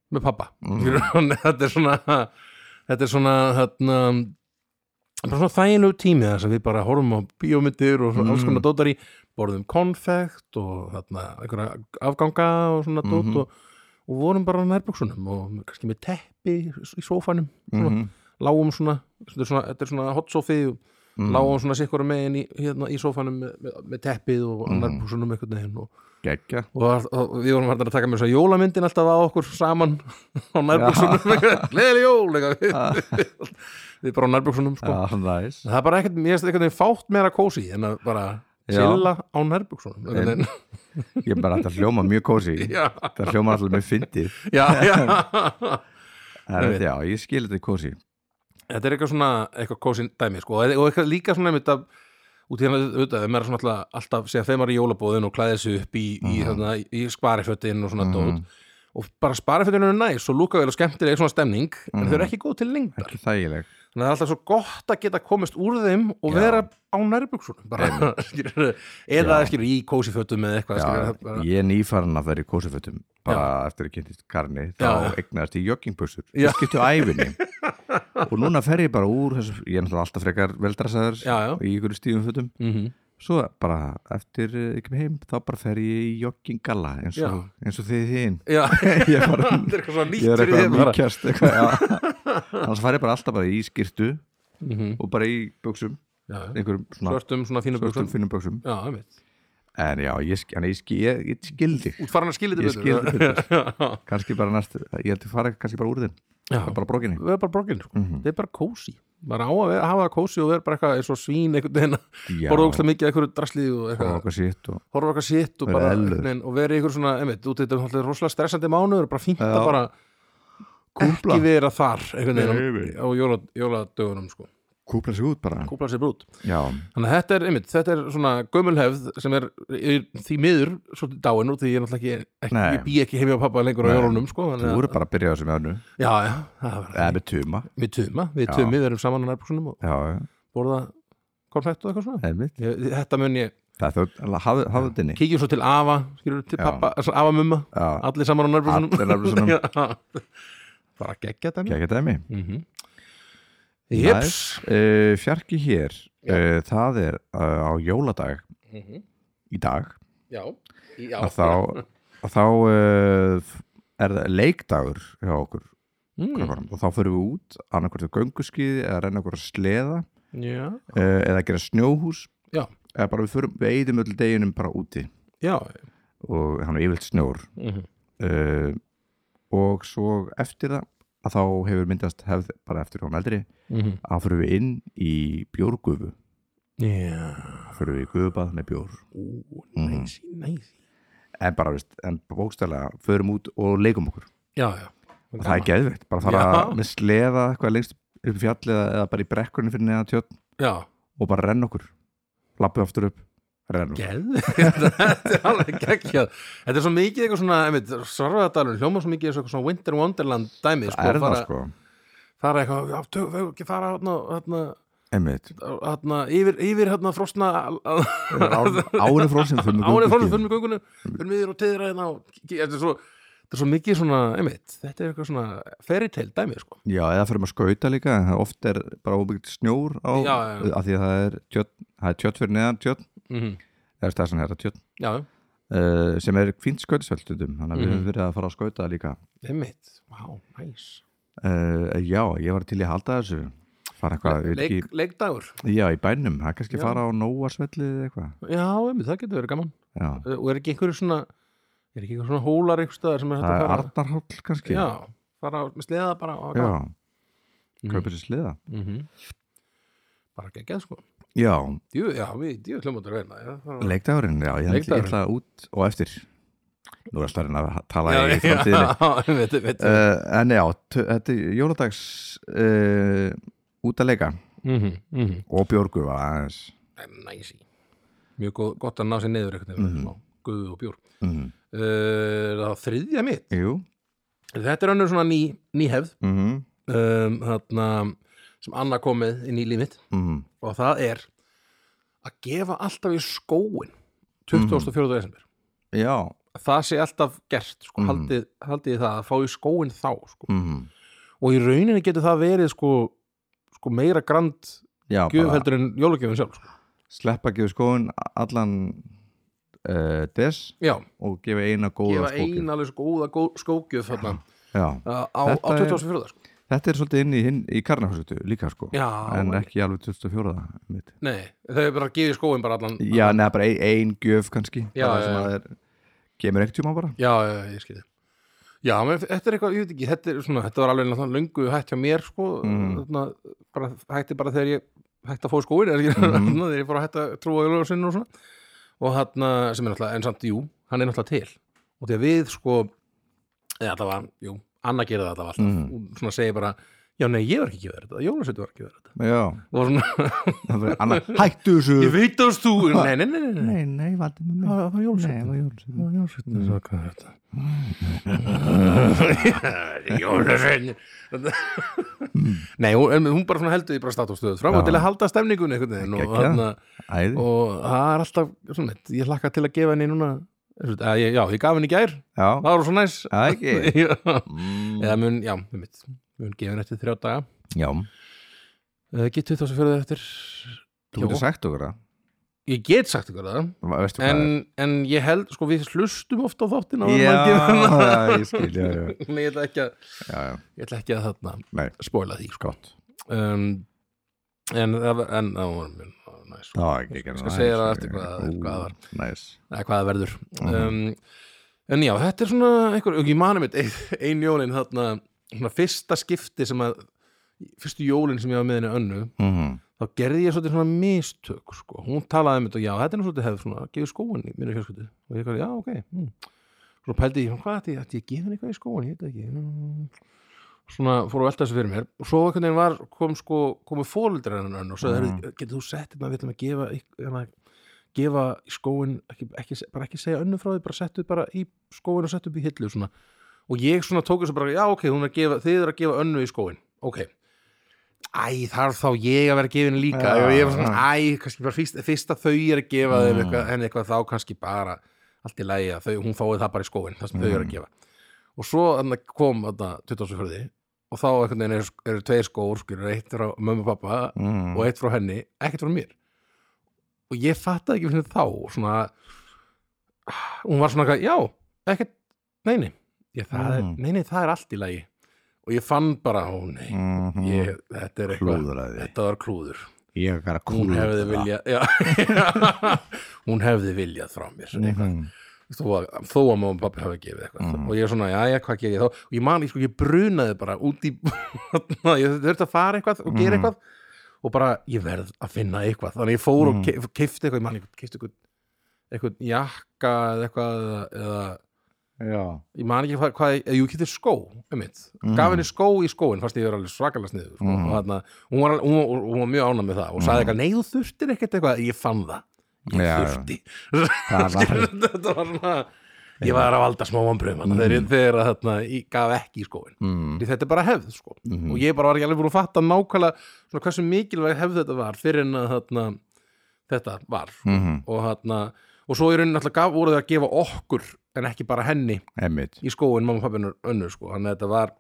Speaker 2: með pappa
Speaker 1: Mm.
Speaker 2: þetta er svona þetta er svona þarna, bara svona þæginlegu tími þess að við bara horfum á bíómyndir og svona
Speaker 1: Mm.
Speaker 2: alls konar dótar í borðum konfekt og þarna, einhverja afganga og svona dót
Speaker 1: Mhm.
Speaker 2: og, og vorum bara á nærbuksunum og kannski með teppi í sófanum
Speaker 1: mhm,
Speaker 2: lágum svona, þetta er svona, þetta er svona hot sofi og
Speaker 1: mhm.
Speaker 2: lágum svona sikkora megin í, hérna, í sófanum með, með, með teppið og
Speaker 1: Mhm.
Speaker 2: nærbuksunum einhvern veginn og
Speaker 1: geggja
Speaker 2: og, var- og við vorum hægt að taka með þess að jólamyndin alltaf á okkur saman á nærbuksunum gleðileg jól eitthvað. við bara á nærbuksunum sko.
Speaker 1: já, næs
Speaker 2: það er bara ekkert, mér finnst einhvern veginn fátt meira kósi en að bara
Speaker 1: Já.
Speaker 2: chilla á nærbuksunum einhvern veginn.
Speaker 1: ég bara þetta hljóma mjög kósi
Speaker 2: já,
Speaker 1: þetta hljóma alltaf mjög fyndið
Speaker 2: já, já
Speaker 1: Það er þetta, já, ég skil þetta kósi
Speaker 2: þetta er eitthvað svona eitthvað kósi dæmi sko. og eitthvað líka svona einmitt að út í hérna auðvitað, ef maður er svona alltaf, alltaf segja þeim maður í jólabóðin og klæði þessu upp í, í,
Speaker 1: Mhm.
Speaker 2: þarna, í sparifötin og svona dót og bara sparifötin eru næs og lúka vel og skemmtileg svona stemning, en
Speaker 1: Mhm.
Speaker 2: þau eru ekki góð til lengdar
Speaker 1: ekki þægileg
Speaker 2: Þannig að það er alltaf svo gott að geta komist úr þeim og
Speaker 1: Já.
Speaker 2: vera á nærbuksunum bara, skilur, eða
Speaker 1: Já.
Speaker 2: skilur, í kósifötum eða eitthvað
Speaker 1: já,
Speaker 2: skilur, bara,
Speaker 1: ég er nýfarinn að vera í kósufötum bara eftir að kynntist karni þá
Speaker 2: Já.
Speaker 1: eignaðist ég joggingbussur
Speaker 2: Já.
Speaker 1: ég skipti á æfinni og núna fer ég bara úr þessu, ég er náttúrulega alltaf frekar veldrasaður
Speaker 2: Já, já.
Speaker 1: í ykkur stífum fötum
Speaker 2: mm
Speaker 1: svo bara eftir eh, ég kem heim þá bara fer ég í jogginggalla eins, og- eins og þið hinn
Speaker 2: Já,
Speaker 1: ég er bara
Speaker 2: þetta er eitthvað svona nýtt
Speaker 1: ég er
Speaker 2: fyrir
Speaker 1: eitthvað
Speaker 2: þig
Speaker 1: að
Speaker 2: bara.
Speaker 1: mýkjast eitthvað, já. annars fær ég bara alltaf bara í skirtu
Speaker 2: Mhm.
Speaker 1: og bara í buksum
Speaker 2: Já, já.
Speaker 1: einhverjum svona
Speaker 2: Svörtum svona fínum
Speaker 1: svörtum
Speaker 2: buksum
Speaker 1: finnum buksum
Speaker 2: Já, ég veit
Speaker 1: en já, ég, sk- en ég, skil- ég, ég skildi
Speaker 2: Útfarinn að skilja
Speaker 1: ég
Speaker 2: þetta
Speaker 1: skil
Speaker 2: betur
Speaker 1: þetta betur kannski bara næst, ég held að fara kannski bara úr þeim
Speaker 2: Já,
Speaker 1: bara brókinni
Speaker 2: við erum bara brókin sko.
Speaker 1: Mhm.
Speaker 2: Þetta er bara kósi Bara á að vera- hafa það kósi og vera bara eitthvað eins og svín einhvern veginn að
Speaker 1: Já.
Speaker 2: borða ógstlega mikið af einhverju drasli og
Speaker 1: og
Speaker 2: eitthvað
Speaker 1: okkar sitt og
Speaker 2: horfa okkar sitt og
Speaker 1: Vera
Speaker 2: bara
Speaker 1: ellur.
Speaker 2: einhvern veginn og vera í ykkur svona, einmitt, út í þetta er náttúrulega rosalega stressandi mánuður, bara fínt að
Speaker 1: Já.
Speaker 2: bara
Speaker 1: kúpla,
Speaker 2: ekki vera þar einhvern
Speaker 1: Nei,
Speaker 2: veginn
Speaker 1: nei.
Speaker 2: á, á jóla, jóladögunum sko.
Speaker 1: kúpla sig út bara
Speaker 2: kúpla sér brút
Speaker 1: já,
Speaker 2: þannig að þetta er, einmitt, þetta er svona gömulhefð sem er, er því miður svolítið dáin úr því ég náttúrulega ekki, ekki
Speaker 1: Nei.
Speaker 2: ég bý ekki heim hjá pappa lengur á
Speaker 1: Nei.
Speaker 2: jólunum sko,
Speaker 1: þú
Speaker 2: þannig
Speaker 1: eru bara að byrja á þessu með önnu
Speaker 2: já, já, það var
Speaker 1: eða með tuma
Speaker 2: við tuma, við
Speaker 1: Já.
Speaker 2: tumi, við erum saman á nærbúksunum og
Speaker 1: já, já,
Speaker 2: borða konfekt og eitthvað svona
Speaker 1: einmitt
Speaker 2: ég, þetta mun ég,
Speaker 1: það er þú, hafðu hafðu þetta inni
Speaker 2: kíkjum svo til afa skilur til
Speaker 1: Já.
Speaker 2: pappa, þess að afa mumma
Speaker 1: já,
Speaker 2: allir saman á nærbúksunum
Speaker 1: Allir á nærbuksunum.
Speaker 2: bara geggja þetta
Speaker 1: ekki að dæmi
Speaker 2: mm -hmm.
Speaker 1: Næs. uh, fjarki hér,
Speaker 2: Já.
Speaker 1: uh, það er uh, á jóladag í dag
Speaker 2: Já, já,
Speaker 1: að þá, að þá uh, er það leikdagur hjá okkur
Speaker 2: mm.
Speaker 1: krökkunum. og þá fyrir við út annarkvært við gönguskiði eða renna okkur að sleða
Speaker 2: já,
Speaker 1: uh, eða gera snjóhús
Speaker 2: Já.
Speaker 1: eða bara við, förum, við eyðum öll deginum bara úti
Speaker 2: já
Speaker 1: og hann er yfirlt snjór
Speaker 2: Mhm.
Speaker 1: uh, og svo eftir það að þá hefur myndast hefð bara eftir hún eldri
Speaker 2: Mhm.
Speaker 1: að fyrir við inn í bjórgufu
Speaker 2: Já,
Speaker 1: fyrir við í gufubað með bjór
Speaker 2: ú,
Speaker 1: Mhm.
Speaker 2: næsi, næsi
Speaker 1: en bara, veist, en bókstælega förum út og leikum okkur
Speaker 2: Já, já
Speaker 1: og það er geðveikt, bara fara
Speaker 2: Já.
Speaker 1: með sleða eitthvað lengst upp í fjall eða, eða bara í brekkunni fyrir neðan tjörn
Speaker 2: Já,
Speaker 1: og bara renna okkur lappu aftur upp, renna okkur
Speaker 2: geð Þetta er alveg geggjað Þetta er svo mikið eitthvað svona, einmitt, svarfaðadalur hljóma svo mikið eins og eitthvað svona Winter Wonderland dæmi
Speaker 1: það er það
Speaker 2: fara,
Speaker 1: sko,
Speaker 2: fara eitthvað, já, tök, við ekki fara hérna, hérna,
Speaker 1: einmitt
Speaker 2: hérna yfir, yfir hérna frosna
Speaker 1: Án- áinu frósin
Speaker 2: ánið fórnum, fyrir mig göngunum fyrir miður og teðra hérna og- þetta er svo þetta er svo mikið svona, einmitt, þetta er eitthvað svona fairytale dæmi, sko.
Speaker 1: Já, eða fyrir maður skauta líka en það oft er bara óbyggt snjór á,
Speaker 2: Já, já, já.
Speaker 1: af því að það er tjött, það er tjött fyrir neðan tjött
Speaker 2: Mm
Speaker 1: eða stærst hann er að tjött
Speaker 2: Já,
Speaker 1: uh, sem er fínt skautasveldundum þannig
Speaker 2: Mhm.
Speaker 1: að við höfum verið að fara á skauta líka
Speaker 2: einmitt, vá, wow, næs.
Speaker 1: uh, Já, ég var til í að halda þessu fara eitthvað, ég veit
Speaker 2: Leik,
Speaker 1: ekki,
Speaker 2: leikdagur.
Speaker 1: já, í bænum það er kannski
Speaker 2: Já.
Speaker 1: fara á nóasvelli eða eitthvað
Speaker 2: Já, einmitt, það getur verið gaman.
Speaker 1: Já,
Speaker 2: Uh, Og er ekki einhverju svona, er ekki einhverju svona hólar einhver staðar sem er hægt
Speaker 1: það
Speaker 2: að
Speaker 1: er
Speaker 2: fara?
Speaker 1: Arnarhóll kannski
Speaker 2: Já, fara á- með sleða bara á
Speaker 1: já.
Speaker 2: Mhm.
Speaker 1: kaupir sér sliða
Speaker 2: Mm Bara geggjað, sko.
Speaker 1: Já,
Speaker 2: Djú, já, við, djú, hljómaður verða. Já, það var-
Speaker 1: leikdagurinn, já, ég ætla- ég
Speaker 2: Leikdagurinn.
Speaker 1: ætla út og eftir Nú er alltaf að reyna að tala
Speaker 2: já,
Speaker 1: í framtíðinni
Speaker 2: já, einmitt, einmitt.
Speaker 1: uh, En já, t- þetta er jóladags uh, út að leika
Speaker 2: Mhm, mhm.
Speaker 1: og björgu var aðeins
Speaker 2: næsi mjög góð, gott að ná sér niður einhvern
Speaker 1: Mhm.
Speaker 2: veginn mm. guðu og bjór
Speaker 1: mm.
Speaker 2: uh, það var þriðja mitt
Speaker 1: Jú
Speaker 2: þetta er önnur svona ný, ný hefð
Speaker 1: mm -hmm.
Speaker 2: um, þarna, sem Anna kom með inn í límit
Speaker 1: Mm.
Speaker 2: og það er að gefa alltaf í skóin 24. Mm. desember
Speaker 1: Já
Speaker 2: það sé alltaf gert sko,
Speaker 1: Mhm.
Speaker 2: haldið, haldið þið það að fá í skóin þá sko.
Speaker 1: mm.
Speaker 2: og í rauninni getur það verið sko, sko meira grand
Speaker 1: Já, bara
Speaker 2: gjöfheldur en jólagjöfum sjálf sko.
Speaker 1: sleppa að gefa skóin allan uh, des
Speaker 2: já,
Speaker 1: og gefa eina góða
Speaker 2: gefa
Speaker 1: skóki
Speaker 2: eina alveg sko góða skógjöf þarna
Speaker 1: Já,
Speaker 2: á,
Speaker 1: Þetta
Speaker 2: á
Speaker 1: er-
Speaker 2: 24. sko
Speaker 1: þetta er svolítið inn í, hinn, í karnafhúsutu líka sko
Speaker 2: Já,
Speaker 1: en ekki alveg 24. mitt
Speaker 2: nei, þau er bara að gefa í skóin bara allan
Speaker 1: Já, neða bara ein, ein gjöf kannski
Speaker 2: Já,
Speaker 1: bara
Speaker 2: já,
Speaker 1: sem
Speaker 2: já.
Speaker 1: að er, kemur ekkert tjóma bara
Speaker 2: já, já, já, ég skilði Já, menn, þetta er eitthvað, ég veit ekki, þetta, er svona, þetta var alveg náttúrulega löngu hætt hjá mér, sko,
Speaker 1: Mhm.
Speaker 2: þarna, bara, hætti bara þegar ég hætti að fá í skóin, er ekki, þarna, þegar ég fór að hætti að trúa í lögarsinn og svona, og hann, sem er náttúrulega, en samt, jú, hann er náttúrulega til, og þegar við, sko, eða þetta var, jú, Anna gerði þetta alltaf,
Speaker 1: Mhm.
Speaker 2: og svona segi bara, já, nei, ég var ekki að gefa þér þetta, Jólasveit var ekki að gefa þér þetta,
Speaker 1: Já,
Speaker 2: og svona,
Speaker 1: það verður annað Hættu þessu
Speaker 2: ég veit að þú, nei, nei, nei, nei, nei.
Speaker 1: Nei, nei, valdi með mig
Speaker 2: Það var
Speaker 1: Nei,
Speaker 2: jólasveitur.
Speaker 1: það var jólasveitur
Speaker 2: Jólasveitin svo hvað er Mm. þetta Jólasveitin Nei, hún, en hún bara svona heldur því bara statustöðu fram og
Speaker 1: Já.
Speaker 2: til að halda stemningunni einhvern veginn og,
Speaker 1: Geggjað.
Speaker 2: hana,
Speaker 1: Æði,
Speaker 2: og það er alltaf svona, ég hlakka til að gefa henni núna að, ég, já, ég gaf henni í gær,
Speaker 1: já,
Speaker 2: það var svo næs
Speaker 1: það ekki
Speaker 2: Já.
Speaker 1: Mm,
Speaker 2: eða mun, já, um mitt mun gefa henni eftir þrjá daga
Speaker 1: Já,
Speaker 2: Eh, get 24. eftir
Speaker 1: þú getur
Speaker 2: Já.
Speaker 1: sagt okkur það
Speaker 2: ég get sagt ykkur það
Speaker 1: Va- Veistu hvað
Speaker 2: en, en ég held, sko við hlustum ofta á þáttina
Speaker 1: það
Speaker 2: og
Speaker 1: er?
Speaker 2: maður gefur henni-
Speaker 1: Já, já, ég skil, já, já,
Speaker 2: Nei, ég ætla ekki að,
Speaker 1: já, já.
Speaker 2: ég ætla ekki að þarna
Speaker 1: Nei,
Speaker 2: spóla því sko.
Speaker 1: gott
Speaker 2: um, en, það var- en það var mjög næs
Speaker 1: Það var ekki ekki
Speaker 2: Skal segja það eftir hvað- hvað það var.
Speaker 1: sko, Næs
Speaker 2: eða hvað það verður
Speaker 1: Mhm.
Speaker 2: um, en já, þetta er svona einhver, ég mani mitt ein, ein jólin þarna svona fyrsta skipti sem að fyrstu jólin sem ég var með henni önnu
Speaker 1: Mhm.
Speaker 2: þá gerði ég svolítið svona mistök sko. hún talaði um þetta, já, þetta er nú svolítið hefð svona, gefið skóin í mínu fjölskyldu og ég kalli, já, ok mm. svona pældi ég, hvað ætti ég, ætti ég að gefa henni eitthvað í skóin ég veit það ekki mm. svona fór að velta þessu fyrir mér og svo einhvern veginn var, kom sko, komu fóreldrar hennar hennar og sagði,
Speaker 1: Mhm.
Speaker 2: mm. getur þú sett þetta við ætlum að gefa, ykk- hérna, gefa í skóin, ekki, ekki, bara ekki segja önnu frá því, bara settu bara í skóin og settu upp í hillu svona, og ég svona tók þessu bara, já, ok, hún er að gefa, þið er að gefa önnu í skóin, ok Æ, þarf þá ég að vera að gefa henni líka
Speaker 1: Já,
Speaker 2: og ég var svona,
Speaker 1: já.
Speaker 2: æ, kannski bara fyrst, fyrst að þau er að gefa þeim
Speaker 1: Mm.
Speaker 2: eitthvað, henni eitthvað þá kannski bara allt í lagi að þau, hún fáið það bara í skóin það sem þau er að
Speaker 1: Mm.
Speaker 2: gefa og svo þarna, kom þarna 2004 og þá einhvern veginn eru er tveir skór skilur, eitt frá mömmu og pappa
Speaker 1: Mhm.
Speaker 2: og eitt frá henni, ekkert frá mér og ég fattaði ekki fyrir þá svona, hún var svona eitthvað, já, ekkert neini, ég, það er,
Speaker 1: Mm.
Speaker 2: neini, það er allt í lagi og ég fann bara, ó nei
Speaker 1: Mhm.
Speaker 2: ég, þetta er eitthvað
Speaker 1: Klúðraði
Speaker 2: Þetta var klúður.
Speaker 1: Ég er að
Speaker 2: Hún
Speaker 1: klúðra
Speaker 2: hefði viljað, já, hún hefði viljað frá mér.
Speaker 1: Mhm.
Speaker 2: Þó að, þó að mamma og pappi hafi gefið eitthvað.
Speaker 1: Mhm.
Speaker 2: Og ég er svona, já, já, hvað ger ég þá? Og ég man, ég sko, ég brunaði bara út í, ég þurfti að fara eitthvað og gera
Speaker 1: Mhm.
Speaker 2: eitthvað og bara, ég verð að finna eitthvað. Þannig ég fór
Speaker 1: Mhm.
Speaker 2: og ke- keipti eitthvað, ég man, ég keipti eitthvað, eitthvað jakka eða eitthvað, eða, eða
Speaker 1: Já
Speaker 2: ég man ekki hvað, hvað eða, jú, ég kýtti skó, einmitt
Speaker 1: Mm.
Speaker 2: gaf henni skó í skóin, fannst ég vera alveg svakalega sniður sko.
Speaker 1: Mhm.
Speaker 2: og þarna, hún var, alveg- hún, var- hún var mjög ánað með það og sagði eitthvað, nei þú þurftir ekkert eitthvað ég fann það, ég
Speaker 1: Mm. Já, já.
Speaker 2: þurfti
Speaker 1: Það var
Speaker 2: þetta var svona ég var að valda smá vambröðum mm. þegar, þegar þarna, ég gaf ekki í skóin
Speaker 1: Mhm.
Speaker 2: Því þetta er bara hefð, sko
Speaker 1: Mhm.
Speaker 2: og ég bara var ekki alveg búin að fatta nákvæmlega svona, hversu mikilvæg hefð þetta var fyrir en að þarna, þetta var
Speaker 1: Mhm.
Speaker 2: og, þarna, og svo í rauninni alltaf gaf, voru þau að gefa okkur en ekki bara henni
Speaker 1: Emmitt
Speaker 2: í skóin mamma og pappinu önnur sko þannig að þetta var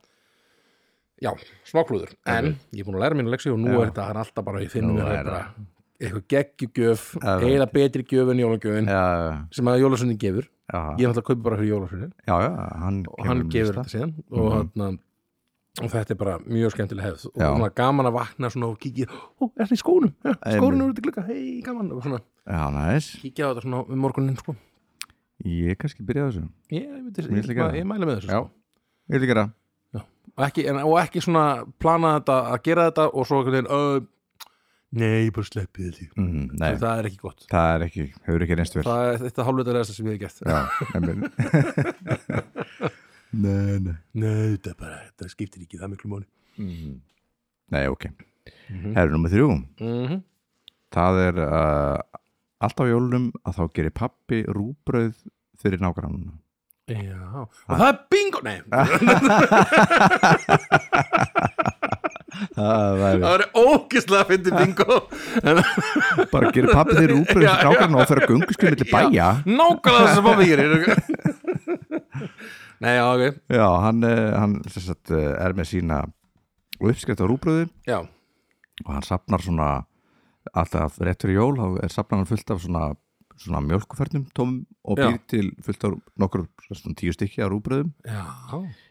Speaker 2: já, smáklúður en ég er búin að læra mínu leksi og nú
Speaker 1: Já.
Speaker 2: er þetta það er alltaf bara ég finn
Speaker 1: Nú
Speaker 2: mér
Speaker 1: er
Speaker 2: það bara eitthvað geggjugjöf
Speaker 1: Já, það-
Speaker 2: eiginlega betri gjöf en jólagjöfin
Speaker 1: Já,
Speaker 2: sem að jólasunni gefur
Speaker 1: já,
Speaker 2: ég er alltaf að kaupa bara fyrir jólasunni
Speaker 1: já, já, hann
Speaker 2: og hann
Speaker 1: kemur
Speaker 2: gefur
Speaker 1: með
Speaker 2: þetta síðan og,
Speaker 1: Mhm.
Speaker 2: mm og þetta er bara mjög skemmtileg hefð og
Speaker 1: Já.
Speaker 2: svona gaman að vakna svona og kíkja ó, er þetta í skónum? Ja, skónum eru þetta glukka, hei, gaman og svona
Speaker 1: Já, næs
Speaker 2: kíkja á þetta svona um morgunin sko
Speaker 1: Ég kannski byrja á þessu
Speaker 2: ég, ég, myndi-
Speaker 1: Mér líka
Speaker 2: ég,
Speaker 1: það.
Speaker 2: ég mæla með þessu
Speaker 1: Já.
Speaker 2: sko.
Speaker 1: Ég vil gera
Speaker 2: og ekki, en, og ekki svona plana þetta að gera þetta og svo einhvern veginn uh, nei, ég bara sleppið því
Speaker 1: mm, Nei,
Speaker 2: Nei. það er ekki gott
Speaker 1: það er ekki, hefur ekki reynst vel
Speaker 2: það er þetta hálfveitalegasta sem ég hef gert
Speaker 1: Já, emmitt Nei, nei
Speaker 2: nei, þetta, er bara, þetta skiptir ekki það miklu móni
Speaker 1: Mhm. Nei, ok
Speaker 2: Mhm.
Speaker 1: Herru nummer þrjú
Speaker 2: mm
Speaker 1: Mhm.
Speaker 2: -hmm.
Speaker 1: Það er uh, alltaf á jólunum að þá gerir pappi rúbröð fyrir nágrannuna
Speaker 2: já, og það er bingo nei,
Speaker 1: Það er
Speaker 2: það er ógislega að fyndi bingo en,
Speaker 1: bara að gera pappi þér úpröð
Speaker 2: Já,
Speaker 1: fyrir nágrannuna og fyrir að gungu skilja millir bæja
Speaker 2: nákvæmlega það sem pappi gerir nei, já, ok
Speaker 1: Já, hann, eh, hann sem sagt, eh, er með sína uppskrift á rúbröðu
Speaker 2: já,
Speaker 1: og hann sapnar svona alltaf rétt fyrir jól, þá er sapnar hann fullt af svona, svona mjölkufernum tómum og
Speaker 2: Já.
Speaker 1: býr til fullt af nokkur svona tíu stykki á rúbröðum
Speaker 2: já,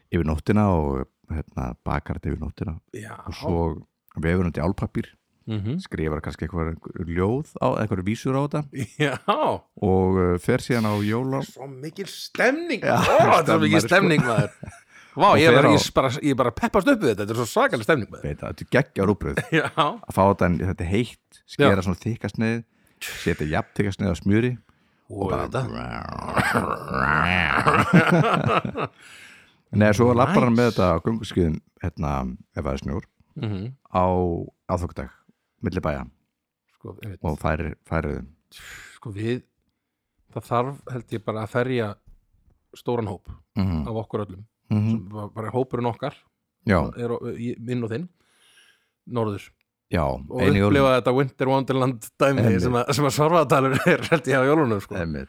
Speaker 1: yfir nóttina og hérna, bakar þetta yfir nóttina
Speaker 2: já
Speaker 1: og svo vefur hann til álpapír
Speaker 2: Mhm.
Speaker 1: skrifar kannski eitthvað ljóð á, eitthvað vísur á þetta
Speaker 2: já,
Speaker 1: og uh, fer síðan á jóla
Speaker 2: svo mikil stemning
Speaker 1: Já,
Speaker 2: Ó, þetta er svo
Speaker 1: stemmar,
Speaker 2: mikil
Speaker 1: sko.
Speaker 2: stemning maður Vá,
Speaker 1: Og
Speaker 2: ég er
Speaker 1: fer á-
Speaker 2: bara, ég er bara, ég er bara að peppast upp við þetta Þetta er svo sakalega stemning maður
Speaker 1: veit það, þetta er geggja rúbröð
Speaker 2: Já,
Speaker 1: að fá þetta, en þetta er heitt skera svona þykast neð setja jafn þykast neð á smjöri
Speaker 2: og þetta
Speaker 1: Nei, svo lappar hann
Speaker 2: Nice.
Speaker 1: með þetta á gunguskiðum hérna, ef það er snjór
Speaker 2: Mhm,
Speaker 1: á aðfokkudag, milli bæja
Speaker 2: Sko, ég veit.
Speaker 1: og færir, færir þeim
Speaker 2: sko við Það þarf held ég bara að ferja stóran hóp
Speaker 1: mm
Speaker 2: af okkur öllum
Speaker 1: -hmm.
Speaker 2: Sem bara- bara hópurinn okkar
Speaker 1: Já,
Speaker 2: er, á- í- minn og þinn norður
Speaker 1: já,
Speaker 2: og
Speaker 1: einu jólum
Speaker 2: upplifa þetta Winter Wonderland dæmi
Speaker 1: Einmitt.
Speaker 2: sem að, sem að svarfaðatalur er held ég á jólunum sko.
Speaker 1: Einmitt.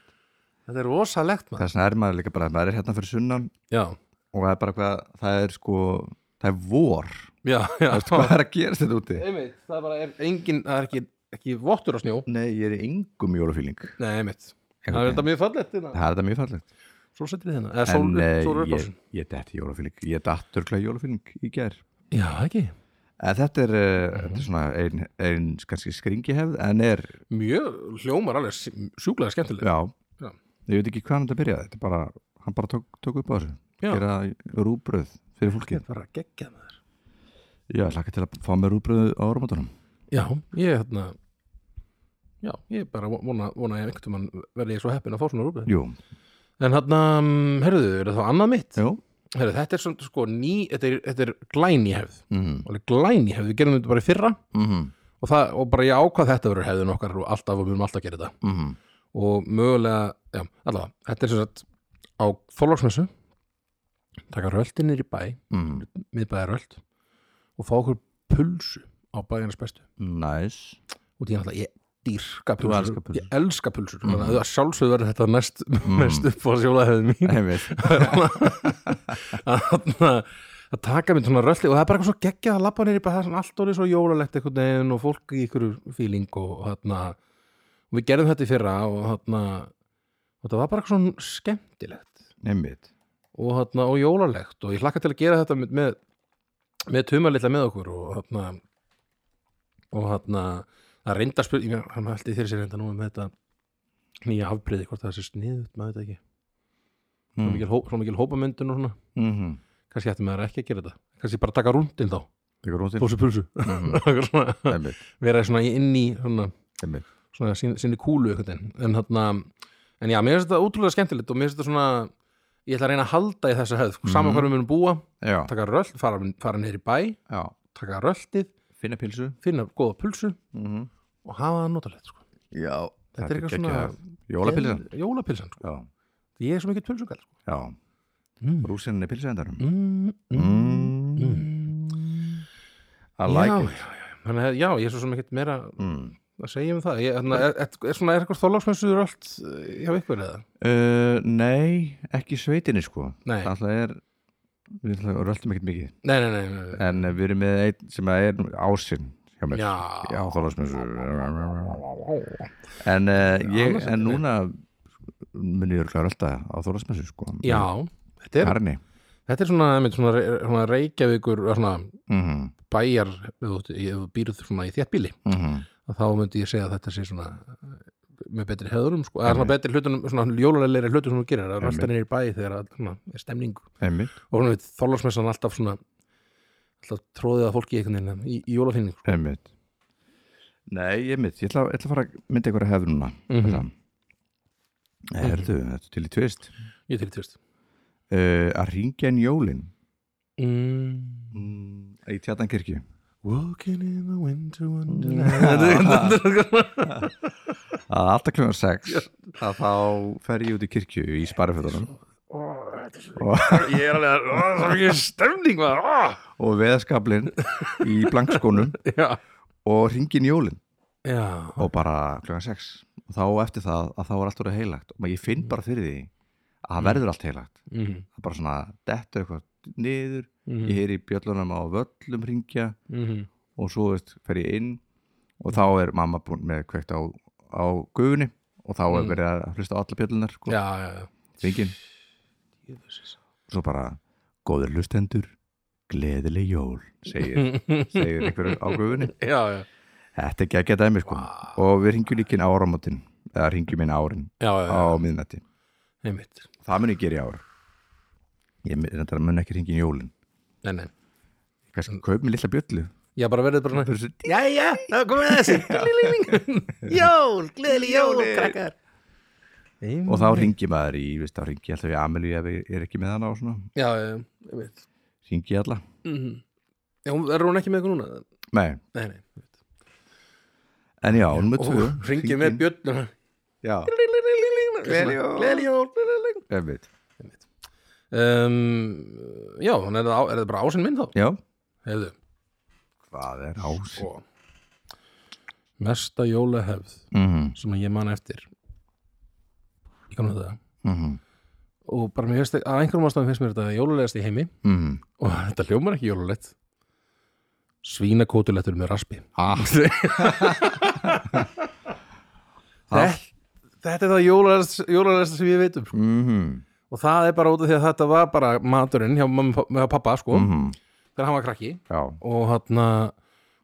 Speaker 2: þetta er rosalegt maður
Speaker 1: Þess vegna er maður líka bara maður er hérna fyrir sunnan
Speaker 2: já,
Speaker 1: og það er bara hvað, það er sko það er vor,
Speaker 2: já, já
Speaker 1: hvað er að gerast þetta úti?
Speaker 2: einmitt, það er bara er engin, það er ekki, ekki vottur á snjó
Speaker 1: Nei, ég er í engum jólufíling
Speaker 2: Nei, einmitt, það er
Speaker 1: Einhvern
Speaker 2: þetta mjög fallegt hérna.
Speaker 1: Það er þetta mjög fallegt
Speaker 2: Sólsetrið hérna, eða
Speaker 1: En
Speaker 2: sól,
Speaker 1: eh,
Speaker 2: sól upp,
Speaker 1: ég, ég dætti jólufíling ég dætti örglega jólufíling í gær
Speaker 2: Já, ekki
Speaker 1: En þetta er, uh, þetta
Speaker 2: Mhm.
Speaker 1: er svona ein, ein kannski skringihefð en er,
Speaker 2: Mjög hljómar alveg sj- sjúklega skemmtileg
Speaker 1: já,
Speaker 2: Já.
Speaker 1: ég veit ekki hvað þetta byrjaði, þetta er bara, hann bara tók, tók upp á þessu,
Speaker 2: Já.
Speaker 1: gera rúbröð fyrir fólkið.
Speaker 2: bara geggjað maður
Speaker 1: Já, ég hlakka til að fá mér rúbröð á áramótunum.
Speaker 2: Já, ég hérna Já, ég bara vona, vona að einhvern veginn verði ég svo heppin að fá svona rúbið
Speaker 1: Jú,
Speaker 2: En hérna, herruðu, er það þá annað mitt?
Speaker 1: jú,
Speaker 2: Herruðu, þetta er svona sko ný, þetta er, þetta er glæni hefð
Speaker 1: mhm,
Speaker 2: Alveg Glæni hefð, við gerum þetta bara í fyrra
Speaker 1: mhm,
Speaker 2: og, það, og bara ég ákvað þetta verður hefðin okkar og alltaf og við munum alltaf gera þetta
Speaker 1: mhm,
Speaker 2: og mögulega, já, allavega þetta er sem sagt á þorlóksmessu taka röltin niður í bæ
Speaker 1: mhm,
Speaker 2: miðbæða rölt og fá okkur pulsu á bæjarnas bestu
Speaker 1: næs,
Speaker 2: og því náttúrulega ég dýrka
Speaker 1: Þú
Speaker 2: pulsur,
Speaker 1: elskar pulsur.
Speaker 2: ég elska pulsur
Speaker 1: Mhm.
Speaker 2: þannig að það sjálfsögðu verður þetta næst mest upp á sjólaðið mín
Speaker 1: einmitt,
Speaker 2: að þarna- að taka mér svona rölti og það er bara eitthvað svo geggjað að labba niður í bæ það er svona allt orðið svo jólalegt einhvern veginn og fólk í ykkur fíling og þarna og við gerðum þetta í fyrra og þarna og það var bara eitthvað svona skemmtilegt
Speaker 1: einmitt,
Speaker 2: og, þarna, og jólalegt og ég hlakka til að gera þetta með, með, með tumalilla með okkur og þarna og þarna að reynda spurning hann held í þeirri sér reynda nú með þetta nýja afbreyði hvort það sé sniðut maður veit það ekki svo
Speaker 1: Mm.
Speaker 2: mikil, hó, svo mikil hópamyndun og svona
Speaker 1: mhm,
Speaker 2: kannski ætti maður ekki að gera þetta kannski bara taka rúndin þá
Speaker 1: tekur hún til,
Speaker 2: pulsu pulsu
Speaker 1: mhm,
Speaker 2: Eitthvað svona,
Speaker 1: einmitt,
Speaker 2: vera svona inn í svona,
Speaker 1: einmitt,
Speaker 2: svona sín, sinni kúlu einhvern veginn. en þarna en já, mér finnst þetta útrúlega skemmtilegt og mér finnst þetta svona ég ætla að reyna að halda í þessa hefð mm. saman
Speaker 1: Mhm.
Speaker 2: hvað við munum búa
Speaker 1: já,
Speaker 2: taka röll, fara, fara niður í bæ
Speaker 1: já,
Speaker 2: taka rölltið,
Speaker 1: finna pilsu,
Speaker 2: finna góða pulsu
Speaker 1: mhm,
Speaker 2: og hafa það notalegt sko.
Speaker 1: já,
Speaker 2: Þetta er eitthvað svona-
Speaker 1: geggjað. Jólapilsan,
Speaker 2: jólapilsan, sko.
Speaker 1: já,
Speaker 2: ég er svo mikið pulsugall sko.
Speaker 1: já,
Speaker 2: mm.
Speaker 1: rúsinni pilsuendarum.
Speaker 2: Mm,
Speaker 1: Mm.
Speaker 2: mm.
Speaker 1: I like
Speaker 2: já,
Speaker 1: it.
Speaker 2: já, já. Þannig, að, já, ég er svo mikið meira
Speaker 1: Mm.
Speaker 2: Það segjum við það. Ég, þarna, er, er, er svona er eitthvað þorláksmessuður allt eh, hjá ykkur eða?
Speaker 1: Uh, nei, ekki í sveitinni sko
Speaker 2: Nei,
Speaker 1: Það alltaf er Við ætla- röltum um ekkert mikið
Speaker 2: nei, nei, nei. nei, nei.
Speaker 1: En eh, við erum með einn sem að er ásinn hjá mér
Speaker 2: Já.
Speaker 1: Já, Þorláksmessu En, uh, ég,
Speaker 2: annars er
Speaker 1: en
Speaker 2: þetta-
Speaker 1: núna mun ég örglega rölda á Þorláksmessu sko
Speaker 2: Já, þetta er,
Speaker 1: Karni
Speaker 2: þetta er svona, einmitt, svona, re- svona reykjavíkur, svona
Speaker 1: mm -hmm.
Speaker 2: bæjar, ef þú- ef þú býrð svona í þéttbíli,
Speaker 1: Mm -hmm.
Speaker 2: að þá myndi ég segja að þetta sé svona eh, með betri heðurum, sko, eða svona betri hlutunum, svona jólulegri hlutum sem þú gerir, það er alltaf niður í bæi þegar að, svona, er stemning
Speaker 1: Einmitt,
Speaker 2: og svona veit, þorláksmessan alltaf svona alltaf tróðið að fólki einhvern veginn í, í jólafinning sko.
Speaker 1: einmitt Nei, einmitt, ég ætla, ég ætla að fara að mynda einhverja hefur núna
Speaker 2: Mhm.
Speaker 1: mm -hmm. Herðu, þetta er til í tvist
Speaker 2: ég til í tvist
Speaker 1: uh, Að ringja en jólin
Speaker 2: mm.
Speaker 1: mm. Í tjatan kirkju
Speaker 2: Walking in the winter
Speaker 1: Að
Speaker 2: wonderland
Speaker 1: alltaf klungar sex að þá fer ég út í kirkju í sparafjöðunum
Speaker 2: ég er alveg að ó, það er ekki stemning maður, ó.
Speaker 1: og veðaskablin í blankskónum
Speaker 2: já,
Speaker 1: og ringin jólin
Speaker 2: já.
Speaker 1: og bara klungar sex og þá eftir það að þá er allt orðið heilagt og maður- ég finn bara fyrir því að það verður allt heilagt
Speaker 2: Mm.
Speaker 1: það er bara svona dettur eitthvað niður
Speaker 2: Mm.
Speaker 1: ég heyri bjöllunum á völlum ringja
Speaker 2: Mm.
Speaker 1: og svo veist, fer ég inn og þá er mamma búin með kveikt á, á gufunni og þá er
Speaker 2: Mm.
Speaker 1: verið að hlusta á alla bjöllunar sko,
Speaker 2: já, já, já
Speaker 1: ringin svo bara góður hlustendur gleðileg jól segir, segir einhver á gufunni
Speaker 2: já, já,
Speaker 1: þetta er geggja dæmi sko og við ringjum líkin áramótin eða ringjum inn árin
Speaker 2: já, já,
Speaker 1: á miðnætti
Speaker 2: einmitt
Speaker 1: það mun ég gera í ár ég mun- reyndar mun ekki ringin jólin
Speaker 2: nei, nei, Mm.
Speaker 1: kannski kaup mér lilla bjöllu
Speaker 2: já, bara verðið bara
Speaker 1: Bara svo-
Speaker 2: já, já, það er komið þessi jól, gleðli jól, krakkar
Speaker 1: og
Speaker 2: Mm.
Speaker 1: þá ringi maður í, veist, þá ringi ég alltaf í Amelíu ef ég er ekki með hana og svona
Speaker 2: já, já, já, einmitt
Speaker 1: ringi ég alla
Speaker 2: Mhm. Já, hún- er hún ekki með ykkur núna?
Speaker 1: Nei,
Speaker 2: Nei, nei
Speaker 1: en já, hún með
Speaker 2: Og
Speaker 1: tvö
Speaker 2: hún ringir með bjölluna
Speaker 1: Já, Gleðileg jól.
Speaker 2: Gleðiljól
Speaker 1: einmitt
Speaker 2: um, Já, hann er, það á- er það bara ásinn minn þá
Speaker 1: Já, Mm-hmm.
Speaker 2: Hefðu
Speaker 1: hvað er ás
Speaker 2: sko. Mesta jólahefð
Speaker 1: Mhm,
Speaker 2: sem ég man eftir Ég kannu það
Speaker 1: mhm,
Speaker 2: Og bara mér finnst, að einhverjum ástæðum finnst mér þetta jólulegast í heimi
Speaker 1: mhm
Speaker 2: Og þetta hljómar ekki jólulegt Svínakótulettur með raspi
Speaker 1: Ah.
Speaker 2: Þetta, þetta er það jólulegast, jólulegast sem ég veit um sko.
Speaker 1: Mhm,
Speaker 2: og það er bara út af því að þetta var bara maturinn hjá, mamma, hjá pappa sko
Speaker 1: mhm
Speaker 2: þegar hann var krakki
Speaker 1: Já,
Speaker 2: og, hana,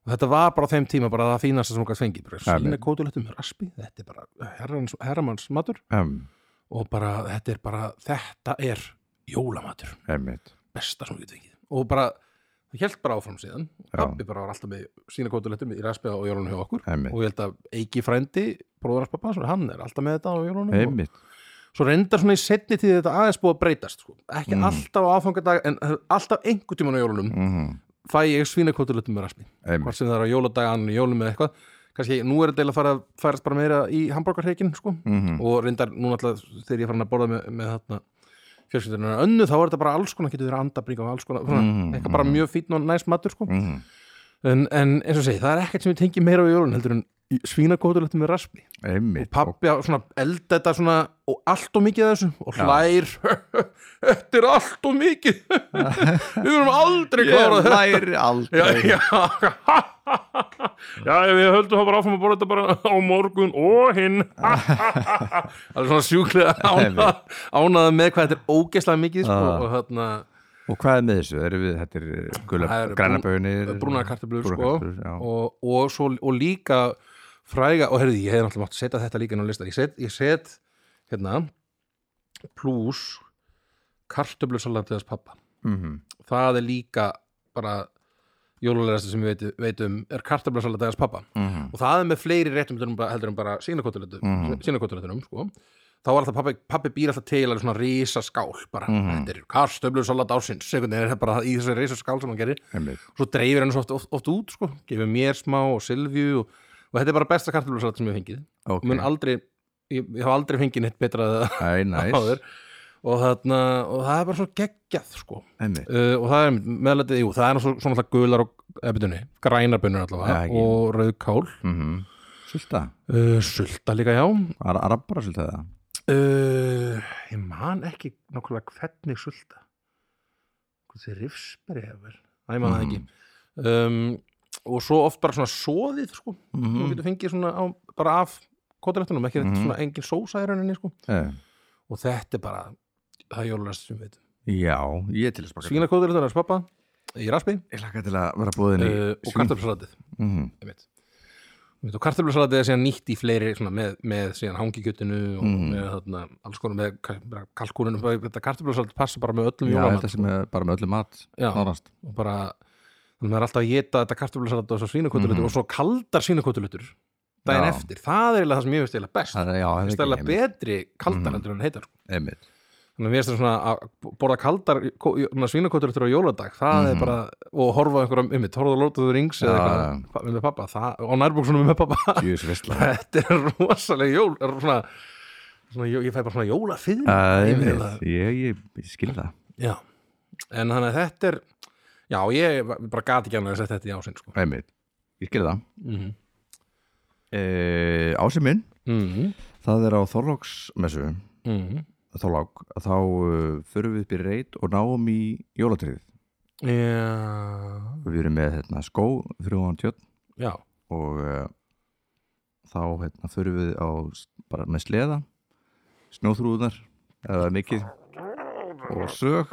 Speaker 2: og þetta var bara á þeim tíma bara það fínasta sem hún gætt fengið bara
Speaker 1: Amen.
Speaker 2: sína kótulettum með raspi þetta er bara herrans, herramanns matur
Speaker 1: um,
Speaker 2: og bara þetta er bara þetta er jólamatur
Speaker 1: einmitt
Speaker 2: besta sem hún gætt fengið og bara það held bara áfram síðan og
Speaker 1: Já.
Speaker 2: pappi bara var alltaf með sína kótulettum í raspi og jólunum hjá okkur
Speaker 1: Einmitt.
Speaker 2: og ég held að Eiki frændi bróður hans pappa, hann er alltaf með þetta á jólunum og-
Speaker 1: Einmitt,
Speaker 2: svo reyndar svona í setni tíð þetta aðeins búið að breytast sko. ekki
Speaker 1: Mm.
Speaker 2: alltaf á aðfangadag en það er alltaf einhvern tímann á jólunum
Speaker 1: mhm,
Speaker 2: fæ ég svínakótulötum með raspi
Speaker 1: einmitt
Speaker 2: hvort sem það er á jóladag, annan í jólum eða eitthvað kannski nú er þetta eiginlega að fara að færast bara meira í hambúrgarhreikin sko.
Speaker 1: Mhm,
Speaker 2: og reyndar núna alltaf þegar ég er farin að borða með, með þarna fjölskyldunar önnu þá er þetta bara alls konar, getur verið andabrík og alls konar, svona,
Speaker 1: Mhm,
Speaker 2: eitthvað bara mjög fítn og næs matur sko.
Speaker 1: mhm,
Speaker 2: en, en eins og segi, það er ekkert sem ég tengi meira á jólun heldur en svínakótulötum með raspi
Speaker 1: einmitt
Speaker 2: pappi að svona elda þetta svona og allt og mikið af þessu og hlær þetta er allt og mikið við verum aldrei klárað
Speaker 1: Ég
Speaker 2: þetta
Speaker 1: læri
Speaker 2: já,
Speaker 1: aldrei
Speaker 2: já. já, við höldum það bara áfram að borða þetta bara á morgun og hinn það er svona sjúklega ánað, ánað með hvað þetta er ógeðslega mikið sko,
Speaker 1: Ah.
Speaker 2: og þarna
Speaker 1: Og hvað er með þessu? Erum við, þetta er eh, gula,
Speaker 2: Það eru brún-
Speaker 1: grænabönir
Speaker 2: brúnar kartöflur
Speaker 1: Brúnar
Speaker 2: sko,
Speaker 1: kartöflur, já.
Speaker 2: og, og, svo, og líka fræga, og heyrði, ég hefði náttúrulega mátt setja þetta líka inn á listan, ég set, ég set hérna, plus kartöflusalatiðas pappa
Speaker 1: Mhm,
Speaker 2: það er líka bara jólulegasta sem ég veit, veit um er kartöflusalatiðas pappa
Speaker 1: mhm,
Speaker 2: og það er með fleiri réttum heldur en bara, heldur en bara sínakotuletunum
Speaker 1: Mhm.
Speaker 2: mm. sko. þá var alltaf pappi, pappi býr alltaf til alveg svona risaskál bara,
Speaker 1: Mhm.
Speaker 2: þetta er kartöflusalat ásins einhvern veginn er þetta bara í þessari risaskál sem hann gerir
Speaker 1: einmitt
Speaker 2: svo dreifir hann svo oft, oft, oft út sko. gefur mér smá og Silvíu og, og þetta er bara besta kartöflusalat sem ég hef fengið
Speaker 1: Ok,
Speaker 2: mun aldrei, ég, ég hef aldrei fengið neitt betra
Speaker 1: Æ, næs,
Speaker 2: áður og, þarna, og það er bara svo geggjað sko.
Speaker 1: einmitt
Speaker 2: uh, og það er meðlætið, jú, það er svo, svona alltaf gular og ebitunni, grænar
Speaker 1: Já,
Speaker 2: bönnur allavega
Speaker 1: ekki.
Speaker 2: og rauðkál
Speaker 1: Mhm, Sulta?
Speaker 2: uh, Sulta líka, já
Speaker 1: Ar Arabara sulta eða?
Speaker 2: uh, Ég man ekki nákvæmlega hvernig sulta Hvað þið rifsberi hefur Æ, ég man það
Speaker 1: Mhm.
Speaker 2: ekki um, Og svo oft bara svona soðið, sko
Speaker 1: Mm
Speaker 2: Þú getur fengið svona á, bara af kótarættunum, ekki
Speaker 1: Mhm.
Speaker 2: svona engin sósa í rauninni, sko
Speaker 1: Eh,
Speaker 2: Og þetta er bara, það er jólulegst sem við
Speaker 1: já, ég er til að smaka
Speaker 2: Svína kótarættunar hans pappa í raspi
Speaker 1: Ég laka til að vera búðin í
Speaker 2: uh, og kartöflusalatið
Speaker 1: mm -hmm.
Speaker 2: einmitt. Einmitt, og kartöflusalatið er síðan nýtt í fleiri svona, með, með síðan hangikjötinu og
Speaker 1: Mhm.
Speaker 2: með þarna, alls konar með ka- bara kalkúninu, bara- þetta kartöflusalatið passa bara með öllum
Speaker 1: Já,
Speaker 2: jólamat
Speaker 1: þetta sem er bara með öllu mat
Speaker 2: Já,
Speaker 1: Nárast
Speaker 2: og bara þannig að maður er alltaf að geta þetta kartöflusalatið og svo svínakotulutur
Speaker 1: Mhm.
Speaker 2: og svo kaldar svínakotulutur daginn
Speaker 1: Já.
Speaker 2: eftir, það er eiginlega það sem ég veist eiginlega best
Speaker 1: Það er, já,
Speaker 2: það
Speaker 1: það
Speaker 2: er
Speaker 1: er
Speaker 2: eiginlega betri kaldar
Speaker 1: Mhm.
Speaker 2: heldur en heitar sko.
Speaker 1: Einmitt
Speaker 2: þannig að mér finnst það svona að borða kaldar svínakotulutur á jóladag það er
Speaker 1: Mhm.
Speaker 2: bara, og horfa á einhverjum um mitt, horfa á Lord of the Rings eða
Speaker 1: Já,
Speaker 2: eitthvað pa- með pappa, það, og nærbúksunum með pappa
Speaker 1: Jús vissla
Speaker 2: þetta er rosalega jól er svona, svona, jó- ég fæ bara svona jólafyðn
Speaker 1: Einmitt, ég, ég, ég skil það
Speaker 2: já. en þannig að þetta er já, ég bara gati ekki annað að setja þetta í ásinn sko.
Speaker 1: Einmitt, ég skil það
Speaker 2: mm
Speaker 1: e, Ási minn,
Speaker 2: -hmm.
Speaker 1: það er á Þorlóksmessu
Speaker 2: Mm -hmm.
Speaker 1: Þorlák Þá uh, förum við upp í reit og náum í jólatrið
Speaker 2: já
Speaker 1: Við erum með hérna, skó, þrjóðan tjörn
Speaker 2: já,
Speaker 1: og uh, þá hérna förum við á bara með sleða snjóþrúðunar eða mikið og sög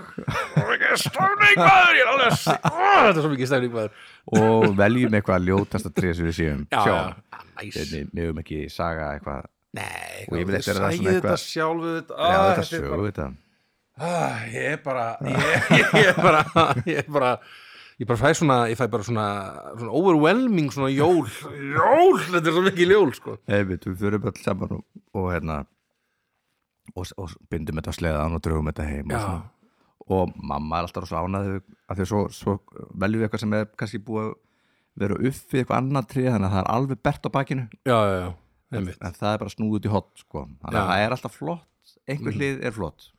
Speaker 2: stöfning maður, ég er alveg að- Ó, þetta er svo mikið stöfning maður
Speaker 1: og veljum eitthvað ljótasta trið sem við séum
Speaker 2: já, já,
Speaker 1: sjá hérna,
Speaker 2: næs
Speaker 1: við mögum ekki saga eitthvað
Speaker 2: nei,
Speaker 1: Og yfirleitt
Speaker 2: þið
Speaker 1: er það
Speaker 2: sagði
Speaker 1: svona
Speaker 2: þetta
Speaker 1: eitthvað-
Speaker 2: sjálf þetta,
Speaker 1: já
Speaker 2: ah,
Speaker 1: þetta
Speaker 2: er
Speaker 1: sög
Speaker 2: bara-
Speaker 1: þetta
Speaker 2: Ah, ég er bara ég, ég, ég er bara ég er bara ég bara fæ svona, ég fæ bara svona, svona overwhelming svona jól jól, þetta er svo mikið jól sko
Speaker 1: Einmitt, við förum öll saman og, og hérna og, og bindum þetta á sleðan og draugum þetta heim og, svona. og mamma er alltaf svo ánað að því að svo, svo veljum við eitthvað sem er kannski búið að vera uppi eitthvað annað trið þannig að það er alveg bert á bakinu
Speaker 2: já, já, já, einmitt
Speaker 1: en það er bara snúið út í hot sko. þannig
Speaker 2: Já. Mm.
Speaker 1: að það er alltaf flott einhver hlið er flott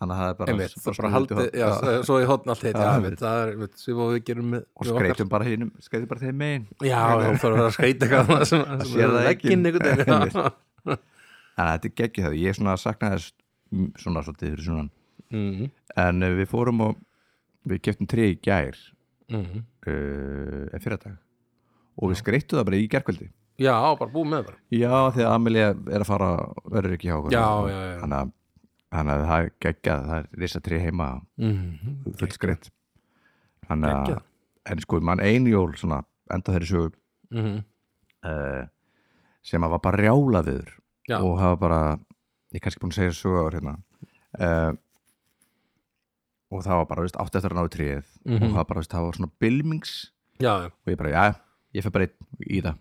Speaker 1: þannig að það er bara,
Speaker 2: einmitt,
Speaker 1: bara
Speaker 2: það bara
Speaker 1: snúið út í
Speaker 2: haldið,
Speaker 1: horn.
Speaker 2: já, s- svo ég hótt allt heit,
Speaker 1: Já,
Speaker 2: já,
Speaker 1: Ah. einmitt.
Speaker 2: einmitt það er, einmitt, sem við gerum með
Speaker 1: og
Speaker 2: með okkar.
Speaker 1: skreitum bara hinum skreitum bara þeim megin
Speaker 2: já, já, þá þarf að skreita eitthvað þarna sem, sem
Speaker 1: sér
Speaker 2: er
Speaker 1: það
Speaker 2: vegginn
Speaker 1: ekki.
Speaker 2: einhvern veginn já.
Speaker 1: þannig að þetta er geggjað það ég er svona að sakna þess mm, svona svolítið fyrir svona
Speaker 2: Mhm,
Speaker 1: en eh, við fórum og við keftum tré í gær
Speaker 2: mhm.
Speaker 1: uh, en fyrradag og við skreittum það bara í gærkvöldi
Speaker 2: já, bara búið með bara
Speaker 1: já því að Amelia er að fara verður ekki hjá okkur
Speaker 2: já, já, já
Speaker 1: þannig að þannig að það er geggjað það er risa tré heima
Speaker 2: Mhm.
Speaker 1: fullskreitt þannig að
Speaker 2: Geggjað.
Speaker 1: en sko mann einjól svona enda þeirri sögu
Speaker 2: Mhm.
Speaker 1: uh, sem að var bara rjála viður
Speaker 2: Já.
Speaker 1: og hafa bara ég er kannski búin að segja sögu áður hérna uh, og það var bara veist, átti eftir að náðu tríð
Speaker 2: Mhm.
Speaker 1: og það var bara veist, það var svona bylmings
Speaker 2: já, já,
Speaker 1: og ég bara, já, ég fer bara einn í það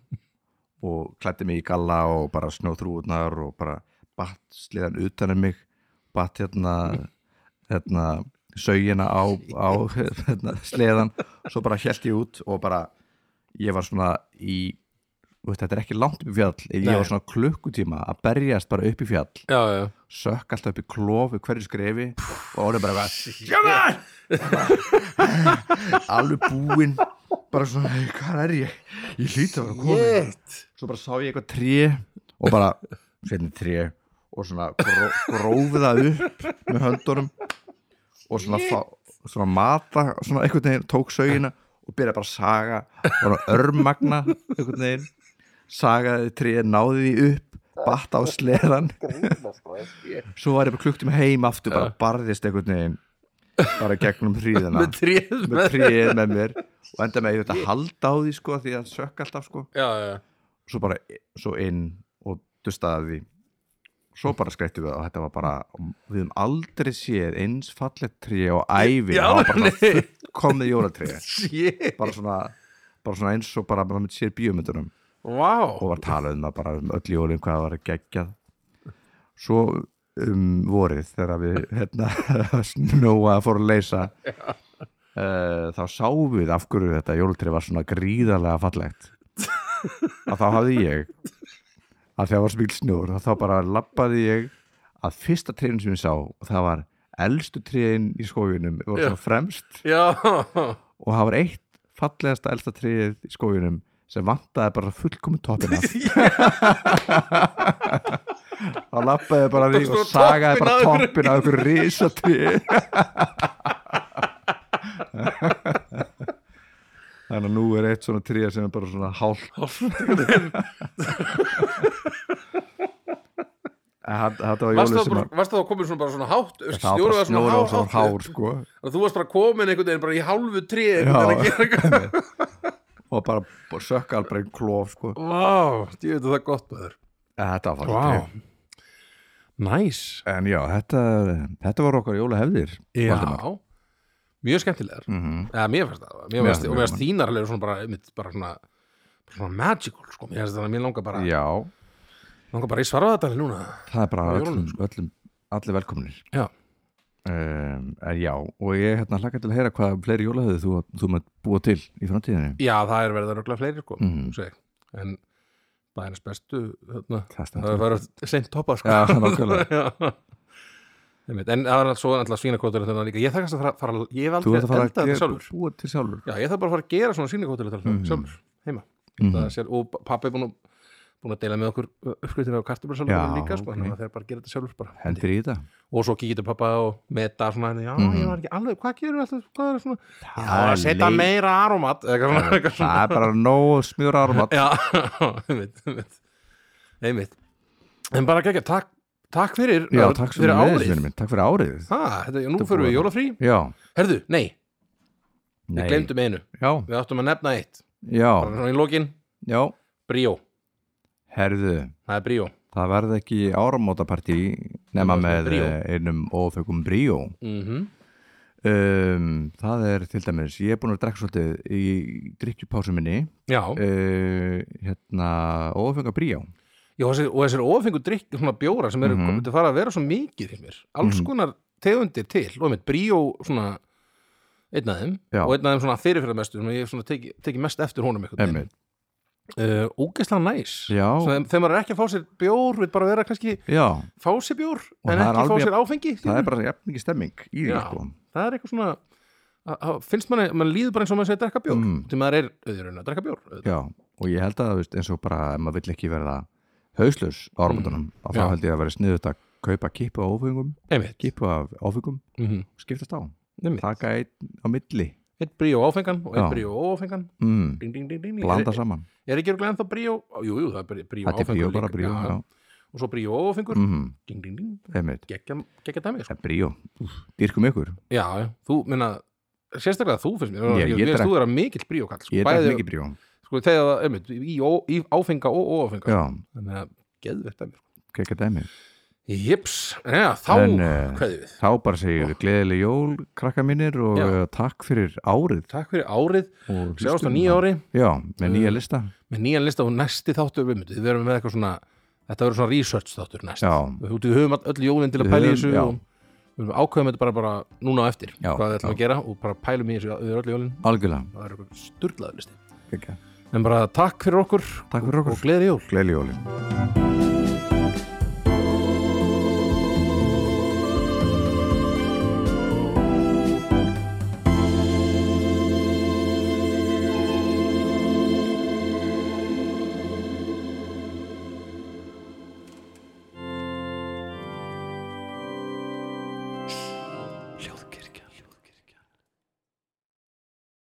Speaker 1: og klætti mig í galla og bara snjóþrúðnar og bara batt sliðan utan um mig batt hérna hérna, sögina á, á hérna, sleðan, svo bara held ég út og bara, ég var svona í, þú veist, þetta er ekki langt upp í fjall, ég
Speaker 2: Nei.
Speaker 1: var svona klukkutíma að berjast bara upp í fjall,
Speaker 2: já, já
Speaker 1: sökk alltaf upp í klofi hverju skrefi og orðið bara eitthvað,
Speaker 2: Sjöman!
Speaker 1: alveg búinn bara svona, "Hey, hvað er ég ég hlýta að vera komið
Speaker 2: Jétt
Speaker 1: svo bara sá ég eitthvað tré og bara, setni tré og svona gró, grófi það upp með höndunum og svona, fá, svona mata svona einhvern veginn, tók sögina og byrja bara að saga, bara örmagna einhvern veginn sagaði tré, náði því upp batta á sleðan svo var ég bara klukkt um heim aftur bara barðist einhvern veginn bara gegnum hríðina
Speaker 2: Með tréð
Speaker 1: með tréð með mér og enda með þetta halda á því sko því að sökk alltaf sko
Speaker 2: Já, já, já
Speaker 1: svo bara svo inn og dustaði því
Speaker 2: Mm.
Speaker 1: svo bara skreittum við og þetta var bara við höfum aldrei séð eins fallet tré og ævi
Speaker 2: Já,
Speaker 1: það var bara
Speaker 2: nei.
Speaker 1: svona fullkomið jólatré
Speaker 2: Shit,
Speaker 1: bara svona, bara svona eins og bara maður sér bíómyndunum
Speaker 2: vá
Speaker 1: og var talað um það bara um öll jólin hvað það var geggjað svo um vorið þegar við hérna snóa fór að leysa Uh, þá sáum við af hverju þetta jólatré var svona gríðarlega fallegt að þá hafði ég að því að var smíl snúr þá bara lappaði ég að fyrsta tréin sem ég sá og það var elstu tréin í skóginum voru svona fremst
Speaker 2: Já,
Speaker 1: og það var eitt fallegasta elsta tréið í skóginum sem vantaði bara fullkomin toppin af þá lappaði bara því og
Speaker 2: Tókst þú
Speaker 1: sagaði bara
Speaker 2: toppinn
Speaker 1: toppin af
Speaker 2: af einhverju
Speaker 1: einhverju risatri þannig að nú er eitt svona tríja sem er bara svona Eh, hálf þetta var
Speaker 2: Varst
Speaker 1: jólið
Speaker 2: það,
Speaker 1: sem
Speaker 2: bara,
Speaker 1: að
Speaker 2: varst það komin svona bara svona hátt
Speaker 1: það var bara
Speaker 2: Stjóru var svona
Speaker 1: snjóra og
Speaker 2: há-
Speaker 1: svona
Speaker 2: hátt
Speaker 1: hár sko
Speaker 2: og Þú varst bara komin einhvern veginn bara í hálfu trí
Speaker 1: Já.
Speaker 2: einhvern veginn að gera eitthvað
Speaker 1: og bara bara sökka alveg einn klóf sko
Speaker 2: Vá, ég veit að það er gott maður
Speaker 1: Eh, þetta var
Speaker 2: Vá
Speaker 1: fallegt.
Speaker 2: Næs
Speaker 1: En já, þetta, þetta var okkar jólahefðir
Speaker 2: Já
Speaker 1: Valdimar.
Speaker 2: Mjög skemmtilegar
Speaker 1: Mhm.
Speaker 2: Eða mér fannst það
Speaker 1: Já,
Speaker 2: Mér fannst
Speaker 1: mjög
Speaker 2: og mér fannst
Speaker 1: gaman.
Speaker 2: þínar alveg svona bara, einmitt, bara svona bara svona magical sko Mér fannst þannig að mér langar bara
Speaker 1: Já,
Speaker 2: langar bara í svarfaðatali núna
Speaker 1: það er bara
Speaker 2: Á
Speaker 1: öllum,
Speaker 2: jólunum, sko.
Speaker 1: öllum, allir velkominir
Speaker 2: Já.
Speaker 1: um, En já, og ég hérna hlakka til að heyra hvað fleiri jólahefðir þú, þú mött búa til í framtíðinni
Speaker 2: Já, það er verið að röglega fleiri sko
Speaker 1: Mhm.
Speaker 2: mm. En bæðinnes bestu þarna,
Speaker 1: Það
Speaker 2: Það er
Speaker 1: stendur
Speaker 2: verið seint toppa sko
Speaker 1: Já, nákvæmlega
Speaker 2: Já. Einmitt, en það er alltaf svo alltaf svínakótur líka, ég þarf kannski að fara- fara ég hef
Speaker 1: Þú
Speaker 2: aldrei
Speaker 1: ert að fara að
Speaker 2: eldað þetta
Speaker 1: gera,
Speaker 2: sjálfur
Speaker 1: búa til sjálfur
Speaker 2: já, ég þarf bara að fara að gera svona svínakótur
Speaker 1: Mhm.
Speaker 2: sjálfur, heima
Speaker 1: Mhm.
Speaker 2: mm. sér, og pappi er búin að, búin að deila með okkur uppskritin á kartablasalunum
Speaker 1: Já,
Speaker 2: líka sko,
Speaker 1: ok.
Speaker 2: þannig að þeir bara að gera þetta sjálfur bara.
Speaker 1: Hendir í þetta
Speaker 2: og svo kíkir pappa og meta svona, já,
Speaker 1: Mhm.
Speaker 2: ég var ekki alveg, hvað gerur alltaf hvað er svona, já,
Speaker 1: er
Speaker 2: að setja
Speaker 1: leik-
Speaker 2: meira aromat eða eitthvað svona, eitthvað svona
Speaker 1: Það er bara nóg smjur árumat
Speaker 2: Já, einmitt, einmitt Einmitt En bara geggja, takk, takk fyrir
Speaker 1: Já,
Speaker 2: Örn,
Speaker 1: takk
Speaker 2: fyrir
Speaker 1: fyrir árið
Speaker 2: árið
Speaker 1: minn, Takk fyrir árið
Speaker 2: Ha, þetta, Nú
Speaker 1: Þetta er
Speaker 2: fyrir við
Speaker 1: búið.
Speaker 2: í jólafrí
Speaker 1: Já,
Speaker 2: Herðu, nei,
Speaker 1: nei
Speaker 2: við glemdum einu
Speaker 1: Já,
Speaker 2: Við áttum að nefna eitt
Speaker 1: já,
Speaker 2: Bara svona í lokin,
Speaker 1: já
Speaker 2: bríó
Speaker 1: Herðu,
Speaker 2: Það er bríó
Speaker 1: það verði ekki áramótapartí nema
Speaker 2: Það
Speaker 1: með
Speaker 2: verður bríó.
Speaker 1: eh, einum ofökum bríó
Speaker 2: mm
Speaker 1: Mhm. um, Það er til dæmis, ég er búin að drekka svolítið í drikkjupásu minni
Speaker 2: Já,
Speaker 1: uh, hérna, ofengar bríó
Speaker 2: Já og, þessi, og þessir ofengu drikk svona bjóra sem eru mm
Speaker 1: Mhm.
Speaker 2: -hmm. að fara að vera svo mikið í mér Alls konar tegundir til og einmitt bríó svona einn af þeim
Speaker 1: Já.
Speaker 2: og einn af þeim svona fyrirfyrirmestu sem ég svona teki, teki mest eftir honum einhvern veginn.
Speaker 1: Einmitt.
Speaker 2: uh, ógeðslega næs
Speaker 1: Já.
Speaker 2: Svo þegar- þegar maður er ekki að fá sér bjór vil bara vera kannski
Speaker 1: Já,
Speaker 2: fá sér bjór
Speaker 1: Og
Speaker 2: en
Speaker 1: það er
Speaker 2: ekki
Speaker 1: alveg-
Speaker 2: fá sér áfengi
Speaker 1: það er bara jafn mikið stemming í því
Speaker 2: Já.
Speaker 1: sko.
Speaker 2: það er eitthvað svona að- að- finnst manni, mann líður bara eins og maður segir drekka bjór
Speaker 1: Mm.
Speaker 2: til maður er auðvitað að drekka bjór auðvitað.
Speaker 1: Já, og ég held að þú veist, eins og bara ef maður vill ekki verða hauslaus á áramótunum mm. þá
Speaker 2: Já.
Speaker 1: held ég að vera sniðut að kaupa kipu af ofengum,
Speaker 2: einmitt
Speaker 1: kipu af ofengum
Speaker 2: mm
Speaker 1: skiptast á,
Speaker 2: einmitt
Speaker 1: taka einn á milli
Speaker 2: eitt bríó áfengan og
Speaker 1: Já.
Speaker 2: eitt bríó óáfengan
Speaker 1: mm.
Speaker 2: ding, ding, ding, ding.
Speaker 1: blanda
Speaker 2: er,
Speaker 1: saman,
Speaker 2: er ekki örugglega ennþá bríó jú, jú, það er brí- bríó
Speaker 1: þetta er
Speaker 2: áfengur
Speaker 1: bríó bara
Speaker 2: líka.
Speaker 1: bríó já.
Speaker 2: og svo bríó óáfengur
Speaker 1: Mm.
Speaker 2: ding, ding, ding.
Speaker 1: einmitt,
Speaker 2: Gekkja, gekkja dæmi sko.
Speaker 1: það er bríó dýrkum ykkur,
Speaker 2: já, já, þú, minna sérstaklega þú finnst mér,
Speaker 1: Ég- ég
Speaker 2: ég, finnst
Speaker 1: drekk-
Speaker 2: þú vera mikill bríókall sko.
Speaker 1: ég er
Speaker 2: Bæði-
Speaker 1: ekki bríó
Speaker 2: sko þegar það, einmitt, í, ó- í áfenga og óáfenga
Speaker 1: já,
Speaker 2: þannig að geðvegt að mér
Speaker 1: kekka dæmi
Speaker 2: jips, já, þá
Speaker 1: En,
Speaker 2: en,
Speaker 1: eh,
Speaker 2: við
Speaker 1: þá bara segjum við gleðileg jól krakka mínir og
Speaker 2: Já.
Speaker 1: já. takk fyrir árið
Speaker 2: takk fyrir árið,
Speaker 1: og
Speaker 2: sjáumst á
Speaker 1: listum.
Speaker 2: nýja ári
Speaker 1: já, með nýja
Speaker 2: Um,
Speaker 1: lista
Speaker 2: með nýjan lista og næsti þáttur við myndum, við verum með eitthvað svona þetta verður svona research þáttur næst
Speaker 1: já,
Speaker 2: við, við höfum all- öll jólinn til
Speaker 1: Við
Speaker 2: að pæla í
Speaker 1: höfum-
Speaker 2: þessu
Speaker 1: já.
Speaker 2: og við ákveðum þetta bara, bara núna á eftir
Speaker 1: Já,
Speaker 2: hvað við ætlum
Speaker 1: já.
Speaker 2: að gera og bara pælum í þessu yfir öll jólinn
Speaker 1: algjörlega
Speaker 2: það er eitthvað sturglaður listi
Speaker 1: Kekja.
Speaker 2: en bara takk fyrir okkur
Speaker 1: takk fyrir
Speaker 2: og
Speaker 1: okkur,
Speaker 2: gleðið jól
Speaker 1: gleðileg jólin